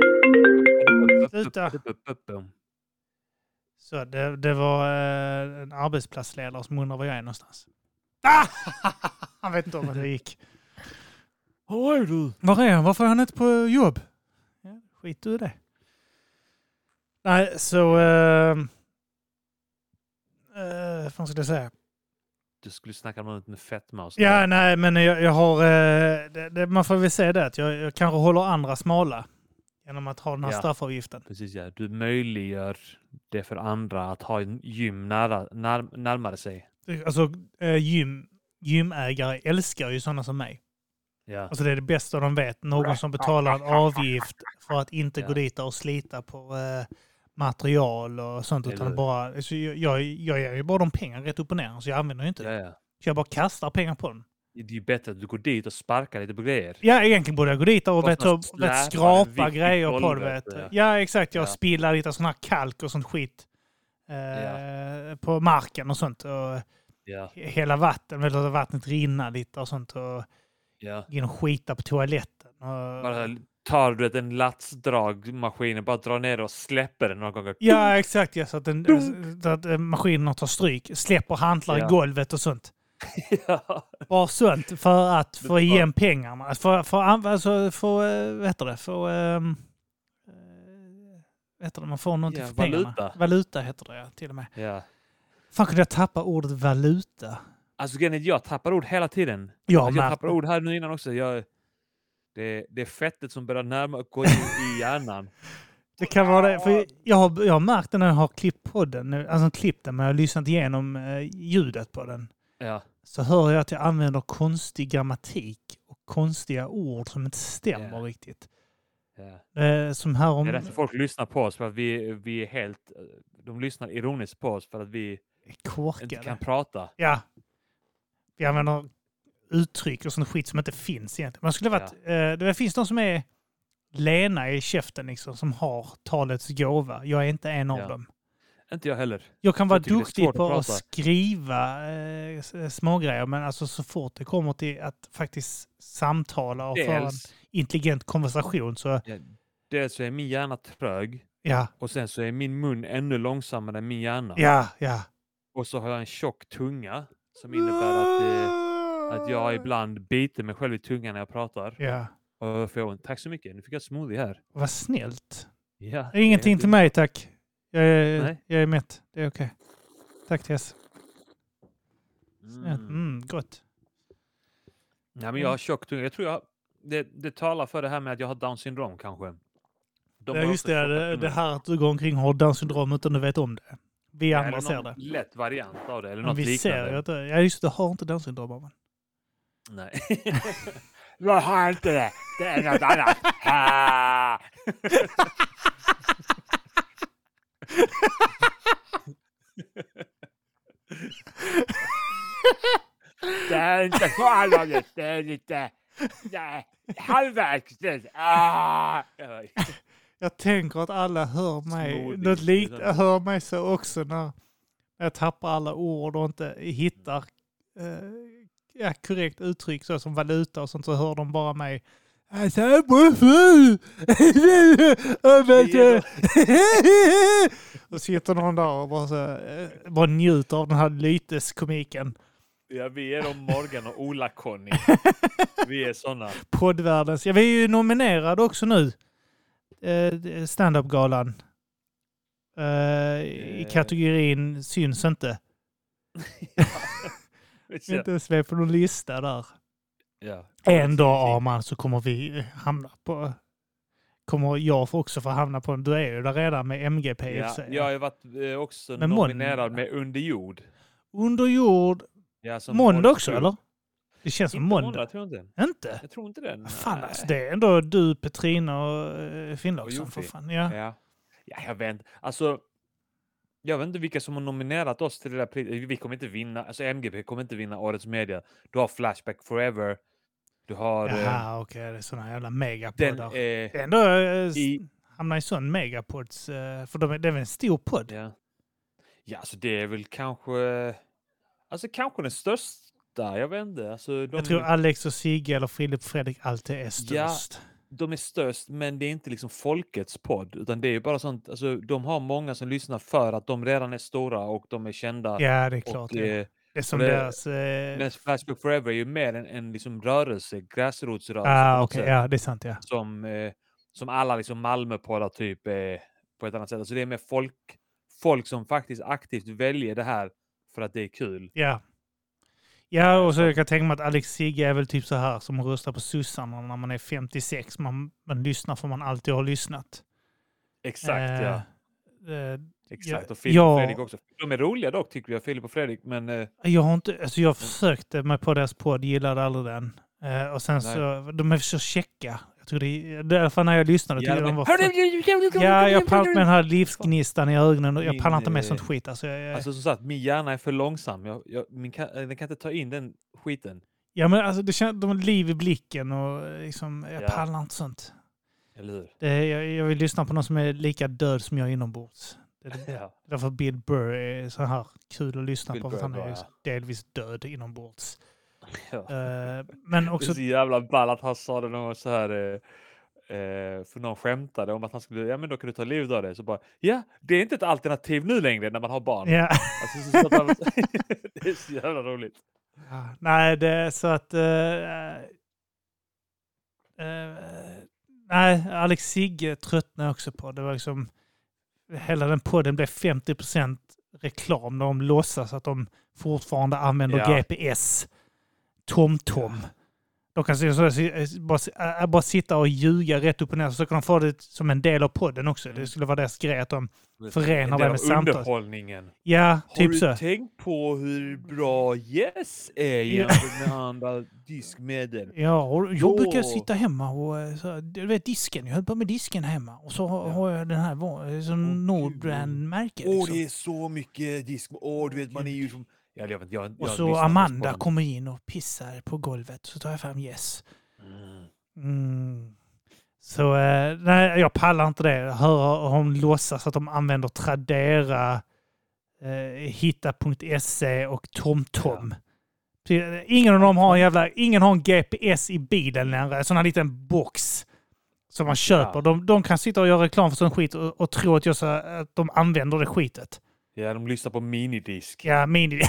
Speaker 2: Sluta. Så det, det var eh, en arbetsplatsledare som undrar var jag är någonstans. Ah! Han vet inte om det gick.
Speaker 1: Var är du?
Speaker 2: Var är han? Varför är han inte på jobb? Ja, skit du i det. Nej, så... Eh, eh, vad fan ska jag säga?
Speaker 1: Du skulle snacka om något med fetma och sånt
Speaker 2: Ja,
Speaker 1: där.
Speaker 2: nej, men jag, jag har... eh, Det, det, man får väl säga det att jag, jag kanske håller andra smala genom att ha den här
Speaker 1: Ja.
Speaker 2: straffavgiften.
Speaker 1: Precis, ja. Du möjliggör det för andra att ha en gym nära, när, närmare sig.
Speaker 2: Alltså eh, gym, gymägare älskar ju sådana som mig.
Speaker 1: Ja.
Speaker 2: Alltså det är det bästa de vet. Någon som betalar en avgift för att inte gå
Speaker 1: Ja.
Speaker 2: dit och slita på eh, material och sånt.
Speaker 1: Eller
Speaker 2: Utan
Speaker 1: hur?
Speaker 2: bara, alltså, jag, jag, jag ger ju bara dem pengar rätt upp och ner. Så jag använder ju inte
Speaker 1: Ja,
Speaker 2: det.
Speaker 1: ja.
Speaker 2: Så jag bara kastar pengar på dem.
Speaker 1: Det är ju bättre att du går dit och sparkar lite på grejer.
Speaker 2: Ja, egentligen borde jag gå dit och
Speaker 1: Fast
Speaker 2: vet,
Speaker 1: man
Speaker 2: du,
Speaker 1: släpar
Speaker 2: vet,
Speaker 1: en
Speaker 2: skrapa
Speaker 1: vikt i
Speaker 2: grejer på det.
Speaker 1: golvet,
Speaker 2: Vet. du.
Speaker 1: ja.
Speaker 2: Ja, exakt. Jag
Speaker 1: Ja.
Speaker 2: spillar lite sån här kalk och sånt skit. Eh, På marken och sånt. Och
Speaker 1: Ja,
Speaker 2: hela vatten, vet, du, låta vattnet rinna lite och sånt. Och
Speaker 1: ja.
Speaker 2: genom skita på toaletten. Och,
Speaker 1: Bara tar du ett- en latsdragmaskin och bara drar ner och släpper den några gånger.
Speaker 2: Ja, exakt. Ja, så att, den, så att eh, maskinerna tar stryk. Släpper hantlar i
Speaker 1: Ja.
Speaker 2: golvet och sånt.
Speaker 1: Ja.
Speaker 2: Bara sånt för att få
Speaker 1: Det är
Speaker 2: igen pengarna. För, för, anv- alltså, för eh, vad heter det? För, ehm, eh, vad heter det? Man får någonting
Speaker 1: Ja,
Speaker 2: för pengarna.
Speaker 1: valuta.
Speaker 2: Valuta heter det, ja, till och med.
Speaker 1: ja.
Speaker 2: Fan, kunde jag tappa ordet valuta?
Speaker 1: Alltså grejen är att jag tappar ord hela tiden.
Speaker 2: Ja,
Speaker 1: Alltså, jag tappar
Speaker 2: Martin.
Speaker 1: ord här nu innan också. Jag, det, det är fettet som börjar närma gå in i hjärnan.
Speaker 2: Det kan vara det. För jag, har, jag har märkt det när jag har klippt podden. nu- Alltså klippt den, men jag har lyssnat igenom eh, ljudet på den.
Speaker 1: Ja,
Speaker 2: så hör jag att jag använder konstig grammatik och konstiga ord som inte stämmer
Speaker 1: Ja.
Speaker 2: riktigt.
Speaker 1: ja.
Speaker 2: Eh, som här
Speaker 1: Det
Speaker 2: om...
Speaker 1: är därför folk lyssnar på oss. För att vi, vi är helt... De lyssnar ironiskt på oss för att vi inte
Speaker 2: korkade.
Speaker 1: kan prata.
Speaker 2: Ja. Vi använder uttryck och sån skit som inte finns egentligen. Man skulle ha varit, eh, det finns de som är lena i käften liksom, som har talets gåva. Jag är inte en av
Speaker 1: Ja.
Speaker 2: dem.
Speaker 1: Inte jag heller.
Speaker 2: Jag kan vara
Speaker 1: tycker det är
Speaker 2: duktig
Speaker 1: svårt att
Speaker 2: på att
Speaker 1: prata.
Speaker 2: skriva eh, s- smågrejer, men alltså så fort det kommer till att faktiskt samtala och föra en
Speaker 1: Dels,
Speaker 2: intelligent konversation så,
Speaker 1: ja, dels så är min hjärna trög
Speaker 2: ja,
Speaker 1: och sen så är min mun ännu långsammare än min hjärna.
Speaker 2: ja, ja.
Speaker 1: Och så har jag en tjock tunga som innebär att, eh, att jag ibland biter mig själv i tungan när jag pratar.
Speaker 2: Ja.
Speaker 1: Och jag får, tack så mycket, nu fick jag ett smoothie här.
Speaker 2: Vad snällt.
Speaker 1: Ja, Eh, det är
Speaker 2: Ingenting
Speaker 1: helt
Speaker 2: till mig tack. Jag är,
Speaker 1: Nej.
Speaker 2: jag är mätt. Det är okej. Tack Tess.
Speaker 1: Mm.
Speaker 2: Mm, gott.
Speaker 1: Nej, men jag har tjock tunga. Jag tror jag, det, det talar för det här med att jag har down syndrom kanske. De
Speaker 2: Ja,
Speaker 1: har
Speaker 2: just
Speaker 1: också
Speaker 2: det,
Speaker 1: tjocka
Speaker 2: det, det
Speaker 1: tungor.
Speaker 2: här att du går omkring och har Downs syndrom utan du vet om det. Vi
Speaker 1: Eller
Speaker 2: andra ser
Speaker 1: någon
Speaker 2: det.
Speaker 1: lätt variant av det, eller
Speaker 2: Men
Speaker 1: något
Speaker 2: vi
Speaker 1: liknande.
Speaker 2: ser ju att det, ja just det, du har inte Downs syndrom. Arman.
Speaker 1: Nej. jag har inte det. Det är något annat. Ha! det är inte så allvarligt. Det är lite det är halvvägs. dit. Ah!
Speaker 2: Jag tänker att alla hör mig,
Speaker 1: Smådigt.
Speaker 2: något likt, hör mig så också när jag tappar alla ord och inte hittar eh, ja, korrekt uttryck så som valuta och sånt så hör de bara mig. Alltså, jag bor full. Jag vet inte. Och sitter någon där och bara, så, eh, bara njuter av den här lyteskomiken.
Speaker 1: Ja, vi är de Morgan och Ola-Conny. Vi är såna.
Speaker 2: Poddvärldens, ja vi är ju nominerade också nu. Eh, Standup-galan. Eh, I
Speaker 1: Eh.
Speaker 2: kategorin syns inte. Inte ens med på någon lista där.
Speaker 1: Ja.
Speaker 2: En dag Arman så kommer vi hamna på... Kommer jag få också få hamna på... Du är ju där redan med MGP i och
Speaker 1: Ja,
Speaker 2: för sig.
Speaker 1: jag har ju varit eh, också
Speaker 2: Men mån-
Speaker 1: nominerad med Under jord.
Speaker 2: Under jord.
Speaker 1: Ja, som
Speaker 2: Måndag
Speaker 1: årets
Speaker 2: också
Speaker 1: film.
Speaker 2: eller? Det känns som
Speaker 1: Inte måndag.
Speaker 2: måndag.
Speaker 1: tror jag inte.
Speaker 2: Inte?
Speaker 1: Jag tror inte den. eh,
Speaker 2: Vad Fan
Speaker 1: nej.
Speaker 2: alltså, det är ändå du, Petrina och eh, Finnlaugsson
Speaker 1: Jofi.
Speaker 2: för fan. Ja.
Speaker 1: Ja. ja, jag vet inte. Alltså, jag vet inte vilka som har nominerat oss till det där priset. Vi kommer inte vinna. Alltså MGP kommer inte vinna Årets Media. Du har Flashback Forever. Du har eh,
Speaker 2: Jaha, okej. Det är sådana jävla
Speaker 1: den.
Speaker 2: megapoddar.
Speaker 1: Eh,
Speaker 2: Det är ändå... eh,
Speaker 1: i,
Speaker 2: hamnar i sån megapods... eh, För de, är- det är väl en stor podd?
Speaker 1: ja. ja, alltså det är väl kanske. Alltså kanske den största. Jag vet inte. Alltså, de,
Speaker 2: Jag tror Alex och Sigge eller Filip och Fredrik alltid är
Speaker 1: Ja.
Speaker 2: störst.
Speaker 1: de är störst, men det är inte liksom folkets podd, utan det är ju bara sånt. Alltså, de har många som lyssnar för att de redan är stora och de är kända.
Speaker 2: Ja, det är
Speaker 1: och,
Speaker 2: klart.
Speaker 1: eh,
Speaker 2: det, det är som
Speaker 1: och det-
Speaker 2: deras... eh,
Speaker 1: Men Flashback Forever är ju mer en, en liksom rörelse, gräsrotsrörelse på
Speaker 2: ah,
Speaker 1: något
Speaker 2: okej.
Speaker 1: sätt,
Speaker 2: Ja, det är sant. Ja.
Speaker 1: som, eh, som alla liksom Malmöpoddar typ är på ett annat sätt. Alltså det är mer folk, folk som faktiskt aktivt väljer det här för att det är kul.
Speaker 2: ja. Ja, och så kan jag tänka mig att Alex Sigge är väl typ så här som röstar på sossarna när man är 56. Man, man lyssnar för man alltid har lyssnat.
Speaker 1: Exakt, ja.
Speaker 2: Eh, eh,
Speaker 1: Exakt,
Speaker 2: Ja,
Speaker 1: och Filip
Speaker 2: ja.
Speaker 1: och Fredrik också. De är roliga dock tycker jag, Filip och Fredrik. Men eh,
Speaker 2: Jag har inte, alltså jag försökte mig på deras podd, gillade aldrig den. Eh, och sen så, de är så checka. Jag tror det, det är i alla fall när jag lyssnade tyckte jag de var för... Ja, jag pallar med den här livsgnistan i ögonen. och Jag
Speaker 1: Min,
Speaker 2: pallar inte med
Speaker 1: eh,
Speaker 2: sånt skit. Alltså, jag,
Speaker 1: Alltså som sagt, min hjärna är för långsam. Jag, jag, min kan, eh, den kan inte ta in den skiten.
Speaker 2: ja, men alltså, det känns, de har liv i blicken och eh, liksom, jag
Speaker 1: Ja.
Speaker 2: pallar inte sånt.
Speaker 1: Eller hur?
Speaker 2: Det, jag, jag vill lyssna på någon som är lika död som jag inombords. Det, är
Speaker 1: Ja.
Speaker 2: därför Bill Burr är så här kul att lyssna
Speaker 1: Bill
Speaker 2: på. För
Speaker 1: Burr
Speaker 2: att han
Speaker 1: är
Speaker 2: är
Speaker 1: bra,
Speaker 2: ju
Speaker 1: ja.
Speaker 2: delvis död inombords.
Speaker 1: Ja.
Speaker 2: Eh, men också
Speaker 1: Det är så jävla ball att han sa det någon gång så här. Eh, eh, för någon skämtade om att han skulle, ja men då kan du ta livet av dig. Så bara, ja, det är inte ett alternativ nu längre när man har barn.
Speaker 2: Ja.
Speaker 1: Alltså, så, så att han, det är så jävla roligt.
Speaker 2: Ja, Nej, det är så att... eh, eh, nej, Alex Sigge tröttnade jag också på. Det var liksom... Hela den podden blev 50 reklam när de låtsas att de fortfarande använder
Speaker 1: Ja.
Speaker 2: GPS. TomTom. De kan se- så- så- bara, s- äh, bara sitta och ljuga rätt upp och ner så kan de få det som en del av podden också.
Speaker 1: Mm.
Speaker 2: Det skulle vara deras grej att de förenar
Speaker 1: Det
Speaker 2: det
Speaker 1: är
Speaker 2: med
Speaker 1: av
Speaker 2: samtal.
Speaker 1: underhållningen.
Speaker 2: Ja,
Speaker 1: Har
Speaker 2: typ
Speaker 1: du
Speaker 2: så.
Speaker 1: tänkt på hur bra Yes är
Speaker 2: Ja.
Speaker 1: jämfört med andra diskmedel?
Speaker 2: Ja, och jag
Speaker 1: Då-
Speaker 2: brukar sitta hemma och eh, så, här, du vet disken, jag höll på med disken hemma. Och så har-
Speaker 1: Ja.
Speaker 2: har jag den här va- som
Speaker 1: Åh,
Speaker 2: Nordbrand-märke.
Speaker 1: Åh,
Speaker 2: Liksom.
Speaker 1: det är så mycket disk. Åh, du vet, man är ju som... Ja, jag vet, jag, jag
Speaker 2: Och
Speaker 1: har
Speaker 2: så
Speaker 1: lyssnat på
Speaker 2: Amanda
Speaker 1: Spotify.
Speaker 2: kommer in och pissar på golvet. Så tar jag fram yes.
Speaker 1: Mm.
Speaker 2: Mm. Så eh, nej, jag pallar inte det. Höra hon låtsas att de använder Tradera, eh, Hitta.se E och TomTom. Ty- eh, Ingen av dem har en jävla, ingen har en GPS i bilen längre. En sån här liten box som man köper.
Speaker 1: Ja.
Speaker 2: De, de kan sitta och göra reklam för sån skit och, och tro att, jag, så, att de använder det skitet.
Speaker 1: Ja, de lyssnar på minidisk.
Speaker 2: Ja, mini...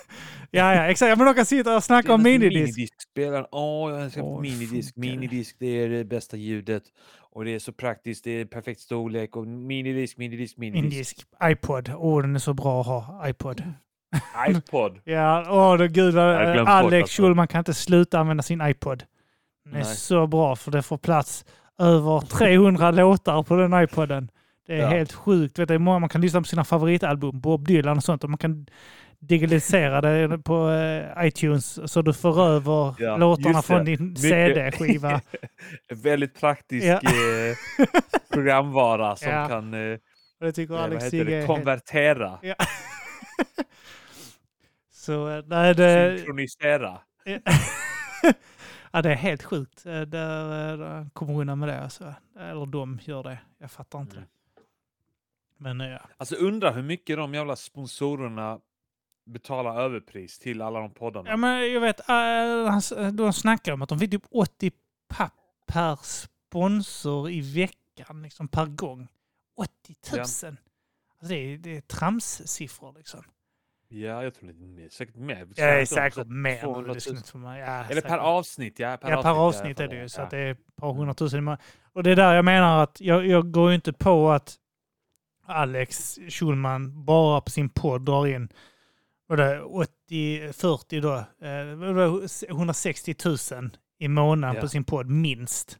Speaker 2: ja, ja, exakt. Ja, Men de kan sitta och snacka om
Speaker 1: Senaste
Speaker 2: minidisk.
Speaker 1: Minidiskspelaren. Åh, jag älskar
Speaker 2: Åh,
Speaker 1: minidisk.
Speaker 2: funkar det?
Speaker 1: Minidisk, det är det bästa ljudet. Och det är så praktiskt, det är perfekt storlek. Och minidisk, minidisk, minidisk.
Speaker 2: Indisk. iPod. Åh, den är så bra att ha. iPod.
Speaker 1: iPod.
Speaker 2: Ja, åh då, gud vad,
Speaker 1: Jag har glömt bort
Speaker 2: Alex
Speaker 1: alltså.
Speaker 2: Schulman kan inte sluta använda sin iPod. Den är
Speaker 1: Nej.
Speaker 2: så bra för det får plats över 300 låtar på den iPoden. Det är
Speaker 1: Ja.
Speaker 2: helt sjukt. Vet du, många man kan lyssna på sina favoritalbum, Bob Dylan och sånt, och man kan digitalisera det på eh, iTunes så du för över
Speaker 1: Ja,
Speaker 2: låtarna
Speaker 1: just det.
Speaker 2: från din
Speaker 1: Mycket.
Speaker 2: CD-skiva.
Speaker 1: En Väldigt praktisk
Speaker 2: Ja.
Speaker 1: eh, programvara som
Speaker 2: Ja.
Speaker 1: kan eh,
Speaker 2: Och det tycker
Speaker 1: eh, vad
Speaker 2: Alex
Speaker 1: heter
Speaker 2: Sigge
Speaker 1: det?
Speaker 2: är helt...
Speaker 1: konvertera,
Speaker 2: Ja. Så eh, nej, det,
Speaker 1: synkronisera.
Speaker 2: Ja. ja, det är helt sjukt. Eh, Där, eh, där kommer undan med det. Alltså. Eller de gör det. Jag fattar inte
Speaker 1: Mm.
Speaker 2: det. Men eh, ja.
Speaker 1: Alltså undra hur mycket de jävla sponsorerna betalar överpris till alla de poddarna.
Speaker 2: ja men jag vet, eh, han s- eh, de snackar om att de fick typ 80 papp per sponsor i veckan, liksom per gång. 80 000!
Speaker 1: Ja.
Speaker 2: Alltså det, är, det är tramssiffror liksom.
Speaker 1: Ja, jag tror det är mer, säkert mer.
Speaker 2: Det är
Speaker 1: Snackar om typ
Speaker 2: säkert mer. men
Speaker 1: 200
Speaker 2: det
Speaker 1: 000.
Speaker 2: skulle inte få mig- ja,
Speaker 1: Eller per
Speaker 2: säkert.
Speaker 1: avsnitt, ja. Per
Speaker 2: ja, per
Speaker 1: ja,
Speaker 2: avsnitt
Speaker 1: jag
Speaker 2: är det
Speaker 1: fattar.
Speaker 2: ju. Så att det är ett par hundratusen i månaden. Och det är där jag menar att jag, jag går ju inte på att Alex Schulman bara på sin podd drar in vad är det, 80, 40 då, eh, vad var det, 160 000 i månaden
Speaker 1: Ja.
Speaker 2: på sin podd minst.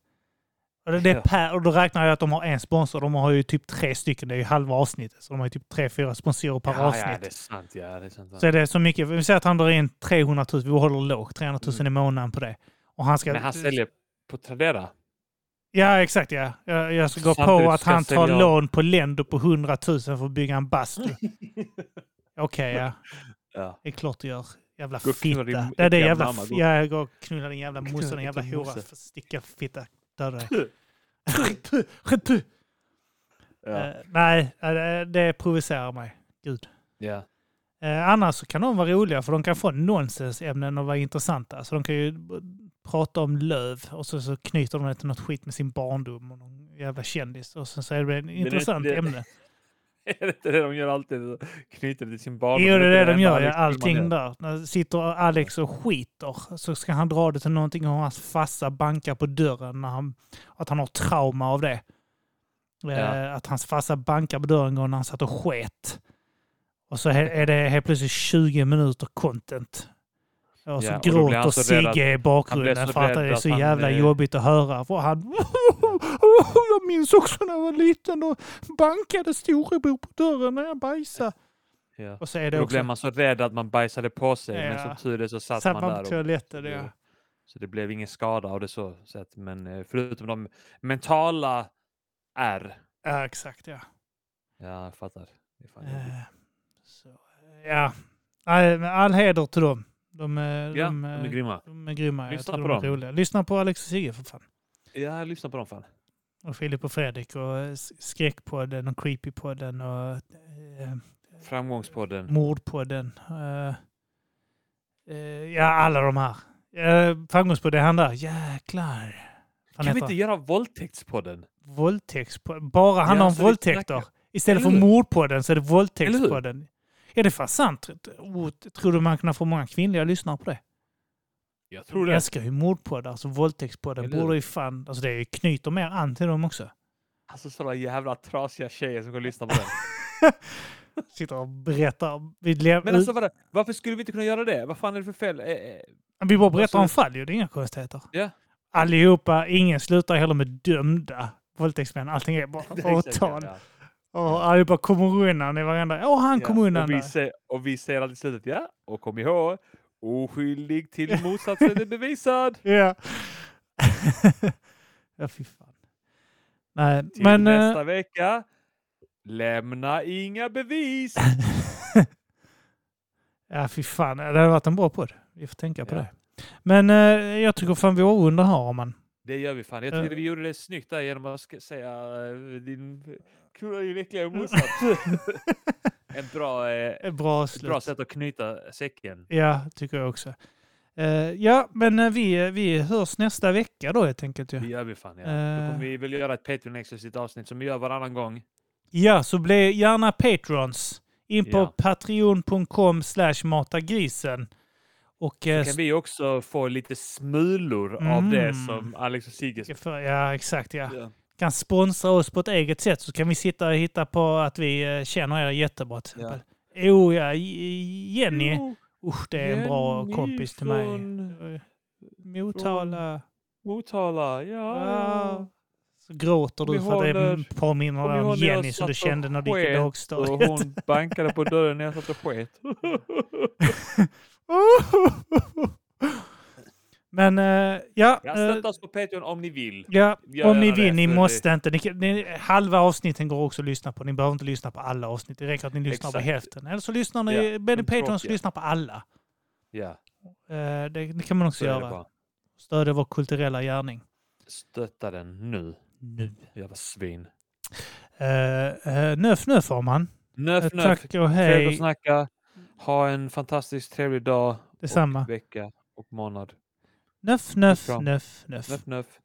Speaker 2: Och, det, det är
Speaker 1: Ja.
Speaker 2: per, och då räknar jag att de har en sponsor. De har ju typ tre stycken. Det är ju halva avsnittet. Så de har ju typ tre, fyra sponsorer per
Speaker 1: ja,
Speaker 2: avsnitt.
Speaker 1: ja, det är sant. Ja, det är sant.
Speaker 2: Så är det så mycket. Vi säger att han drar in 300 000, vi håller lågt, 300 000 i månaden på det. Och han ska...
Speaker 1: Mm. Men han säljer på Tradera.
Speaker 2: Ja, exakt ja. Jag, jag ska gå
Speaker 1: Samtidigt
Speaker 2: på att
Speaker 1: ska
Speaker 2: han tar
Speaker 1: sälja-
Speaker 2: lån på länder på 100 000 för att bygga en bastu. Okej, ja.
Speaker 1: Ja.
Speaker 2: Det är klart du gör. Jävla
Speaker 1: Gå och knulla
Speaker 2: fitta.
Speaker 1: din
Speaker 2: Det är det
Speaker 1: äckliga
Speaker 2: jävla...
Speaker 1: mamma.
Speaker 2: f-
Speaker 1: Gå-
Speaker 2: Ja, jag går och knullar din jävla morsa, din
Speaker 1: din
Speaker 2: jävla
Speaker 1: äckliga
Speaker 2: hora.
Speaker 1: morsa.
Speaker 2: Sticka fitta. Döda dig.
Speaker 1: Puh.
Speaker 2: Puh, puh.
Speaker 1: Ja.
Speaker 2: Eh, Nej, eh, det- det provocerar mig.
Speaker 1: Ja.
Speaker 2: Eh, annars så kan de vara roliga för de kan få nonsensämnen och vara intressanta. Så de kan ju b- prata om löv och så, så knyter de det till något skit med sin barndom och någon jävla kändis. Och sen så är det ett intressant
Speaker 1: det-
Speaker 2: ämne.
Speaker 1: Är det inte det de gör alltid? Knyter det liksom till sin barn.
Speaker 2: Jo, det är det de gör. Ja, allting där. När sitter Alex och skiter så ska han dra det till någonting om hans farsa bankar på dörren. När han, att han har trauma av det. Eh,
Speaker 1: Ja.
Speaker 2: Att hans farsa bankar på dörren en gång när han satt och sket. Och så he- är det helt plötsligt 20 minuter content. Och så
Speaker 1: Ja, och då blir
Speaker 2: gråter
Speaker 1: han så rädd att-
Speaker 2: Sigge i
Speaker 1: han
Speaker 2: bakgrunden
Speaker 1: blir så
Speaker 2: för att det
Speaker 1: rädd
Speaker 2: är
Speaker 1: att
Speaker 2: så
Speaker 1: han,
Speaker 2: jävla
Speaker 1: eh,
Speaker 2: jobbigt att höra. För han... Jag minns också när jag var liten. Då bankade storebror på dörren när jag bajsade.
Speaker 1: Ja.
Speaker 2: Och så är det
Speaker 1: Då blev
Speaker 2: också...
Speaker 1: man så rädd att man bajsade på sig, men
Speaker 2: Ja.
Speaker 1: som tur är så satt
Speaker 2: Satt
Speaker 1: man
Speaker 2: man på
Speaker 1: där. Och,
Speaker 2: toaletten, ja.
Speaker 1: så det blev ingen skada av det så sätt. Men eh, förutom de mentala är.
Speaker 2: Ja, exakt ja.
Speaker 1: Ja, jag fattar. Det är fan jobbigt.
Speaker 2: Eh, Så, eh, ja. All, men all heder till dem. De, de,
Speaker 1: Ja,
Speaker 2: de,
Speaker 1: de är
Speaker 2: eh,
Speaker 1: grymma.
Speaker 2: de är grymma. Jag
Speaker 1: Lyssna
Speaker 2: tror
Speaker 1: på
Speaker 2: de är
Speaker 1: dem.
Speaker 2: roliga. Lyssna på Alex och Sigge för fan.
Speaker 1: Ja, lyssna på dem fan.
Speaker 2: Och Filip och Fredrik och eh, s- Skräckpodden och Creepypodden och eh,
Speaker 1: Mm. Framgångspodden.
Speaker 2: Mordpodden. Eh, eh, ja, alla de här. Eh, Framgångspodden, är han där. Jäklar.
Speaker 1: Kan
Speaker 2: Han
Speaker 1: vi
Speaker 2: heter
Speaker 1: inte göra våldtäktspodden?
Speaker 2: våldtäktspodden. Bara handlar
Speaker 1: Ja,
Speaker 2: om
Speaker 1: så vi
Speaker 2: våldtäkter.
Speaker 1: snackar-
Speaker 2: Istället för
Speaker 1: Eller hur?
Speaker 2: mordpodden så är det våldtäktspodden. Är det fan sant? Oh, tror du man kan få många kvinnliga lyssnare på det?
Speaker 1: Jag tror
Speaker 2: Jag
Speaker 1: det.
Speaker 2: älskar ju mordpoddar, alltså våldtäktspodden
Speaker 1: Eller hur?
Speaker 2: borde ju fan... Alltså det knyter mer an till dem också.
Speaker 1: Alltså sådana jävla trasiga tjejer som går och lyssnar på den.
Speaker 2: Sitter och berättar. Vi, lev,
Speaker 1: Men alltså vadå? varför skulle vi inte kunna göra det? Vad fan är det för fel? Eh, eh,
Speaker 2: vi bara berättar om
Speaker 1: alltså-
Speaker 2: fall ju, det är inga konstigheter.
Speaker 1: Ja.
Speaker 2: Allihopa, ingen slutar heller med dömda våldtäktsmän. Allting är bara
Speaker 1: det är exakt det,
Speaker 2: åtal.
Speaker 1: ja.
Speaker 2: Och allihopa kommer undan i varenda... Åh, han
Speaker 1: Ja,
Speaker 2: kom undan
Speaker 1: och vi,
Speaker 2: där.
Speaker 1: se, och vi säger alltid i slutet, ja, och kom ihåg, oskyldig till motsatsen är bevisad.
Speaker 2: Ja. ja, fy fan. Nej,
Speaker 1: Till
Speaker 2: men... eh,
Speaker 1: nästa vecka, lämna inga bevis.
Speaker 2: Ja, fy fan. Det hade varit en bra podd. Vi får tänka på
Speaker 1: Ja.
Speaker 2: det. Men eh, jag tycker fan vi avrundar här, om man.
Speaker 1: Det gör vi fan. Jag
Speaker 2: Ja.
Speaker 1: tycker vi gjorde det snyggt där genom att sk- säga eh, din kula är din äckliga motsats. en bra, eh,
Speaker 2: Ett bra
Speaker 1: ett
Speaker 2: slut.
Speaker 1: bra sätt att knyta säcken.
Speaker 2: Ja, tycker jag också. Eh, ja, men eh, vi, vi hörs nästa vecka då helt enkelt. Ja,
Speaker 1: Det gör vi fan. Ja. Då
Speaker 2: Eh.
Speaker 1: kommer vi väl göra ett Patreon exklusivt avsnitt som vi gör varannan gång.
Speaker 2: ja så bli gärna patrons. In på
Speaker 1: Ja.
Speaker 2: patreon.com slash matagrisen. Och... eh,
Speaker 1: Kan vi också få lite smulor av det
Speaker 2: Mm.
Speaker 1: som Alex och Sigge
Speaker 2: st- för- Ja, exakt ja.
Speaker 1: Ja.
Speaker 2: Kan sponsra oss på ett eget sätt så kan vi sitta och hitta på att vi eh, känner er jättebra till
Speaker 1: Ja.
Speaker 2: exempel. Oh ja, J- Jenny. Usch, det är en bra
Speaker 1: Jenny
Speaker 2: kompis till mig.
Speaker 1: från
Speaker 2: Eh, Motala.
Speaker 1: Motala, ja.
Speaker 2: Ah. Så gråter du
Speaker 1: Vi
Speaker 2: för att
Speaker 1: håller-
Speaker 2: det påminner
Speaker 1: Kommer
Speaker 2: dig
Speaker 1: ni
Speaker 2: om
Speaker 1: ihåg när jag
Speaker 2: Jenny som du
Speaker 1: satt och
Speaker 2: kände när du gick i
Speaker 1: sket Och
Speaker 2: lågstadiet.
Speaker 1: hon bankade på dörren när jag satt och sket.
Speaker 2: Men eh, ja,
Speaker 1: Ja,
Speaker 2: eh,
Speaker 1: stötta oss på Patreon om ni vill.
Speaker 2: ja
Speaker 1: Gör
Speaker 2: om ni
Speaker 1: gärna det,
Speaker 2: vill, ni
Speaker 1: för det-
Speaker 2: måste inte. Ni, kan- ni, halva avsnitten går också att lyssna på. Ni behöver inte lyssna på alla avsnitt. Det räcker att ni lyssnar på
Speaker 1: Exakt.
Speaker 2: hälften. Eller så lyssnar ni,
Speaker 1: Ja,
Speaker 2: blir ni
Speaker 1: de
Speaker 2: Patreons
Speaker 1: tråkiga.
Speaker 2: lyssnar på alla.
Speaker 1: Ja,
Speaker 2: Eh, det, det kan man också
Speaker 1: så är det
Speaker 2: göra.
Speaker 1: bara.
Speaker 2: Stödja vår kulturella gärning.
Speaker 1: Stötta den nu,
Speaker 2: Nu.
Speaker 1: jävla svin.
Speaker 2: Uh, nöf, nöf, Arman. Eh,
Speaker 1: Nöff, nöff.
Speaker 2: Tack och
Speaker 1: Trevligt att
Speaker 2: hej.
Speaker 1: snacka. Ha en fantastiskt trevlig dag,
Speaker 2: Detsamma.
Speaker 1: vecka och månad.
Speaker 2: Nöff, nöff,
Speaker 1: Kram.
Speaker 2: nöff, nöff.
Speaker 1: Nöff, nöff.